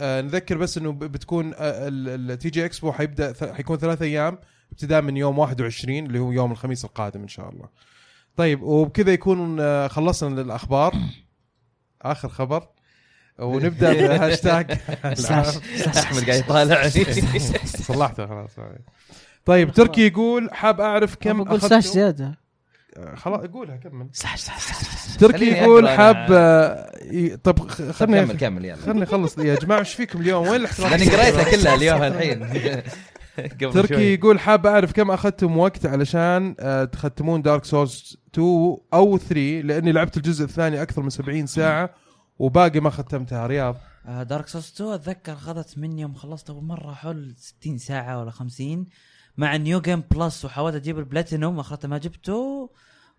آه نذكر بس انه ب- بتكون آه، التي جي اكسبو حيبدا ث- حيكون ثلاث ايام ابتداء من يوم 21 اللي هو يوم الخميس القادم ان شاء الله. طيب وبكذا يكون آه، خلصنا الاخبار اخر خبر ونبدا بهاشتاج سلاش سلاش احمد قاعد يطالعني صلحته خلاص طيب تركي يقول حاب اعرف كم بقول أخذتوا- ساش زياده آه، خلاص قولها كمل ساش ساش ساش تركي خليني يقول أقرأ أنا. حاب آه، ي- طب خ- طب خلني كمل كمل يلا خلني اخلص يا جماعه ايش فيكم اليوم وين الاحترام لاني قريتها كلها اليوم الحين قبل تركي شوي. يقول حاب اعرف كم اخذتم وقت علشان آه، تختمون دارك سورس 2 او 3 لاني لعبت الجزء الثاني اكثر من 70 ساعه وباقي ما ختمتها رياض آه، دارك سورس 2 اتذكر اخذت مني يوم خلصت اول مره حول 60 ساعه ولا 50 مع نيو جيم بلس وحاولت اجيب البلاتينوم اخرته ما جبته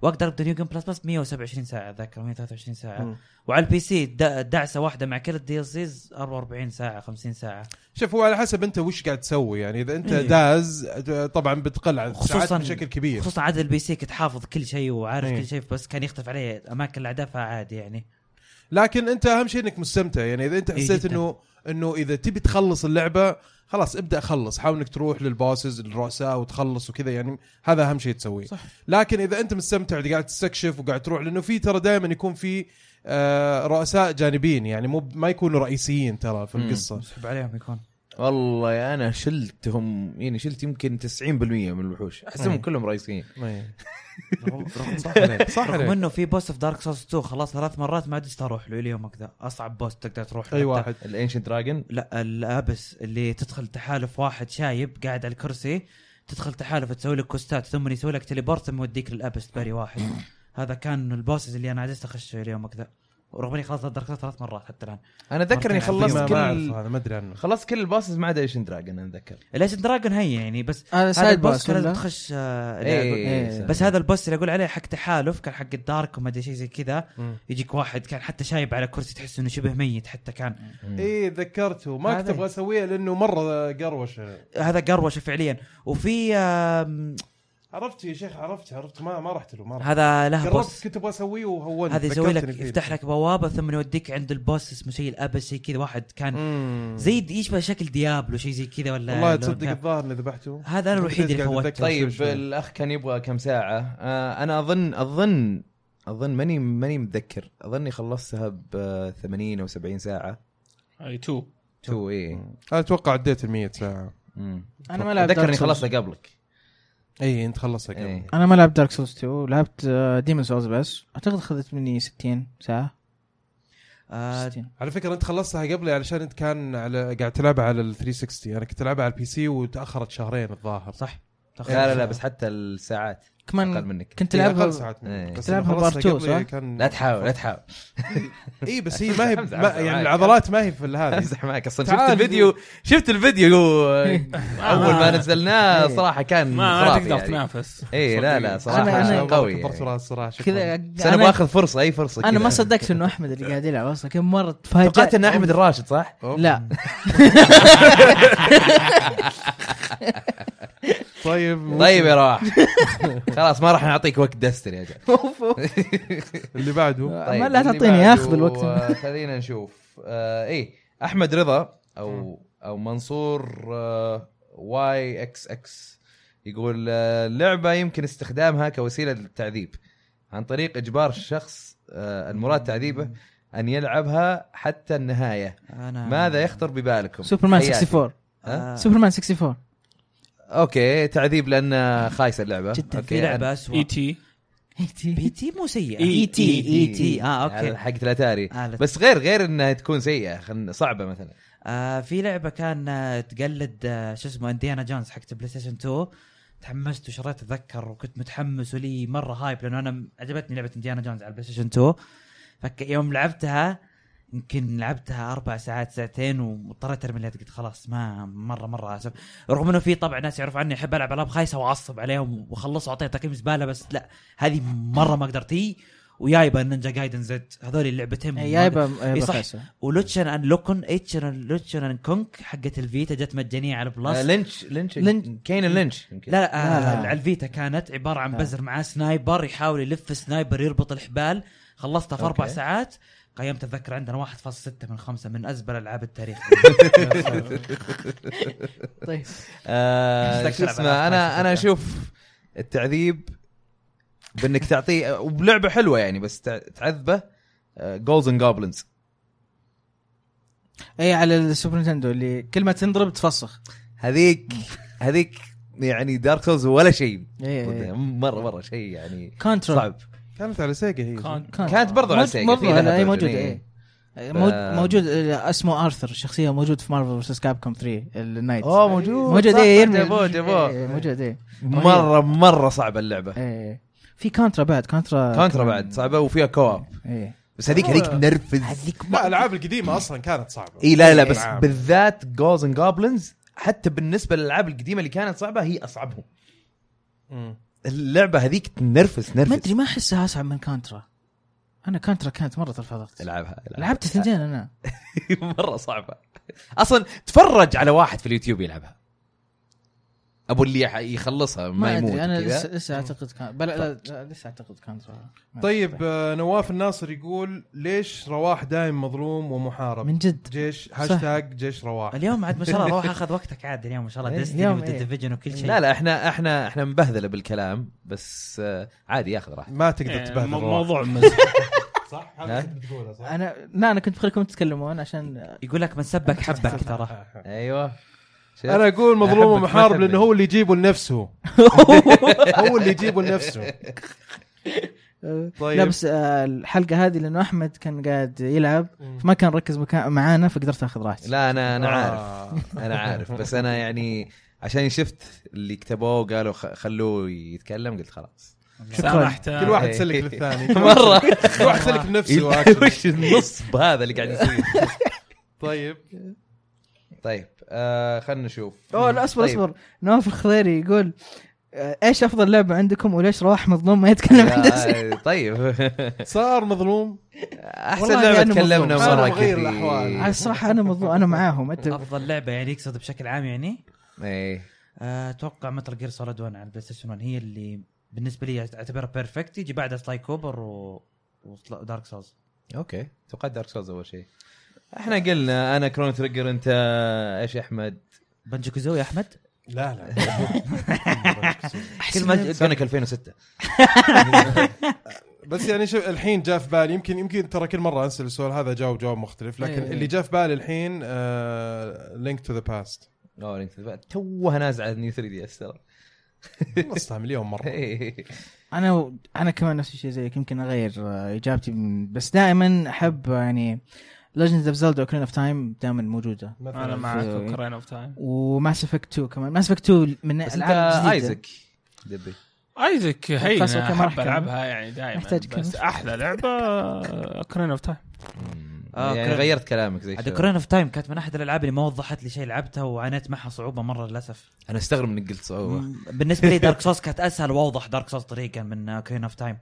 واقدر ابدا نيو جيم بلس بس 127 ساعه اتذكر 123 ساعه مم. وعلى البي سي د- دعسه واحده مع كل الدي اس سيز 44 ساعه 50 ساعه شوف هو على حسب انت وش قاعد تسوي يعني اذا انت إيه. داز آه، طبعا بتقل عن الساعات خصوصاً- بشكل كبير خصوصا عاد البي سي كنت حافظ كل شيء وعارف إيه. كل شيء بس كان يختلف عليه اماكن الاعداء فعادي يعني لكن انت اهم شيء انك مستمتع يعني اذا انت إيه حسيت جداً. انه انه اذا تبي تخلص اللعبه خلاص ابدا خلص حاول انك تروح للباسز الرؤساء وتخلص وكذا يعني هذا اهم شيء تسويه صح. لكن اذا انت مستمتع قاعد تستكشف وقاعد تروح لانه في ترى دائما يكون في آه رؤساء جانبيين يعني مو ما يكونوا رئيسيين ترى في مم. القصه مسحب عليهم يكون والله انا شلتهم يعني شلت يمكن 90% من الوحوش احسهم كلهم رئيسيين إيه. رغم- رغم- صح عليك، صح رغم عليك. انه في بوس في دارك سورس 2 خلاص ثلاث مرات ما عدت اروح له اليوم كذا اصعب بوس تقدر تروح له اي حتى. واحد الانشن دراجون لا الابس اللي تدخل تحالف واحد شايب قاعد على الكرسي تدخل تحالف تسوي لك كوستات ثم يسوي لك تليبورت ثم يوديك للابس تباري واحد هذا كان البوسز اللي انا عجزت اخش اليوم كذا رغم اني خلاص دارك سورس ثلاث مرات حتى الان انا اتذكر اني مرتين ما عندي. خلصت ما اعرف كل هذا ما ادري عنه خلصت كل الباسز ما عدا ايشن دراجون انا اتذكر الايشن دراجون هي يعني بس هذا هذا سايد البوس باس كان لازم ولا تخش آه، إيه. بس هذا البوس اللي اقول عليه حق تحالف كان حق الدارك وما ادري شيء زي كذا مم. يجيك واحد كان حتى شايب على كرسي تحس انه شبه ميت حتى كان اي إيه، ذكرته ما كنت هذا. ابغى اسويه لانه مره قروشه هذا قروشه فعليا وفي آم، عرفت يا شيخ عرفت عرفت ما ما رحت له ما رحت هذا له جربت بوس كنت ابغى اسويه وهونت هذا يسوي لك يفتح لك بوابه ثم يوديك عند البوس اسمه شيء الابس شيء كذا واحد كان زي د- يشبه شكل ديابلو شيء زي كذا ولا والله لون تصدق كان. الظاهر اني ذبحته هذا انا الوحيد اللي قاعد فوتته أتذكر طيب شوي. الاخ كان يبغى كم ساعه آه انا اظن اظن اظن ماني ماني متذكر اظني خلصتها ب 80 او 70 ساعه اي 2 تو إيه. اي انا اتوقع عديت ال 100 ساعه انا ما لعبت اتذكر اني دارك سولز خلصتها قبلك اي انت خلصها إيه. قبل انا ما لعبت دارك سولز 2 لعبت ديمون سولز بس اعتقد اخذت مني 60 ساعه آه، 60 على فكره انت خلصتها قبلي علشان انت كان على قاعد تلعبها على ال 360 انا كنت العبها على البي سي وتاخرت شهرين الظاهر صح تخيل. لا لا لا بس حتى الساعات اقل كمان منك كنت إيه، العبها أقل ساعات منك. إيه. بس تلعبها أنا خلصتها بارت تو، قبلي صح؟ كان لا تحاول لا تحاول اي بس هي ما هي أمزح، ما- أمزح يعني معاك. العضلات ما هي في ال هذه امزح معك اصلا شفت تعال. الفيديو شفت الفيديو اول آه. ما نزلناه صراحه ما كان ما خرافي تقدر يعني. تنافس اي لا لا صراحه إيه. أنا- أنا- قوي كبرت يعني. راس صراحه شكراً. كذا بس انا أنا- باخذ فرصه اي فرصه انا كذا. طيب، ما صدقت انه احمد اللي قاعد يلعب اصلا كم مره تفاجأت توقعت ان احمد الراشد صح؟ لا طيب طيب يا رواح خلاص ما راح نعطيك وقت دستر يا جماعه اللي بعده ما لا تعطيني اخذ الوقت خلينا نشوف آه ايه احمد رضا او او منصور آه واي اكس اكس يقول آه اللعبه يمكن استخدامها كوسيله للتعذيب عن طريق اجبار الشخص آه المراد تعذيبه ان يلعبها حتى النهايه انا ماذا يخطر ببالكم سوبرمان تحياتي. 64 ها؟ آه، سوبرمان 64 اوكي تعذيب لان خايسه اللعبه جداً، أوكي، في لعبه اسوء اي تي بي تي مو E سيئه إي تي. اي تي اه اوكي حق الاتاري آه، لا. بس غير غير انها تكون سيئه خن- صعبه مثلا آه في لعبه كان آه تقلد آه شو اسمه انديانا جونز حقت بلاي ستيشن 2 تحمست وشريت اتذكر وكنت متحمس ولي مره هايب لانه انا م- عجبتني لعبه انديانا جونز على بلاي ستيشن 2 فك يوم لعبتها يمكن لعبتها اربع ساعات ساعتين واضطريت ارمي اللعبة، قلت خلاص ما مره مره اسف رغم انه في طبعا ناس يعرفوا عني احب العب العاب خايسه واعصب عليهم واخلص واعطيها تقييم زباله بس لا هذه مره ما قدرت هي ويايبا نينجا جايدن زد هذول اللعبتين ما يايبا إي يايبا صح. خايسة. ولوتشن ان لوكن اتشن ان لوتشن ان كونك حقت الفيتا جت مجانيه على بلس آه لا لينش لينش لينش. كين لينش يمكن لا, آه، لا. على الفيتا كانت عباره عن آه. بزر معاه سنايبر يحاول يلف سنايبر يربط الحبال خلصتها في اربع أوكي. ساعات قيمت اتذكر عندنا 1.6 من خمسة من ازبل العاب التاريخ طيب آه أشتقت شو ألعب اسمه ألعاب انا خايسة انا فجأة. اشوف التعذيب بانك تعطيه وبلعبه حلوه يعني بس تع- تعذبه آه، جولز اند جوبلنز إيه، اي على السوبر نينتندو اللي كل ما تنضرب تفسخ هذيك هذيك يعني دارك سولز ولا شيء إيه، إيه. مره مره شيء يعني كنترول صعب كانت على سيجا هي كان كانت برضو على سيجا، في لها اي ترجمة، موجوده إيه. اي ف- موجود آه، اسمه ارثر الشخصيه موجود في مارفل فيرسس كاب كوم 3 النايت اوه موجود موجود صح، اي صح، يرمي جابوه إيه، جابوه موجود اي مره مره صعبه اللعبه ايه في كانترا بعد كانترا كونترا بعد صعبه وفيها كواب ايه بس هذيك هذيك تنرفز لا الالعاب القديمه اصلا كانت صعبه اي لا لا بس ألعاب. بالذات جوز اند جوبلنز حتى بالنسبه للالعاب القديمه اللي كانت صعبه هي اصعبهم مم. اللعبه هذيك تنرفز نرفز ما ادري ما احسها اصعب من كانترا انا كانترا كانت مره ترفضت العبها العبها. لعبت اثنتين انا مره صعبه اصلا تفرج على واحد في اليوتيوب يلعبها ابو اللي يح- يخلصها ما, ما يموت ادري انا كذا. لسه لسه اعتقد كان بلا لا- لا لسه اعتقد كانترا طيب آه، نواف الناصر يقول ليش رواح دايم مظلوم ومحارب من جد جيش هاشتاج جيش رواح اليوم عاد ما شاء الله روح اخذ وقتك عاد اليوم ما شاء الله إيه، ديستني اليوم وذا إيه. ديفيجن وكل شيء لا لا احنا احنا احنا مبهذله بالكلام بس آه، عادي ياخذ راحته ما إيه، تقدر تبهدل رواح موضوع مزح صح هذا ها؟ كنت بتقوله صح انا لا انا كنت بخليكم تتكلمون عشان يقول لك من سبك حبك ترى ايوه شوف. انا اقول مظلوم أحبك، ما ومحارب أحبك. لانه هو اللي يجيبه لنفسه هو اللي يجيبه لنفسه طيب. لا بس آه، الحلقه هذه لانه احمد كان قاعد يلعب فما كان ركز مكا- معانا فقدرت اخذ راحتي لا انا انا عارف آه. انا عارف بس انا يعني عشان شفت اللي كتبوه وقالوا خ- خلوه يتكلم قلت خلاص سامحت كل واحد سلك للثاني كل واحد- مره كل واحد سلك بنفسه وأكل. وش النصب هذا اللي قاعد يصير طيب طيب آه خلنا نشوف اوه لا اصبر طيب. اصبر نواف الخضيري يقول آه، ايش افضل لعبه عندكم وليش رواح مظلوم ما يتكلم عن ديزني؟ آه، طيب صار مظلوم احسن والله يعني لعبه أنا تكلمنا مظلوم. مره أنا مغير كثير الأحوال. على الصراحه انا مظلوم انا معاهم انت افضل لعبه يعني يقصد بشكل عام يعني ايه آه، اتوقع متل جير سوليد 1 على البلاي ستيشن 1 هي اللي بالنسبه لي اعتبرها بيرفكت يجي بعدها سلاي كوبر و... ودارك سولز اوكي توقع دارك سولز اول شيء احنا قلنا انا كرون تريجر انت ايش يا احمد بنجو كوزوي يا احمد لا لا كل ما سونيك 2006 بس يعني شوف الحين جاء في بالي يمكن يمكن ترى كل مره انسى السؤال هذا جاوب جواب مختلف لكن إيه. اللي جاء في بالي الحين آه، لينك تو ذا باست اوه لينك تو ذا باست. توها نازعه على نيو 3 دي اس ترى نصها مليون مره إيه. انا انا كمان نفس الشيء زيك يمكن اغير آه، اجابتي من- بس دائما احب آه، يعني ليجندز اوف زلدا اوكرين اوف تايم دائما موجوده انا مثلا معك اوكرين اوف تايم وماس افكت 2 كمان ماس افكت 2 من بس انت الالعاب الجديده ايزك دبي ايزك هي خاصة كمان راح احب كمان. العبها يعني دائما نحتاج كمان. بس احلى لعبه اوكرين اوف تايم آه، يعني كرن- غيرت كلامك زي عاد الشباب. اوف تايم كانت من احد الالعاب اللي ما وضحت لي شيء لعبتها وعانيت معها صعوبه مره للاسف انا استغرب انك قلت صعوبه مم، بالنسبه لي دارك سوس كانت اسهل واوضح دارك سوس طريقا من كرين اوف تايم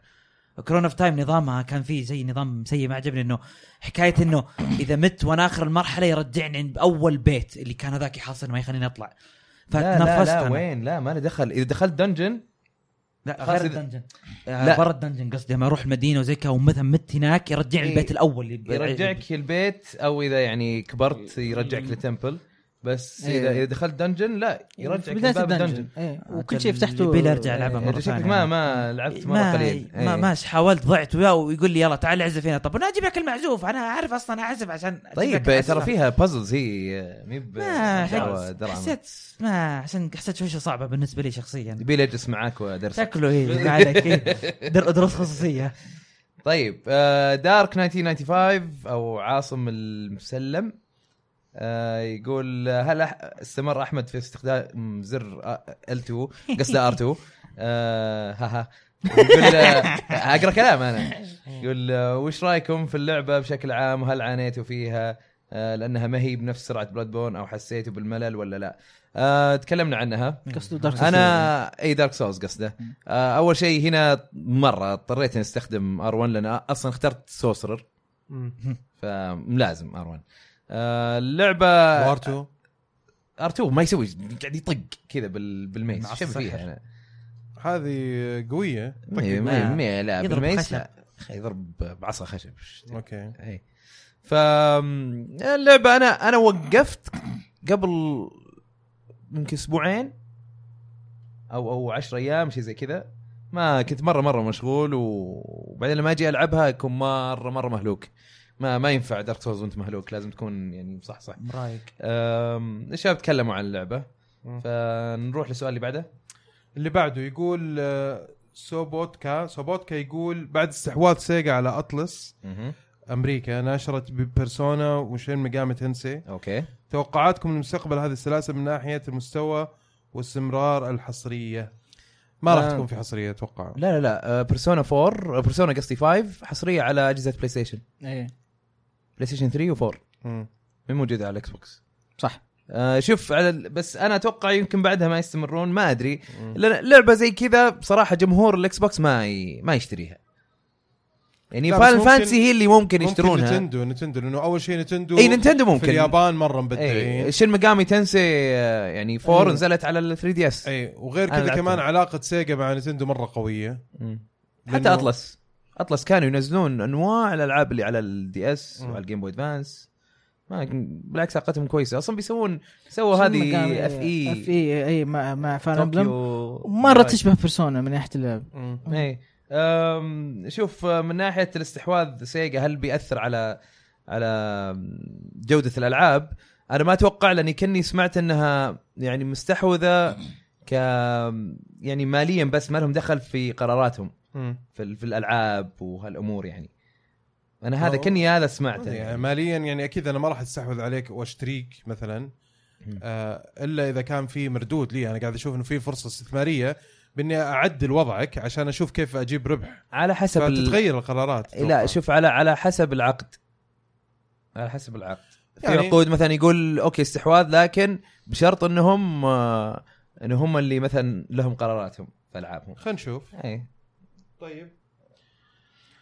كرون اوف تايم نظامها كان فيه زي نظام سيء ما عجبني انه حكايه انه اذا مت وانا اخر المرحله يرجعني عند اول بيت اللي كان هذاك يحاصرني ما يخليني اطلع لا لا فتنفست لا أنا. وين لا ما له دخل اذا دخلت دنجن لا خلاص غير إذا- الدنجن لا. آه، برا الدنجن قصدي لما اروح المدينه وزي كذا ومثلا مت هناك يرجعني إيه، البيت الاول اللي- يرجعك البيت او اذا يعني كبرت يرجعك لتمبل بس اذا إيه. اذا دخلت دنجن لا يرجعك آه، بدايه لباب الدنجن إيه. وكل شيء اللي فتحته يبي ارجع العبها إيه، مره أنت شكلك ثانيه ما ما لعبت مره ما قليل ما, إيه. ما حاولت ضعت وياه ويقول لي يلا تعال اعزف هنا طب انا اجيب لك المعزوف انا اعرف اصلا اعزف عشان أجيب لك طيب العزف. ترى فيها بازلز هي مي ب- ما دعوة حس- درعم. حسيت ما عشان حسيت شوي صعبه بالنسبه لي شخصيا يبي لي اجلس معاك وادرس شكله هي ما عليك إيه. در- دروس خصوصيه طيب آه، دارك 1995 او عاصم المسلم آه، يقول آه، هل أح- استمر احمد في استخدام زر آه، ال2 قصده ار2 آه، ها يقول آه، اقرا كلام انا يقول آه، وش رايكم في اللعبه بشكل عام وهل عانيتوا فيها آه، لانها ما هي بنفس سرعه بلاد بون او حسيتوا بالملل ولا لا آه، تكلمنا عنها إيه، قصده دارك يعني. انا اي دارك سولز إيه، قصده مم. آه، اول شيء هنا مره اضطريت اني استخدم ار 1 لان اصلا اخترت سوسرر مم. فلازم ار 1 آه، اللعبه ار وارتو 2 ما يسوي قاعد يطق كذا بال- بالميز شو معصب فيها سحر. انا هذه قويه ما- ما- ما- لا يضرب بالميز خشب. لا أخي يضرب بعصا خشب اوكي اي إيه. ف اللعبه انا انا وقفت قبل يمكن اسبوعين او او 10 ايام شيء زي كذا ما كنت مره مره مشغول و- وبعدين لما اجي العبها اكون مره مره مهلوك ما ما ينفع دارك سولز وانت مهلوك لازم تكون يعني مصحصح رايق أم، الشباب تكلموا عن اللعبه مم. فنروح للسؤال اللي بعده اللي بعده يقول آه، سوبوتكا سوبوتكا يقول بعد استحواذ سيجا على اطلس امريكا ناشرت بيرسونا وشين مقامة هنسي اوكي توقعاتكم لمستقبل هذه السلاسل من ناحيه المستوى واستمرار الحصريه ما راح آه. تكون في حصريه اتوقع لا لا لا أه، بيرسونا 4 بيرسونا قصدي 5 حصريه على اجهزه بلاي ستيشن ايه بلاي ستيشن 3 و4 مم. مو موجوده على الاكس بوكس صح آه شوف على ال- بس انا اتوقع يمكن بعدها ما يستمرون ما ادري مم. لان لعبه زي كذا بصراحه جمهور الاكس بوكس ما ي... ما يشتريها يعني لا، بس فاينل ممكن- فانتسي هي اللي ممكن ممكن يشترونها نتندو نتندو لانه اول شيء نتندو اي نينتندو ممكن في اليابان يعني. مره اي مبدعين شين مقامي تنسي آه، يعني 4 أيوة. نزلت على ال 3 دي اس اي وغير أنا كذا لعبتها. كمان علاقه سيجا مع نتندو مره قويه حتى لأنه- اطلس اطلس كانوا ينزلون انواع الالعاب اللي على الدي اس مم. وعلى الجيم بوي ادفانس ما بالعكس علاقتهم كويسه اصلا بيسوون سووا شنو هذه E. مقام- اف اف اي اي اي E، إيه، مع مع فان امبلم مره تشبه بيرسونا من ناحيه اللعب مم. اي إيه. أم، شوف أه، من ناحيه الاستحواذ سيجا هل بياثر على على جوده الالعاب؟ انا ما اتوقع لاني كني سمعت انها يعني مستحوذه ك يعني ماليا بس ما لهم دخل في قراراتهم مم. في, ال- في الالعاب وهالامور يعني. انا هذا أو- كني هذا سمعته يعني يعني. ماليا يعني اكيد انا ما راح استحوذ عليك واشتريك مثلا مم. آه الا اذا كان في مردود لي انا قاعد اشوف انه في فرصه استثماريه باني اعدل وضعك عشان اشوف كيف اجيب ربح على حسب ال- فتتغير القرارات لا شوف على على حسب العقد على حسب العقد يعني يعني- في عقود مثلا يقول اوكي استحواذ لكن بشرط انهم آه، ان هم اللي مثلا لهم قراراتهم في العابهم خلينا نشوف اي طيب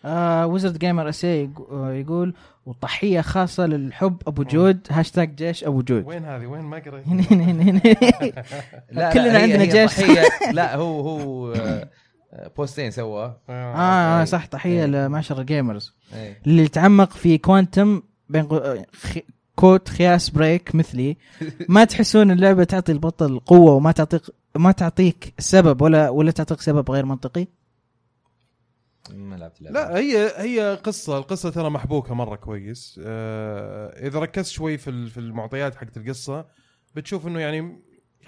آه ويزرد جيمر اس آه، يقول وضحيه خاصه للحب ابو جود هاشتاج جيش ابو جود وين هذه وين ما قريت هنا هنا هنا هنا كلنا هي- عندنا هي جيش. ضحية- لا هو هو آه، آه، بوستين سواه اه آه، أي. صح تحيه أي. لمعشر الجيمرز اي اللي يتعمق في كوانتم بين قو- آه، خي- كوت خياس بريك مثلي ما تحسون اللعبه تعطي البطل قوه وما تعطيك ما تعطيك سبب ولا ولا تعطيك سبب غير منطقي ما لعبت اللعبة. لا هي هي قصه القصه ترى محبوكه مره كويس آه اذا ركزت شوي في ال- في المعطيات حقت القصه بتشوف انه يعني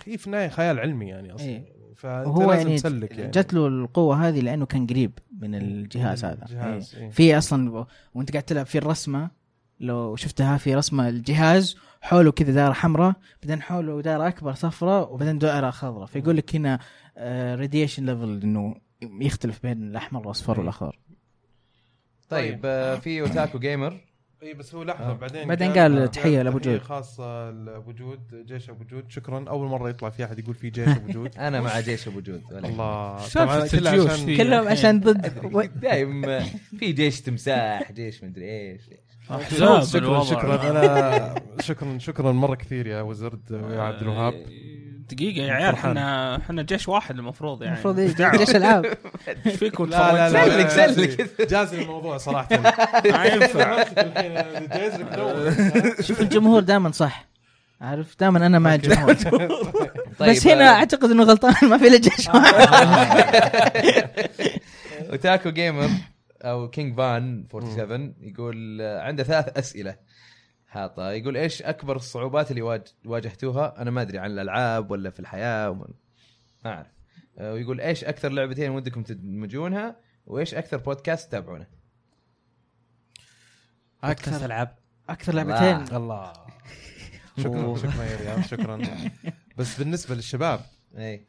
هي في النهايه خيال علمي يعني اصلا إيه. فانت وهو لازم يعني تسلك يعني جت له القوه هذه لانه كان قريب من الجهاز هذا إيه. جهاز إيه. في اصلا و- وانت قاعد تلعب في الرسمه لو شفتها في رسمه الجهاز حوله كذا دائره حمراء بعدين حوله دائره اكبر صفراء وبعدين دائره خضراء فيقول لك هنا آه، راديشن ليفل انه يختلف بين الاحمر والاصفر والاخضر طيب آه، في اوتاكو جيمر اي إيه، بس هو لحظه آه. بعدين بعدين قال تحية لأبو جود. خاصه لابو جود جيش ابو جود شكرا اول مره يطلع في احد يقول في جيش ابو جود انا مع جيش ابو جود ولا الله سالفة طبعاً كلها الجيوش عشان- ذي. كلهم عشان ضد أدري، دايم آه، في جيش تمساح جيش مدري ايش شكرا احزاب شكرا, الوضع. شكرا انا شكرا شكرا مره كثير يا وزرد ويا عبد الوهاب آه، دقيقة يا عيال فرحان. احنا احنا جيش واحد المفروض يعني المفروض إيه؟ إيش دعوة؟ ليش العاب ايش فيكم لا لا تفرجتوا؟ لا سلك، جاز لي- سلك. جاز لي الموضوع صراحه ما ينفع الحين جاز لك دور. شوف الجمهور دائما صح عارف دائما انا مع الجمهور طيب، بس هنا آه، اعتقد انه غلطان ما في الا جيش اوتاكو جيمر او كينج فان 47 يقول آه، عنده ثلاث اسئله حاطه يقول ايش اكبر الصعوبات اللي واج- واجهتوها انا ما ادري عن الالعاب ولا في الحياه وما- ما اعرف آه، ويقول ايش اكثر لعبتين ودكم تدمجونها وايش اكثر بودكاست تتابعونه اكثر العاب اكثر لعبتين الله. الله شكرا شكرا يا رياض شكرا بس بالنسبه للشباب اي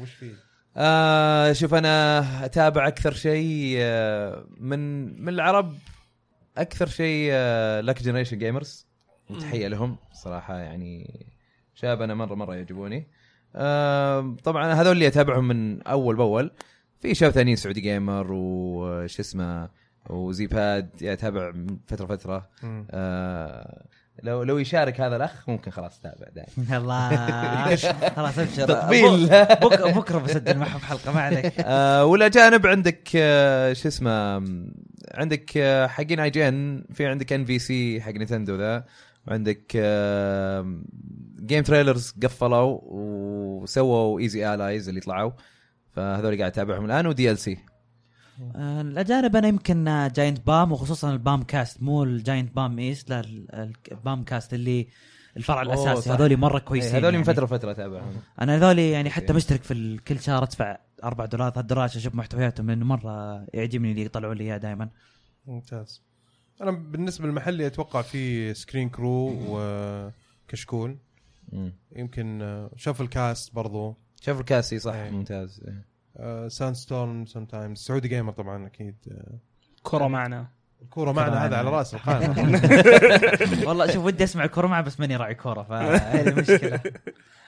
وش في؟ آه شوف انا اتابع اكثر شيء آه، من من العرب اكثر شيء آه، لك جنريشن جيمرز تحيه لهم صراحه يعني شباب انا مره مره يعجبوني آه طبعا هذول اللي اتابعهم من اول باول في شباب ثانيين سعودي جيمر وش اسمه وزي باد اتابع من فتره فتره مم. آه لو لو يشارك هذا الاخ ممكن خلاص تابع داعي الله خلاص ابشر تطبيل. بكره بكره بسجل معهم حلقه ما عليك آه والاجانب عندك آه شو اسمه م، عندك آه حقين اي جي ان في عندك ان في سي حق نتندو ذا وعندك آه جيم تريلرز قفلوا وسووا ايزي الايز اللي طلعوا فهذول قاعد اتابعهم الان ودي ال سي آه، الاجانب انا يمكن آه، جاينت بام وخصوصا البام كاست مو الجاينت بام ايست لا ال- البام كاست اللي الفرع أوه، الاساسي صح. هذول مره إيه، كويسين هذول من إيه. يعني. فتره فتره اتابعهم انا هذول يعني حتى أوكي. مشترك في ال- كل شهر ادفع 4 دولار 3 دولار عشان اشوف محتوياتهم لانه مره يعجبني اللي يطلعوا لي اياه دائما ممتاز انا بالنسبه للمحلي اتوقع في سكرين كرو وكشكول يمكن آه، شاف الكاست برضو شوف الكاسي صح إيه. ممتاز إيه. ساند ستورم سم تايمز سعودي جيمر طبعا اكيد آه، كره معنا الكوره معنا معنا. هذا على راس القائمه والله شوف ودي اسمع كوره معه بس ماني راعي كوره فهذه مشكله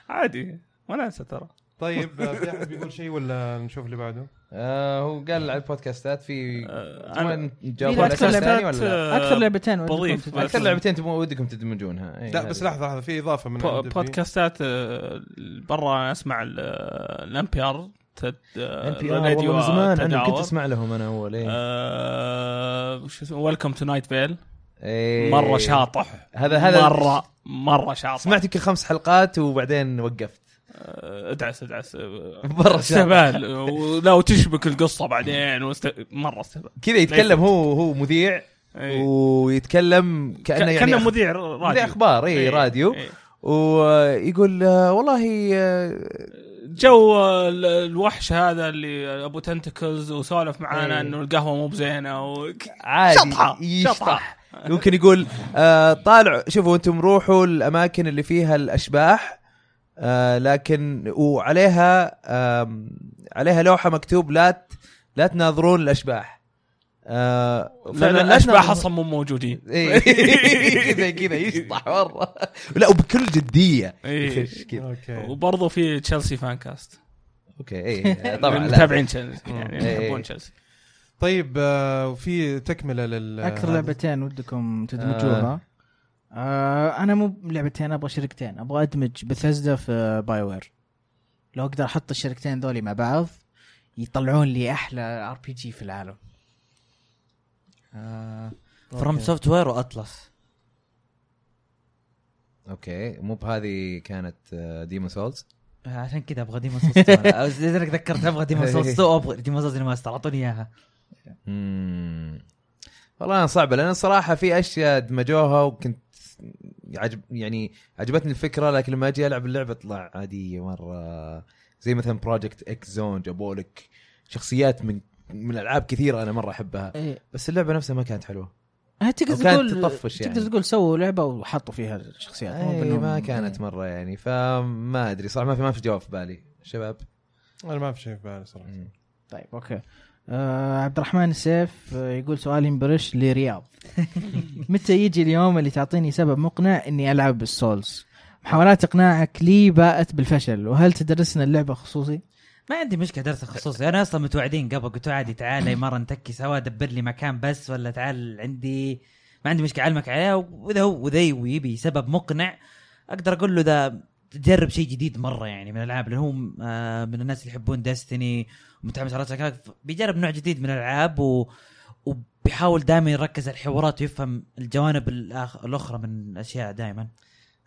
عادي وناسه ترى طيب آه، في احد بيقول شيء ولا نشوف اللي بعده؟ آه هو قال على البودكاستات في آه، تبغون في تجاوبون على بودكاستات، أساس ثاني ولا لا؟ اكثر لعبتين ودكم بضيف. تت- اكثر لعبتين تبغون ودكم تدمجونها إيه، لا هذه. بس لحظه لحظه في اضافه من بو- عند بودكاستات آه، برا أنا اسمع الام بي ار آه، NPR آه، والله من زمان انا كنت اسمع لهم انا اول ايه آه، وش اسمه ويلكم تو نايت فيل إيه. مره شاطح هذا هذا مره مره شاطح سمعت يمكن خمس حلقات وبعدين وقفت آه، ادعس ادعس آه، مره شاطح استهبال و- لا وتشبك القصه بعدين وست... مره استهبال كذا يتكلم هو هو مذيع إيه. ويتكلم ك- كانه كانه يعني أخ- مذيع راديو مذيع اخبار اي إيه، راديو إيه. ويقول آه، والله آه، جو ال- الوحش هذا اللي ابو تنتكلز وسولف معانا إيه. انه القهوه مو بزينه وك- عادي شطحة، يشطح ممكن يقول آه طالع شوفوا انتم روحوا الاماكن اللي فيها الاشباح آه لكن وعليها آم، عليها لوحه مكتوب لا ت- لا تناظرون الاشباح آه لان لا الاشباح تناظرون- اصلا مو موجودين إيه، كذا كذا يشطح مره لا وبكل جديه إيه. يخش كذا اوكي وبرضه في تشيلسي فان كاست اوكي اي طبعا إيه، لا. متابعين تشيلسي يعني إيه. يحبون تشيلسي طيب آه، وفي تكمله لل اكثر لعبتين ودكم تدمجوها آه انا مو لعبتين ابغى شركتين ابغى ادمج بثزدا في باي وير لو اقدر احط الشركتين ذولي مع بعض يطلعون لي احلى ار بي جي في العالم آه، فروم سوفت وير واطلس اوكي مو بهذه كانت آه، ديمون سولز آه، عشان كذا ابغى ديمون سولز لذلك ذكرت ابغى ديمون إيه. سولز ابغى ديمون سولز ريماستر اعطوني اياها مم. والله انا صعبه لان الصراحه في اشياء دمجوها وكنت عجب يعني عجبتني الفكره لكن لما اجي العب اللعبه طلع عاديه مره زي مثلا بروجكت اكس زون جابوا لك شخصيات من من العاب كثيره انا مره احبها إيه. بس اللعبه نفسها ما كانت حلوه آه، تقدر وكانت تقول تطفش يعني. تقدر تقول سووا لعبه وحطوا فيها الشخصيات مو أي بأنهم- ما كانت مره يعني فما ادري صراحه ما في ما في جواب في بالي شباب انا ما في شيء في بالي صراحه مم. طيب اوكي آه عبد الرحمن السيف آه، يقول سؤال ينبرش لرياض متى يجي اليوم اللي تعطيني سبب مقنع اني العب بالسولز محاولات اقناعك لي باءت بالفشل وهل تدرسنا اللعبه خصوصي ما عندي مشكله درس خصوصي انا اصلا متوعدين قبل قلت له عادي تعال مره نتكي سوا دبر لي مكان بس ولا تعال عندي ما عندي مشكله اعلمك عليها واذا هو واذا يبي سبب مقنع اقدر اقول له ذا تجرب شيء جديد مره يعني من الالعاب لان هو آه، من الناس اللي يحبون ديستني ومتحمس على شكلك بيجرب نوع جديد من الالعاب و... وبيحاول دائما يركز على الحوارات ويفهم الجوانب الأخ... الاخرى من الاشياء دائما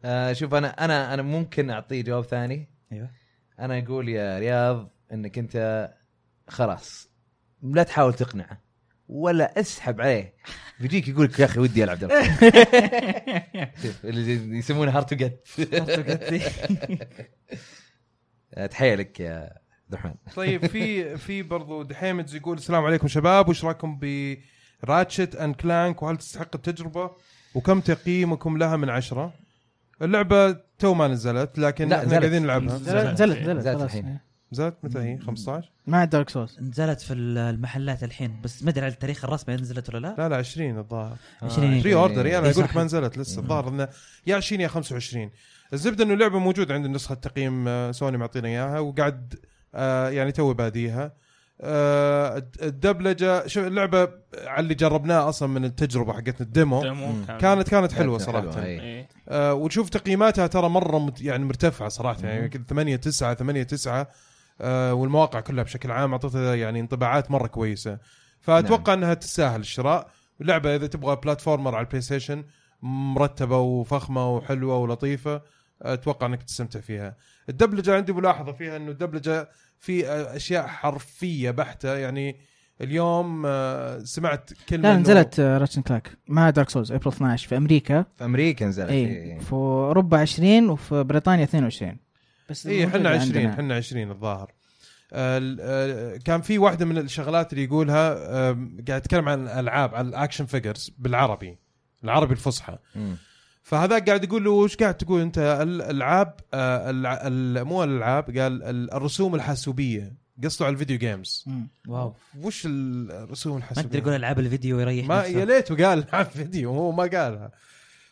آه شوف انا انا انا ممكن اعطيه جواب ثاني ايوه انا اقول يا رياض انك انت خلاص لا تحاول تقنعه ولا اسحب عليه بيجيك يقول لك يا اخي ودي العب دبل شوف، اللي يسمونه هارت تو جت تحيلك آه، يا عبد الرحمن طيب في في برضو دحيمتز يقول السلام عليكم شباب وش رايكم براتشت اند كلانك وهل تستحق التجربه وكم تقييمكم لها من عشرة اللعبه تو ما نزلت لكن لا، احنا نزلت. قاعدين نلعبها نزلت. زلت زلت زلت زلت خلاص. الحين. نزلت متى هي 15 مع دارك سولز نزلت في المحلات الحين بس ما ادري على التاريخ الرسمي نزلت ولا لا لا لا 20 الظاهر عشرين. بري اوردر انا يعني. اقول لك إيه، صح. ما نزلت لسه الظاهر انه يا 20 يا 25 الزبده انه اللعبه موجوده عند نسخه تقييم آه، سوني معطينا اياها وقاعد آه، يعني توي باديها آه، الد- الدبلجه شوف اللعبه على اللي جربناه اصلا من التجربه حقتنا الديمو ديمو كانت كانت حلوه صراحه إيه. إيه. آه، وتشوف تقييماتها ترى مره مت- يعني مرتفعه صراحه يعني يمكن 8 9 8 9 آه، والمواقع كلها بشكل عام اعطتها يعني انطباعات مره كويسه فاتوقع انها تستاهل الشراء لعبه اذا تبغى بلاتفورمر على البلاي ستيشن مرتبه وفخمه وحلوه ولطيفه اتوقع انك تستمتع فيها الدبلجه عندي ملاحظه فيها انه الدبلجه في آه، اشياء حرفيه بحته يعني اليوم آه، سمعت كلمه لا إنه- نزلت آه، راتشن كلاك مع دارك سولز ابريل 12 في امريكا في إيه. امريكا نزلت اي اي في اوروبا 20 وفي بريطانيا 22 بس اي احنا موجودة 20 عندنا. احنا 20 الظاهر آه، ال- آه، كان في واحده من الشغلات اللي يقولها آم، قاعد يتكلم عن الالعاب عن الاكشن فيجرز بالعربي العربي الفصحى فهذا قاعد يقول له وش قاعد تقول انت الالعاب آه، الع- ال- مو الالعاب قال ال- الرسوم الحاسوبيه قصته على الفيديو جيمز مم. واو وش ال- الرسوم ما تقدر الحاسوبيه يقول العاب الفيديو يريح ما نفسه. يا ليته قال عن فيديو هو ما قالها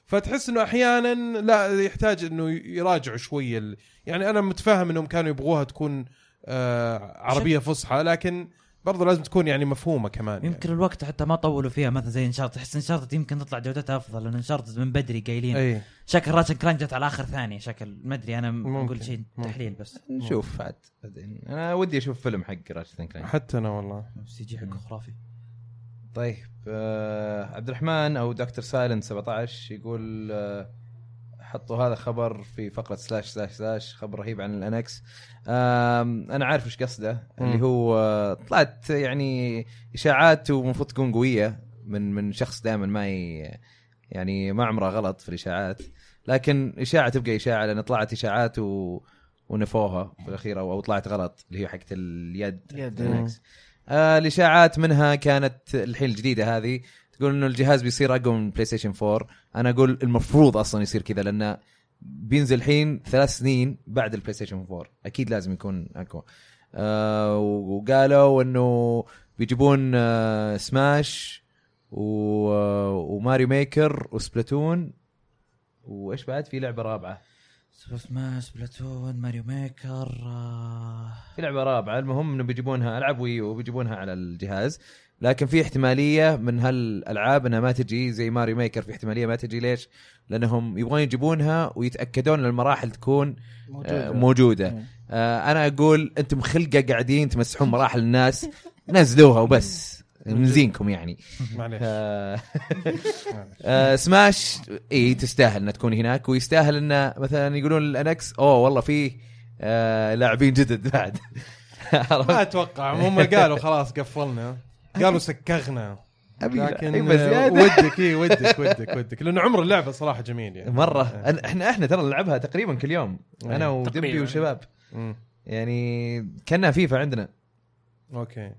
فتحس انه احيانا لا يحتاج انه يراجعوا شويه ال- يعني انا متفاهم انهم كانوا يبغوها تكون آه عربيه فصحى لكن برضه لازم تكون يعني مفهومه كمان يمكن الوقت حتى ما طولوا فيها مثلا زي انشارت تحس انشارت يمكن تطلع جودتها افضل لان انشارت من بدري قايلين يعني. اي شكل راتشن كلانك جت على اخر ثانيه شكل ما ادري انا م- ممكن. اقول شيء ممكن. تحليل بس نشوف عاد بعدين انا ودي اشوف فيلم حق راشد كلانك حتى انا والله سي جي حقه خرافي طيب آه عبد الرحمن او دكتور سايلنت 17 يقول آه حطوا هذا خبر في فقره سلاش سلاش سلاش خبر رهيب عن الانكس آم انا عارف ايش قصده مم. اللي هو آه، طلعت يعني اشاعات ومفروض تكون قويه من من شخص دائما ما ي- يعني ما عمره غلط في الاشاعات لكن اشاعه تبقى اشاعه لان طلعت اشاعات و ونفوها في الاخير او أو طلعت غلط اللي هي حقت اليد يد. الانكس آه الاشاعات منها كانت الحين الجديده هذه تقول انه الجهاز بيصير اقوى من بلاي ستيشن 4 انا اقول المفروض اصلا يصير كذا لانه بينزل الحين ثلاث سنين بعد البلاي ستيشن 4 اكيد لازم يكون اقوى آه وقالوا انه بيجيبون آه سماش و... آه، وماريو ميكر وسبلاتون وايش بعد في لعبه رابعه سوبر سماش بلاتون ماريو ميكر آه، في لعبه رابعه المهم انه بيجيبونها العاب ويو بيجيبونها على الجهاز لكن في احتماليه من هالالعاب انها ما تجي زي ماري ميكر في احتماليه ما تجي ليش؟ لانهم يبغون يجيبونها ويتاكدون ان المراحل تكون موجوده, آه موجودة. آه انا اقول انتم خلقه قاعدين تمسحون مراحل الناس نزلوها وبس من زينكم يعني معليش آه، آه، سماش اي تستاهل انها تكون هناك ويستاهل انه مثلا يقولون الانكس اوه والله فيه آه، لاعبين جدد بعد عرفت؟ ما اتوقع هم قالوا خلاص قفلنا قالوا سكغنا أبي أيوة، لكن لعيبة آه، زيادة. ودك اي ودك ودك ودك لان عمر اللعبه صراحه جميل يعني مره أنا احنا احنا ترى نلعبها تقريبا كل يوم انا أي. ودبي تقريباً. وشباب مم. يعني كنا فيفا عندنا اوكي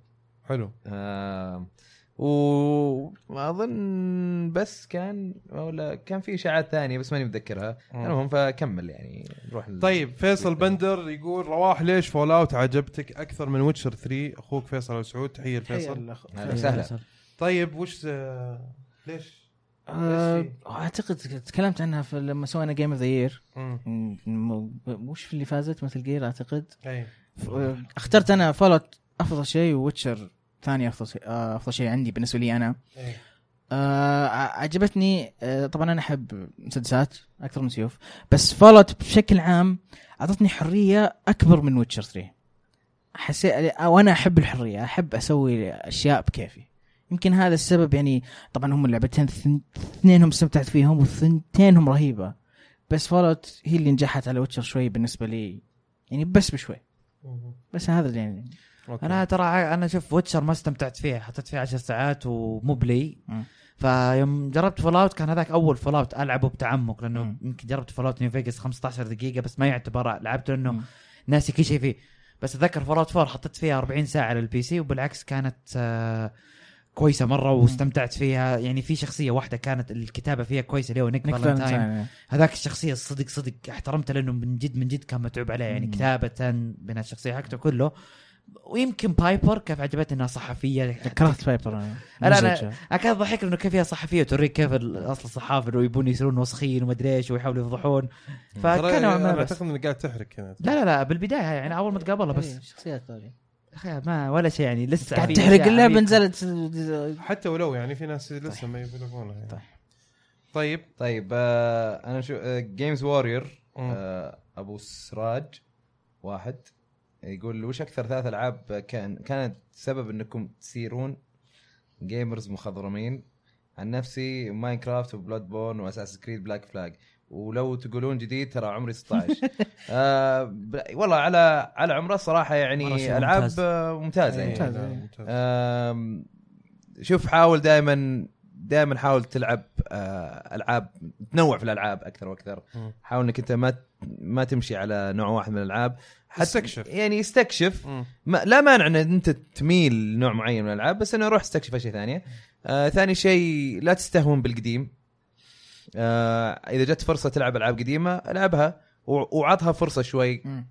حلو آه وما اظن بس كان ولا كان في اشاعات ثانيه بس ماني متذكرها مم. المهم فكمل يعني نروح آه، لل- آه. طيب فيصل بندر يقول رواح ليش فول اوت عجبتك اكثر من ويتشر 3 اخوك فيصل او سعود تحيه لفيصل أهلا وسهلا إيه، طيب وش آه، ليش؟ آه، اعتقد تكلمت عنها في لما سوينا جيم اوف ذا يير امم وش في اللي فازت مثل جير اعتقد اي ف- آه، اخترت انا فولت افضل شيء وويتشر ثاني افضل شيء آه، افضل شيء عندي بالنسبه لي انا اي آه ع- عجبتني آه طبعا انا احب مسدسات اكثر من سيوف بس فولت بشكل عام اعطتني حريه اكبر من ويتشر 3 حسيت وانا احب الحريه احب اسوي اشياء بكيفي يمكن هذا السبب يعني طبعا هم اللعبتين ثن- اثنينهم استمتعت فيهم وثنتينهم رهيبه بس فولت هي اللي نجحت على ويتشر شوي بالنسبه لي يعني بس بشوي بس هذا اللي يعني أوكي. انا ترى انا شوف ويتشر ما استمتعت فيها حطيت فيها 10 ساعات ومو بلي مم. فيوم جربت فول اوت كان هذاك اول فول اوت العبه بتعمق لانه مم. يمكن جربت فول اوت نيو فيجاس 15 دقيقه بس ما يعتبر لعبته لانه مم. ناسي كل شيء فيه بس اتذكر فول اوت 4 حطيت فيها 40 ساعه للبي سي وبالعكس كانت آه، كويسه مره واستمتعت فيها يعني في شخصيه واحده كانت الكتابه فيها كويسه اللي هو نيك نيك فالنتاين فالنتاين. هذاك الشخصيه الصدق صدق احترمته لانه من جد من جد كان متعوب عليه يعني مم. كتابه بناء الشخصيه حقته كله ويمكن بايبر كيف عجبتني انها صحفيه كرهت بايبر انا لا، أنا- مزعجة. كان ضحك انه كيف هي صحفيه توريك كيف ال- اصل الصحافه انه يبون يصيرون وسخين وما ادري ايش ويحاولوا يفضحون ترى يعني فكان نوعاً ما انا بس اعتقد انك قاعد تحرك هنا لا لا لا بالبدايه يعني اول ما تقابلها بس إيه، شخصيات ثانيه أخي ما ولا شيء يعني لسه قاعد في تحرق أشياء اللعبه عميقة. نزلت حتى ولو يعني في ناس طيب. لسه ما يبلغونها يعني. طيب. طيب طيب آه انا شو جيمز وورير مم. آه ابو سراج واحد يقول وش اكثر ثلاث العاب كان كانت سبب انكم تصيرون جيمرز مخضرمين عن نفسي ماينكرافت وبلاد بورن واساس كريد بلاك فلاج ولو تقولون جديد ترى عمري 16 آه ب- والله على على عمره صراحه مرة شيء يعني العاب ممتاز. آه، آه، ممتازه إيه، يعني ممتاز. آم، شوف حاول دائما دائما حاول تلعب آه، العاب تنوع في الالعاب اكثر واكثر مم. حاول انك انت ما ما تمشي على نوع واحد من الالعاب حتى- استكشف. يعني استكشف مم. ما لا مانع ان انت تميل لنوع معين من الالعاب بس انه روح استكشف اشياء ثانيه آه ثاني شيء لا تستهون بالقديم آه اذا جت فرصه تلعب العاب قديمه العبها و- وعطها فرصه شوي مم.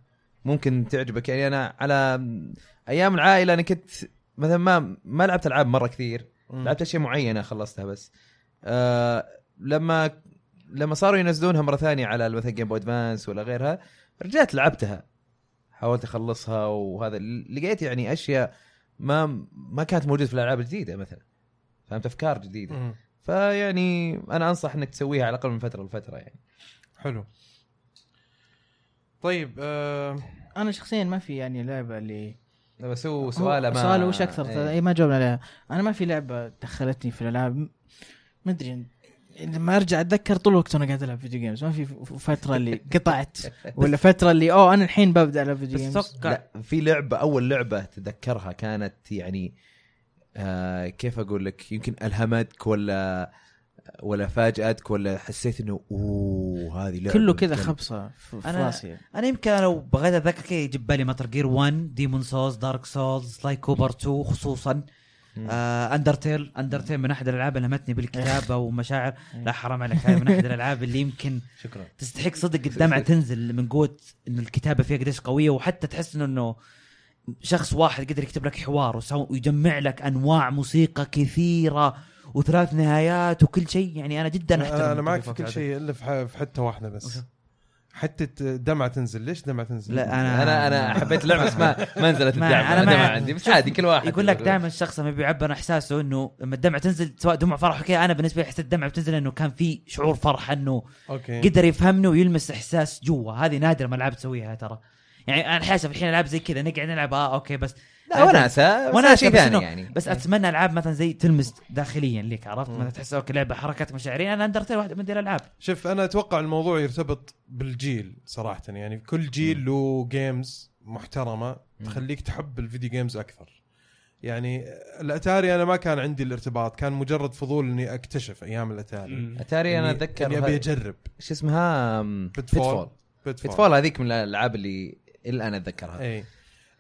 ممكن تعجبك يعني انا على ايام العائله انا كنت مثلا ما ما لعبت العاب مره كثير مم. لعبت اشياء معينه خلصتها بس آه لما لما صاروا ينزلونها مره ثانيه على مثلا جيم بوي ادفانس ولا غيرها رجعت لعبتها حاولت اخلصها وهذا لقيت يعني اشياء ما ما كانت موجوده في الالعاب الجديده مثلا فهمت افكار جديده مم. فيعني انا انصح انك تسويها على الاقل من فتره لفتره يعني حلو طيب آه انا شخصيا ما في يعني لعبه اللي لما اسوي سؤال ما سؤال وش اكثر إيه. اي ما جاوبنا عليها انا ما في لعبه دخلتني في الالعاب م- ما ادري لما ارجع اتذكر طول الوقت وانا قاعد العب فيديو جيمز ما في ف- فتره اللي قطعت ولا فتره اللي اوه انا الحين ببدا العب فيديو بس جيمز اتوقع لا في لعبه اول لعبه تذكرها كانت يعني آه كيف اقول لك يمكن الهمتك ولا ولا فاجاتك ولا حسيت انه اوه هذه لعبه كله كذا بجد. خبصه في في أنا- راسي انا يمكن أنا لو بغيت اتذكر كذا يجيب بالي متر جير 1 ديمون سولز دارك سولز سلاي كوبر 2 خصوصا آه اندرتيل اندرتيل من احد الالعاب اللي لمتني بالكتابه ومشاعر لا حرام عليك هاي من احد الالعاب اللي يمكن شكرا تستحق صدق الدمعه تنزل من قوه انه الكتابه فيها قديش قويه وحتى تحس انه انه شخص واحد قدر يكتب لك حوار وسو- ويجمع لك انواع موسيقى كثيره وثلاث نهايات وكل شيء يعني انا جدا احترم انا معك في الطريقة كل هذه. شيء الا في ح- في حته واحده بس حتى ت- دمعه تنزل ليش دمعه تنزل؟ لا انا انا انا حبيت اللعبه بس ما ما نزلت ما- الدعم أنا انا ما- ما عندي بس عادي كل واحد يقول لك دائما الشخص لما بيعبر عن احساسه انه لما الدمعه تنزل سواء دموع فرح وكذا انا بالنسبه لي حسيت الدمعه بتنزل انه كان في شعور فرح انه اوكي قدر يفهمني ويلمس احساس جوا هذه نادر ما العاب تسويها ترى يعني انا احيانا أشوف الحين العاب زي كذا نقعد نلعب اه اوكي بس لا وناسه وناسة وناسه شيء بس ثاني إنه- يعني بس اتمنى العاب مثلا زي تلمس داخليا لك عرفت مثلا تحس اوكي لعبه حركات مشاعريه انا اندرتيل واحد من الالعاب شوف انا اتوقع الموضوع يرتبط بالجيل صراحه يعني كل جيل له جيمز محترمه تخليك تحب الفيديو جيمز اكثر يعني الاتاري انا ما كان عندي الارتباط كان مجرد فضول اني اكتشف ايام الاتاري مم. اتاري انا إني- اني ابي اتذكر اجرب شو اسمها بيتفول بيتفول هذيك من الالعاب اللي الان اتذكرها اي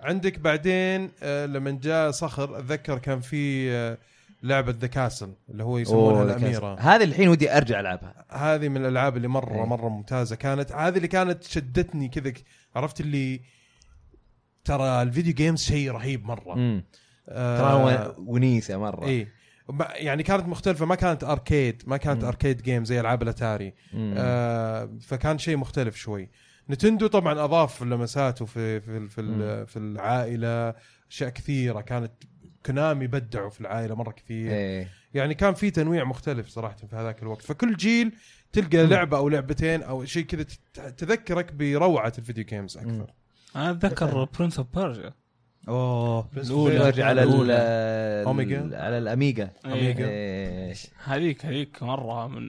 عندك بعدين آه، لما جاء صخر اتذكر كان في آه، لعبه ذا كاسل اللي هو يسمونها أوه، الاميره هذه الحين ودي ارجع العبها هذه من الالعاب اللي مره إيه. مره ممتازه كانت هذه اللي كانت شدتني كذا ك- عرفت اللي ترى الفيديو جيمز شيء رهيب مره مم. آه، ترى ون- ونيسه مره اي ما- يعني كانت مختلفه ما كانت اركيد ما كانت مم. اركيد جيم زي العاب الاتاري مم. آه فكان شيء مختلف شوي نتندو طبعا اضاف لمساته في في في, ال- في العائله اشياء كثيره كانت كونامي بدعوا في العائله مره كثير ايه يعني كان في تنويع مختلف صراحه في هذاك الوقت فكل جيل تلقى لعبه او لعبتين او شيء كذا تت- تذكرك بروعه الفيديو جيمز اكثر انا اتذكر برنس اوف بيرجا اوه يرجع على ال- إيه. الأولى. ال- أوميجا. على الاميجا أوميجا. إيه. هذيك هذيك مره من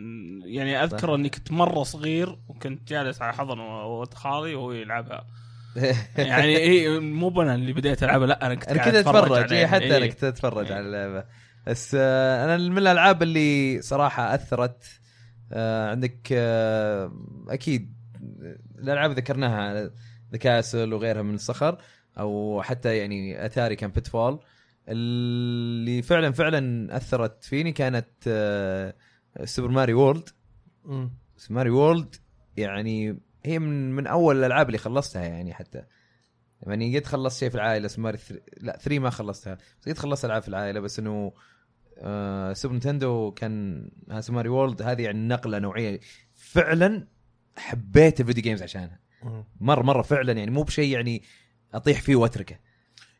يعني اذكر اني كنت مره صغير وكنت جالس على حضن ولد خالي وهو يلعبها يعني اي مو انا اللي بديت العبها لا انا كنت انا قاعد كذا اتفرج عليه. إيه حتى انا إيه. كنت اتفرج إيه. على اللعبه بس آه، انا من الالعاب اللي صراحه اثرت آه، عندك آه، اكيد الالعاب ذكرناها ذا كاسل وغيرها من الصخر او حتى يعني اتاري كان بيتفول اللي فعلا فعلا اثرت فيني كانت آه، سوبر ماري وورلد مم. بس ماري وورلد يعني هي من من اول الالعاب اللي خلصتها يعني حتى يعني قد خلصت شيء في العائله اسمه ماري ثري لا 3 ما خلصتها بس قد خلصت العاب في العائله بس انه آه سوبر نتندو كان هاسو ماري وورلد هذه يعني نقله نوعيه فعلا حبيت الفيديو جيمز عشانها مم. مره مره فعلا يعني مو بشيء يعني اطيح فيه واتركه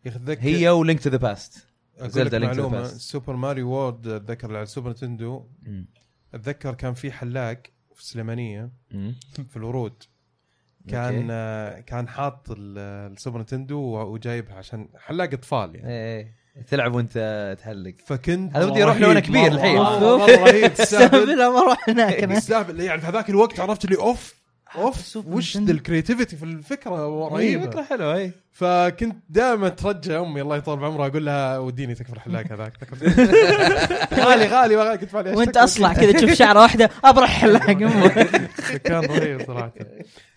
يا أخي أتذكر- هي ولينك تو ذا باست اقول لك زلدة Link to the معلومه Past. سوبر ماري وورد اتذكر على سوبر نتندو اتذكر كان في حلاق في سليمانيه في الورود كان أوكي. آه، كان حاط ال- السوبر نتندو وجايبها عشان حلاق اطفال يعني ايه تلعب وانت تحلق فكنت هذا ودي أروح له وأنا كبير الحين. والله رهيب استهبل تستهبل ما اروح هناك انا تستهبل يعني في هذاك الوقت عرفت اللي اوف اوف سوبر وش نينتندو. ذا الكريتيفيتي في الفكره رهيبه فكره حلوه اي فكنت دائما ترجع امي الله يطول بعمرها اقول لها وديني تكفى الحلاق هذاك تكفى. غالي غالي ما غالي كنت فعلي وانت اصلع كذا تشوف شعره واحده ابرح حلاق امك كان رهيب صراحه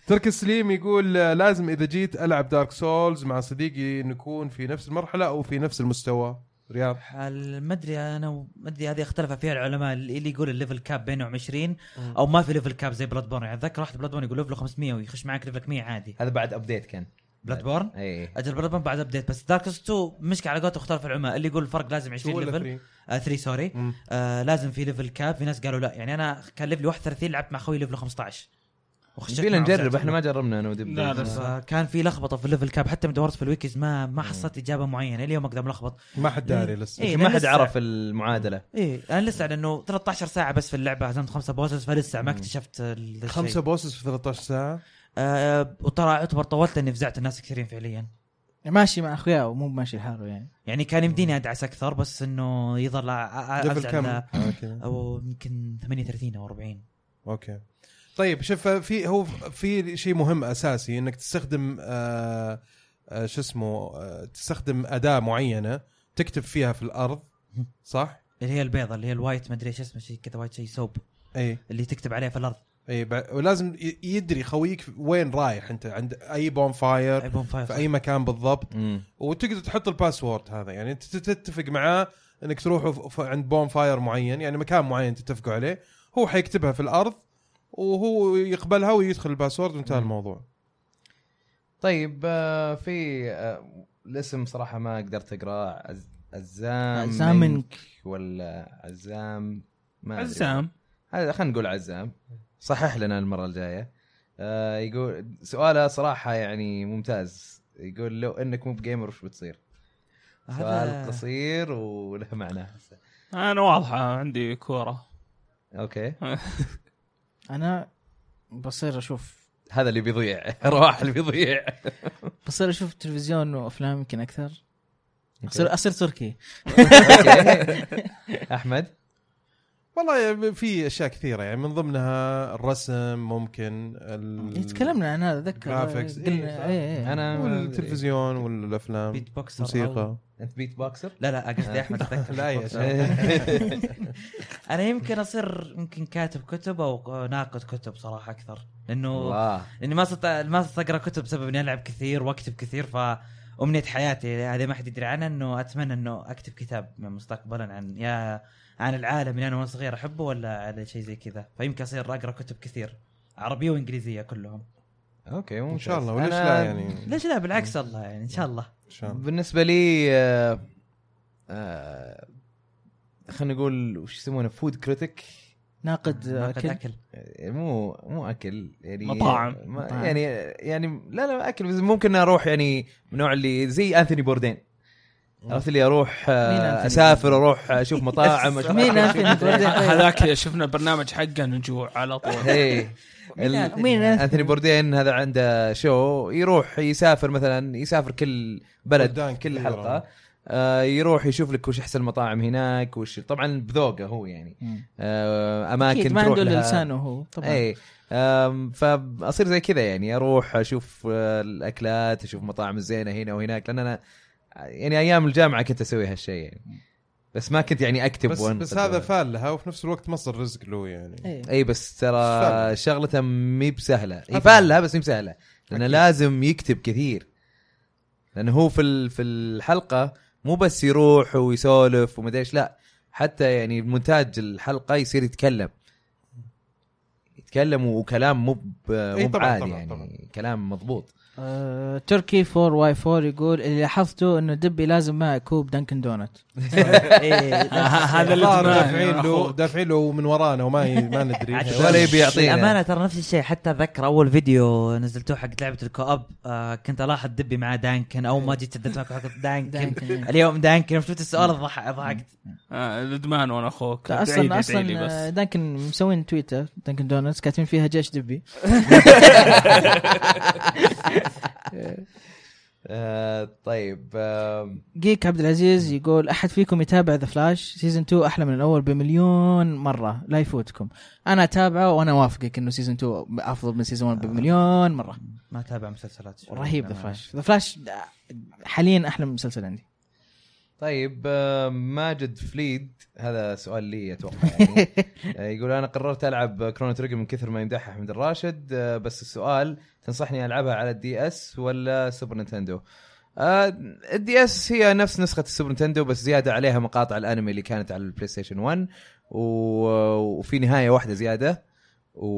ترك السليم يقول آه، لازم اذا جيت العب دارك سولز مع صديقي نكون في نفس المرحله او في نفس المستوى رياض ما ادري انا و- ما ادري هذه اختلف فيها العلماء اللي يقول الليفل كاب بينه 20 او ما في ليفل كاب زي بلاد بورن يعني اتذكر واحد بلاد بورن يقول ليفله 500 ويخش معك ليفلك 100 عادي هذا بعد ابديت كان بلاد بورن اي اجل بلاد بورن بعد ابديت بس دارك 2 مشكله على قولته اختلف العلماء اللي يقول الفرق لازم 20 ليفل 3 سوري مم. آه لازم في ليفل كاب في ناس قالوا لا يعني انا كان ليفلي 31 لعبت مع خوي ليفل 15 وخشيت فينا معه نجرب وزعت احنا ما جربنا انا ودب لا، لا. فكان في لخبطه في الليفل كاب حتى مدورت في الويكيز ما ما حصلت اجابه معينه اليوم اقدر ملخبط ما حد داري لسه إيه، ما لأن حد لسه- عرف المعادله ايه انا لسه لانه 13 ساعه بس في اللعبه هزمت خمسه بوسز فلسه ما اكتشفت ال- خمسه الشيء. بوسس في 13 ساعه آه وترى يعتبر طولت لاني فزعت الناس كثيرين فعليا ماشي مع اخوياه ومو ماشي لحاله يعني يعني كان يمديني ادعس اكثر بس انه يظل أ- أ- ليفل أفزع كم ل- آه، أوكي. او يمكن 38 او 40 اوكي طيب شوف في هو في شيء مهم اساسي انك تستخدم آه آه شو اسمه آه تستخدم اداه معينه تكتب فيها في الارض صح؟ اللي هي البيضه اللي هي الوايت ما ادري ايش اسمه شيء كذا وايت شيء سوب اي اللي تكتب عليه في الارض اي بع- ولازم ي- يدري خويك وين رايح انت عند اي بون فاير ايبون 5 في اي مكان بالضبط وتقدر تحط الباسورد هذا يعني انت تت- تتفق معاه انك تروحوا ف- ف- عند بون فاير معين يعني مكان معين تتفقوا عليه هو حيكتبها في الارض وهو يقبلها ويدخل الباسورد وانتهى مم. الموضوع طيب آه، في آه، الاسم صراحه ما قدرت اقراه عز- عزام زامن ولا عزام ما أدري. عزام هذا خلينا نقول عزام صحح لنا المره الجايه آه يقول سؤاله صراحه يعني ممتاز يقول لو انك مو بجيمر وش بتصير؟ سؤال هذا قصير وله معنى هسه. انا واضحه عندي كوره اوكي انا بصير اشوف هذا اللي بيضيع رواح اللي بيضيع بصير اشوف تلفزيون وافلام يمكن اكثر اصير اصير تركي أوكي. احمد والله يعني في اشياء كثيره يعني من ضمنها الرسم ممكن ال- إيه، تكلمنا عن هذا اتذكر جرافيكس. قلنا إيه، إيه، إيه. انا والتلفزيون والافلام بيت بوكسر أو- موسيقى انت بيت بوكسر؟ لا لا قصدي احمد أتذكر لا يا بوكسر. شيخ. انا يمكن اصير يمكن كاتب كتب او ناقد كتب صراحه اكثر لانه الله لاني ما صرت ما صرت اقرا كتب بسبب اني العب كثير واكتب كثير فامنيه حياتي هذه ما حد يدري عنها انه اتمنى انه اكتب كتاب من مستقبلا عن يا عن العالم اللي انا وانا صغير احبه ولا على شيء زي كذا فيمكن اصير اقرا كتب كثير عربيه وانجليزيه كلهم اوكي ممتاز. ان شاء الله وليش أنا لا يعني نعم. ليش لا بالعكس الله يعني ان شاء الله ان شاء الله بالنسبه لي آه، آه، خلينا نقول وش يسمونه فود كريتيك ناقد ناقد اكل اكل مو مو اكل يعني مطاعم. ما مطاعم. يعني يعني لا لا اكل بس ممكن اروح يعني من نوع اللي زي انثوني بوردين عرفت اللي اروح آه، مين أنثوني اسافر اروح اشوف مطاعم أشوف مين إيه، أكل. أنثوني بوردين؟ هذاك شفنا برنامج حقه نجوع على طول إيه. مين ال- أنثوني؟ مين أنثوني؟ انثوني بوردين هذا عنده شو يروح يسافر مثلا يسافر كل بلد بلدان كل كثيرة. حلقه آه، يروح يشوف لك وش احسن المطاعم هناك وش طبعا بذوقه هو يعني مم. آه، اماكن اكيد ما تروح عنده الا لها. إيه. لسانه هو طبعا اي أم، فاصير زي كذا يعني اروح اشوف آه، الاكلات اشوف مطاعم الزينه هنا وهناك لان انا يعني ايام الجامعه كنت اسوي هالشيء يعني بس ما كنت يعني اكتب بس وأنقد بس هذا ولا- فال لها وفي نفس الوقت مصدر رزق له يعني إيه. اي بس ترى فعلا. شغلته مي بسهله أبداً. هي فعلها بس مي بسهله لانه أكيد. لازم يكتب كثير لانه هو في ال- في الحلقه مو بس يروح ويسولف ومدري ايش لا حتى يعني مونتاج الحلقه يصير يتكلم يتكلم وكلام مو ب- إي مو إيه، طبعاً، بعادي طبعاً، يعني طبعاً. كلام مضبوط آه، تركي 4 واي 4 يقول اللي لاحظته انه دبي لازم معه كوب دانكن دونت إيه، آه، هذا اللي الظاهر يعني تبناه دافعين يا له أخوك. دافعين له من ورانا وما ي- ما ندري ولا يبي يعطينا. الأمانة ترى نفس الشيء حتى أتذكر أول فيديو نزلتوه حق لعبة الكوب آه كنت ألاحظ دبي مع دانكن أو ما جيت شدت معك حق دانكن دانكن. اليوم دانكن يوم شفت السؤال ضح- ضحكت آه، الادمان وانا اخوك لا، ادعي لي، اصلا ادعي لي اصلا آه، بس دانكن مسوين تويتر دانكن دونتس كاتبين فيها جيش دبي آه طيب آه جيك عبد نعم. العزيز يقول احد فيكم يتابع ذا فلاش سيزون 2 احلى من الاول بمليون مره لا يفوتكم انا اتابعه وانا وافقك انه سيزون 2 افضل من آه. سيزون 1 بمليون مره ما اتابع مسلسلات شوي. رهيب ذا أنا- فلاش ذا فلاش حاليا احلى من مسلسل عندي طيب آه ماجد فليد هذا سؤال لي اتوقع يعني آه، يقول انا قررت العب كرونو تريجر من كثر ما يمدحها حمد الراشد آه، بس السؤال تنصحني العبها على الدي اس ولا سوبر نينتندو؟ آه، الدي اس هي نفس نسخه السوبر نينتندو بس زياده عليها مقاطع الانمي اللي كانت على البلاي ستيشن 1 و... وفي نهايه واحده زياده و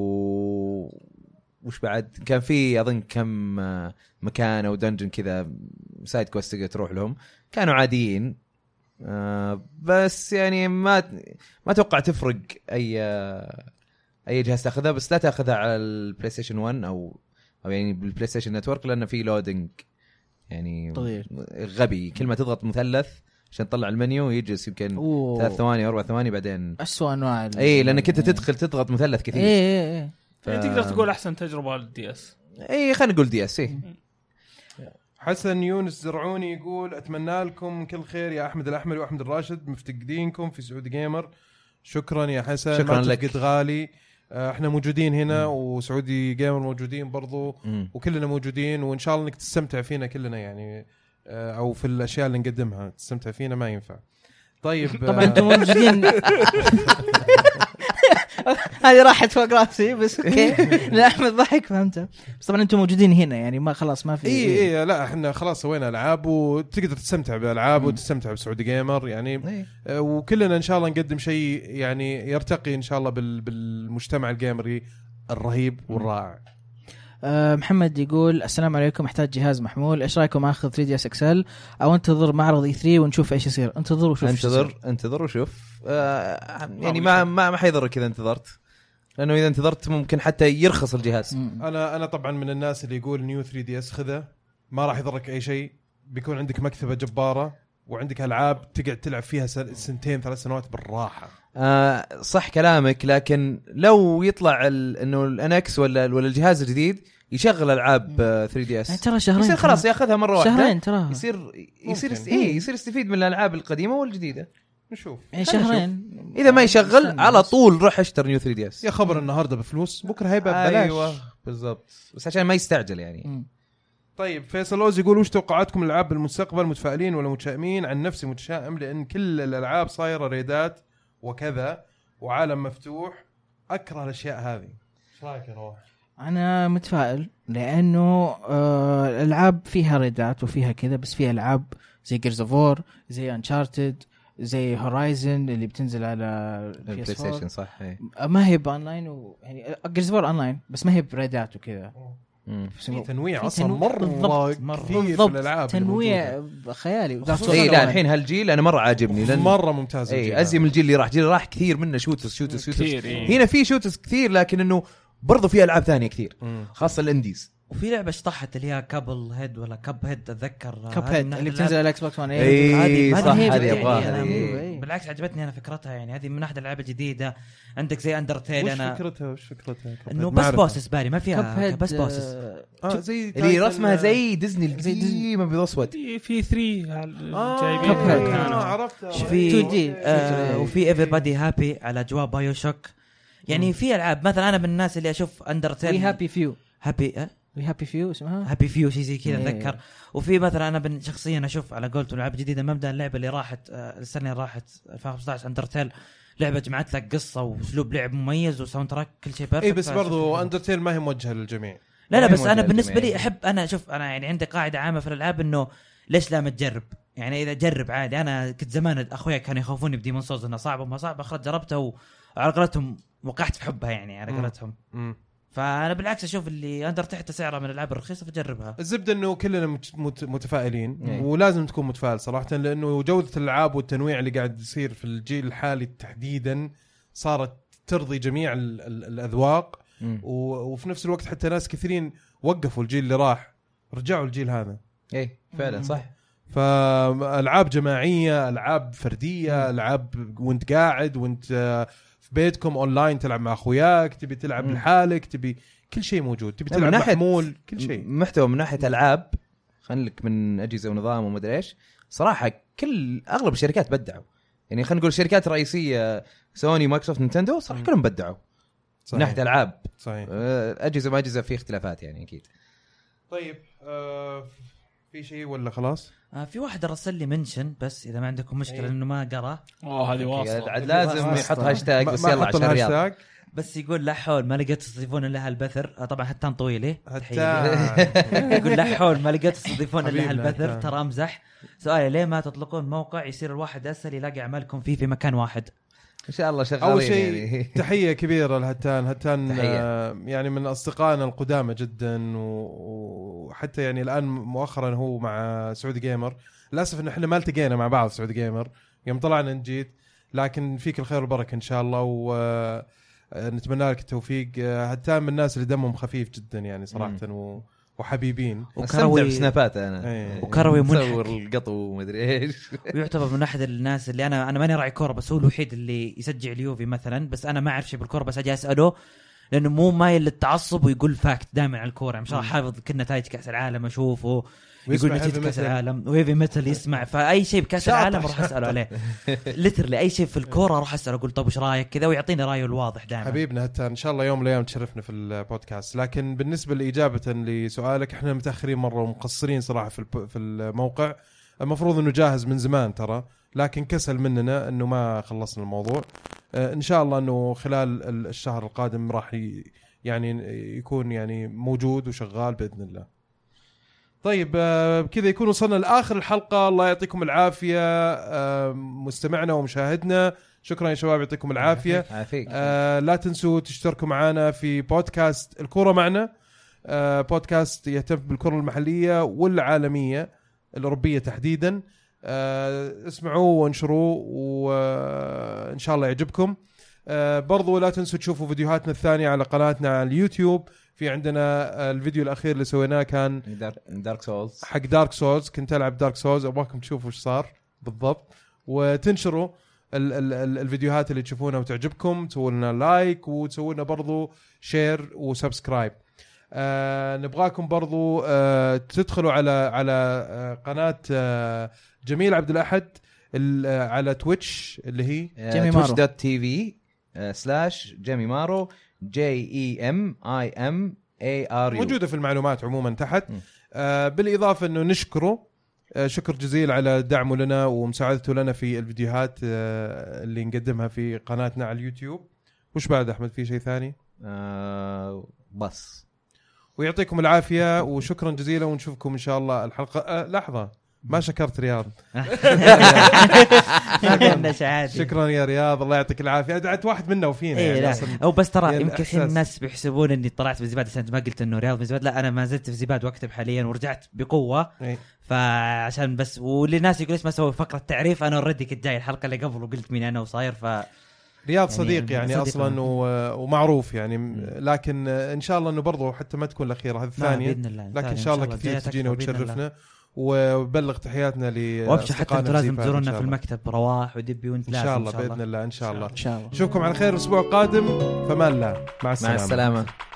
وش بعد؟ كان في اظن كم آه، مكان او دنجن كذا سايد كويست تقدر تروح لهم كانوا عاديين آه، بس يعني ما ما اتوقع تفرق اي اي جهاز تاخذها بس لا تاخذها على البلاي ستيشن 1 او او يعني بالبلاي ستيشن نتورك لانه في لودنج يعني طويل. غبي كل ما تضغط مثلث عشان تطلع المنيو يجلس يمكن ثلاث اوه ثواني اربع ثواني بعدين اسوء انواع ال- اي إيه. لانك انت إيه، تدخل تضغط مثلث اي كثير اي اي ف- يعني تقدر تقول احسن تجربه للدي اس اي إيه، خلينا نقول دي اس اي إيه. حسن يونس زرعوني يقول اتمنى لكم كل خير يا احمد الاحمر واحمد الراشد مفتقدينكم في سعود جيمر شكرا يا حسن ما شكراً لك. تفقد غالي آه، احنا موجودين هنا وسعودي جيمر موجودين برضو مم. وكلنا موجودين وان شاء الله انك تستمتع فينا كلنا يعني آه، او في الاشياء اللي نقدمها تستمتع فينا ما ينفع طيب طبعا آه، انتم موجودين هذه راحت فوق راسي بس اوكي لا احمد ضحك فهمته بس طبعا انتم موجودين هنا يعني ما خلاص ما في إيه، إيه. اي اي إيه، لا احنا خلاص سوينا العاب وتقدر تستمتع بالالعاب وتستمتع بسعودي جيمر يعني إيه. آه، وكلنا ان شاء الله نقدم شيء يعني يرتقي ان شاء الله بال- بالمجتمع الجيمري الرهيب والرائع آه، محمد يقول السلام عليكم احتاج جهاز محمول ايش رايكم اخذ 3 دي اس اكسل او انتظر معرض اي 3 ونشوف ايش يصير انتظر وشوف إيش يصير. انتظر انتظر وشوف آه يعني ما ما ما حيضرك اذا انتظرت لانه اذا انتظرت ممكن حتى يرخص الجهاز مم. انا انا طبعا من الناس اللي يقول نيو 3 دي اس خذه ما راح يضرك اي شيء بيكون عندك مكتبه جباره وعندك العاب تقعد تلعب فيها سن- سنتين ثلاث سنوات بالراحه آه صح كلامك لكن لو يطلع ال- انه الانكس ولا ولا الجهاز الجديد يشغل العاب آه 3 دي يعني اس ترى شهرين يصير ترى- خلاص ياخذها مره واحده شهرين إيه. ترى يصير يصير ممكن. اي يصير يستفيد من الالعاب القديمه والجديده نشوف يعني خلنا شهرين اذا ما يشغل استنى على بس. طول روح اشتر نيو 3 دي اس يا خبر النهارده بفلوس بكره هيبقى ببلاش ايوه بالضبط بس عشان ما يستعجل يعني مم. طيب فيصل اوز يقول وش توقعاتكم الالعاب بالمستقبل متفائلين ولا متشائمين عن نفسي متشائم لان كل الالعاب صايره ريدات وكذا وعالم مفتوح اكره الاشياء هذه ايش رايك يا نواف؟ انا متفائل لانه آه، الالعاب فيها ريدات وفيها كذا بس فيها العاب زي جيرز اوف وور زي انشارتد زي هورايزن اللي بتنزل على البلاي PS4. ستيشن صح إيه. ما هي باونلاين و... يعني جيرز اوف وور اونلاين بس ما هي بريدات وكذا مم. في تنويع في اصلا تنويع- مره بالضبط، مره كثير في بالضبط الالعاب تنويع خيالي خصوصاً إيه، اي إيه، لا والله. الحين هالجيل انا مره يعني عاجبني الموجودة. لان مره ممتازه إيه، اي الجيل ازي من الجيل اللي راح جيل اللي راح كثير منه شوتس شوتس شوتس كثير إيه. هنا في شوتس كثير لكن انه برضو في العاب ثانيه كثير هذا. مم. خاصه الانديز وفي لعبه شطحت اللي هي كابل هيد ولا كاب هيد اتذكر كب هيد اللي بتنزل على الاكس بوكس 1 إيه. هذه يعني. صح، هي هذه بتعني أبغاها، أنا. هذه. إيه. بالعكس عجبتني انا فكرتها يعني هذه من احد الالعاب الجديده عندك زي اندرتيل وش انا فكرتها وش فكرتها انه ما بس أعرفها. بوسس باري ما فيها هيد بس بوسس آه زي اللي تايتل- رسمها زي ديزني زي ديزني. القديمه بيض اسود في- في 3 آه، جايبين Cuphead. آه، مكانه عرفتها شو في 2D. آه وفي ايفري بادي هابي على اجواء بايو شوك يعني في العاب مثلا انا من الناس اللي اشوف وي اندرتيل هابي فيو هابي آه؟ وي هابي فيو اسمها هابي فيو شيء زي كذا إيه. اتذكر وفي مثلا انا بن- شخصيا اشوف على قولته العاب جديده مبدا اللعبه اللي راحت آه، السنه اللي راحت 2015 اندرتيل لعبه جمعت لك قصه واسلوب لعب مميز وساوند تراك كل شيء بيرفكت اي إيه، بس برضو اندرتيل ما هي موجهه للجميع لا ما لا هي بس انا موجهة بالنسبه للجميع. لي احب انا شوف انا يعني عندي قاعده عامه في الالعاب انه ليش لا ما تجرب؟ يعني اذا جرب عادي انا كنت زمان اخويا كانوا يخوفوني بديمون سولز انها صعبه وما صعبه خلاص جربتها وعلى قولتهم وقعت في حبها يعني على مم. قولتهم مم. فانا بالعكس اشوف اللي اندر تحت سعرها من الالعاب الرخيصه فجربها الزبده انه كلنا مت- مت- متفائلين إيه. ولازم تكون متفائل صراحه لانه جوده الالعاب والتنويع اللي قاعد يصير في الجيل الحالي تحديدا صارت ترضي جميع ال- ال- الاذواق و- وفي نفس الوقت حتى ناس كثيرين وقفوا الجيل اللي راح رجعوا الجيل هذا إيه، اي فعلا صح فالعاب جماعيه العاب فرديه العاب وانت قاعد وانت آه، في بيتكم اونلاين تلعب مع اخوياك تبي تلعب مم. لحالك تبي كل شيء موجود تبي لا، من تلعب ناحية- نعم، محمول كل شيء محتوى من ناحيه العاب خلينا لك من اجهزه ونظام ومدري ايش صراحه كل اغلب الشركات بدعوا يعني خلينا نقول الشركات الرئيسيه سوني مايكروسوفت نينتندو صراحه مم. كلهم بدعوا من ناحيه العاب صحيح آه، اجهزه ما اجهزه في اختلافات يعني اكيد طيب آه في شيء ولا خلاص؟ آه في واحد رسل لي منشن بس اذا ما عندكم مشكله أيوة. انه ما قراه اوه هذه واصله يعني عاد لازم واسطة. يحط هاشتاج ما- بس ما يلا حط عشان رياض الهاشتاج بس يقول لا حول ما لقيت يستضيفون الا هالبثر آه طبعا هتان طويله تحية لي. حتى يقول لا حول ما لقيت تستضيفون الا حبيبنا هالبثر هتان. ترى امزح سؤالي ليه ما تطلقون موقع يصير الواحد اسهل يلاقي اعمالكم فيه في مكان واحد ان شاء الله شغالين اول شيء يعني. تحيه كبيره لهتان هتان تحية. آه، يعني من اصدقائنا القدامى جدا و- وحتى يعني الان مؤخرا هو مع سعود جيمر للاسف ان احنا ما التقينا مع بعض سعود جيمر يوم طلعنا نجيت لكن فيك الخير والبركه ان شاء الله ونتمنى لك التوفيق آه، هتان من الناس اللي دمهم خفيف جدا يعني صراحه و... وحبيبين استمتع بسنابات انا إيه. وكروي منحك. صور القطو ومدري ايش ويعتبر من احد الناس اللي انا انا ماني راعي كوره بس هو الوحيد اللي يشجع اليوفي مثلا بس انا ما اعرف شيء بالكوره بس اجي اساله لانه مو مايل للتعصب ويقول فاكت دائما على الكوره يعني شاء حافظ كل نتائج كاس العالم اشوفه يقول ويسمع نتيجه heavy كاس metal. العالم وهيفي متل يسمع فاي شيء بكاس شاطر، العالم راح اساله عليه لترلي اي شيء في الكوره راح اساله اقول طب وش رايك طيب كذا ويعطيني رايه الواضح دائما حبيبنا هتان ان شاء الله يوم من الايام تشرفنا في البودكاست لكن بالنسبه لاجابه لسؤالك احنا متاخرين مره ومقصرين صراحه في الب- في الموقع المفروض انه جاهز من زمان ترى لكن كسل مننا انه ما خلصنا الموضوع آه، ان شاء الله انه خلال ال- الشهر القادم راح ي- يعني يكون يعني موجود وشغال باذن الله طيب آه، بكذا يكون وصلنا لاخر الحلقه الله يعطيكم العافيه آه، مستمعنا ومشاهدنا شكرا يا شباب يعطيكم العافيه عافيك آه لا تنسوا تشتركوا معنا في بودكاست الكوره معنا آه بودكاست يهتم بالكره المحليه والعالميه الاوروبيه تحديدا آه اسمعوه وانشروه وان شاء الله يعجبكم آه برضو لا تنسوا تشوفوا فيديوهاتنا الثانيه على قناتنا على اليوتيوب في عندنا آه، الفيديو الاخير اللي سويناه كان دارك سولز حق دارك سولز كنت العب دارك سولز ابغاكم تشوفوا ايش صار بالضبط وتنشروا ال- ال- ال- الفيديوهات اللي تشوفونها وتعجبكم تسووا لنا لايك وتسووا لنا برضو شير وسبسكرايب آه نبغاكم برضو آه تدخلوا على على آه قناه آه جميل عبد الاحد ال- آه، على تويتش اللي هي آه، جيمي مارو. دوت تي في سلاش آه، جيمي مارو E جي اي ام اي ام اي ار يو موجوده في المعلومات عموما تحت م. آه بالاضافه انه نشكره آه شكر جزيل على دعمه لنا ومساعدته لنا في الفيديوهات آه اللي نقدمها في قناتنا على اليوتيوب وش بعد احمد في شيء ثاني آه، بس ويعطيكم العافيه وشكرا جزيلا ونشوفكم ان شاء الله الحلقه آه لحظه ما شكرت رياض لأنه عادي. شكرا يا رياض الله يعطيك العافيه ادعت واحد منا وفينا اي يعني إيه، لا أصلاً. او بس ترى يعني يمكن الحين إحساس. الناس بيحسبون اني طلعت من زباد عشان أنت ما قلت انه رياض من زباد لا انا ما زلت في زباد واكتب حاليا ورجعت بقوه إي. فعشان بس وللناس يقول ليش ما سوي فقره تعريف انا اوريدي كنت جاي الحلقه اللي قبل وقلت مين انا وصاير ف رياض يعني صديق يعني صديق اصلا لنا. و- ومعروف يعني لكن آه، ان شاء الله انه برضه حتى ما تكون الاخيره هذه الثانيه باذن الله لكن ان شاء الله كثير جاية تجينا أكثر بإذن الله. وتشرفنا وبلغ تحياتنا ل وابشر حتى انتم لازم إن تزورونا شاء في الله. المكتب رواح ودبي وانت ان لازم شاء الله باذن الله ان شاء الله ان شاء الله نشوفكم على خير الاسبوع القادم فمان الله مع مع السلامه السلامه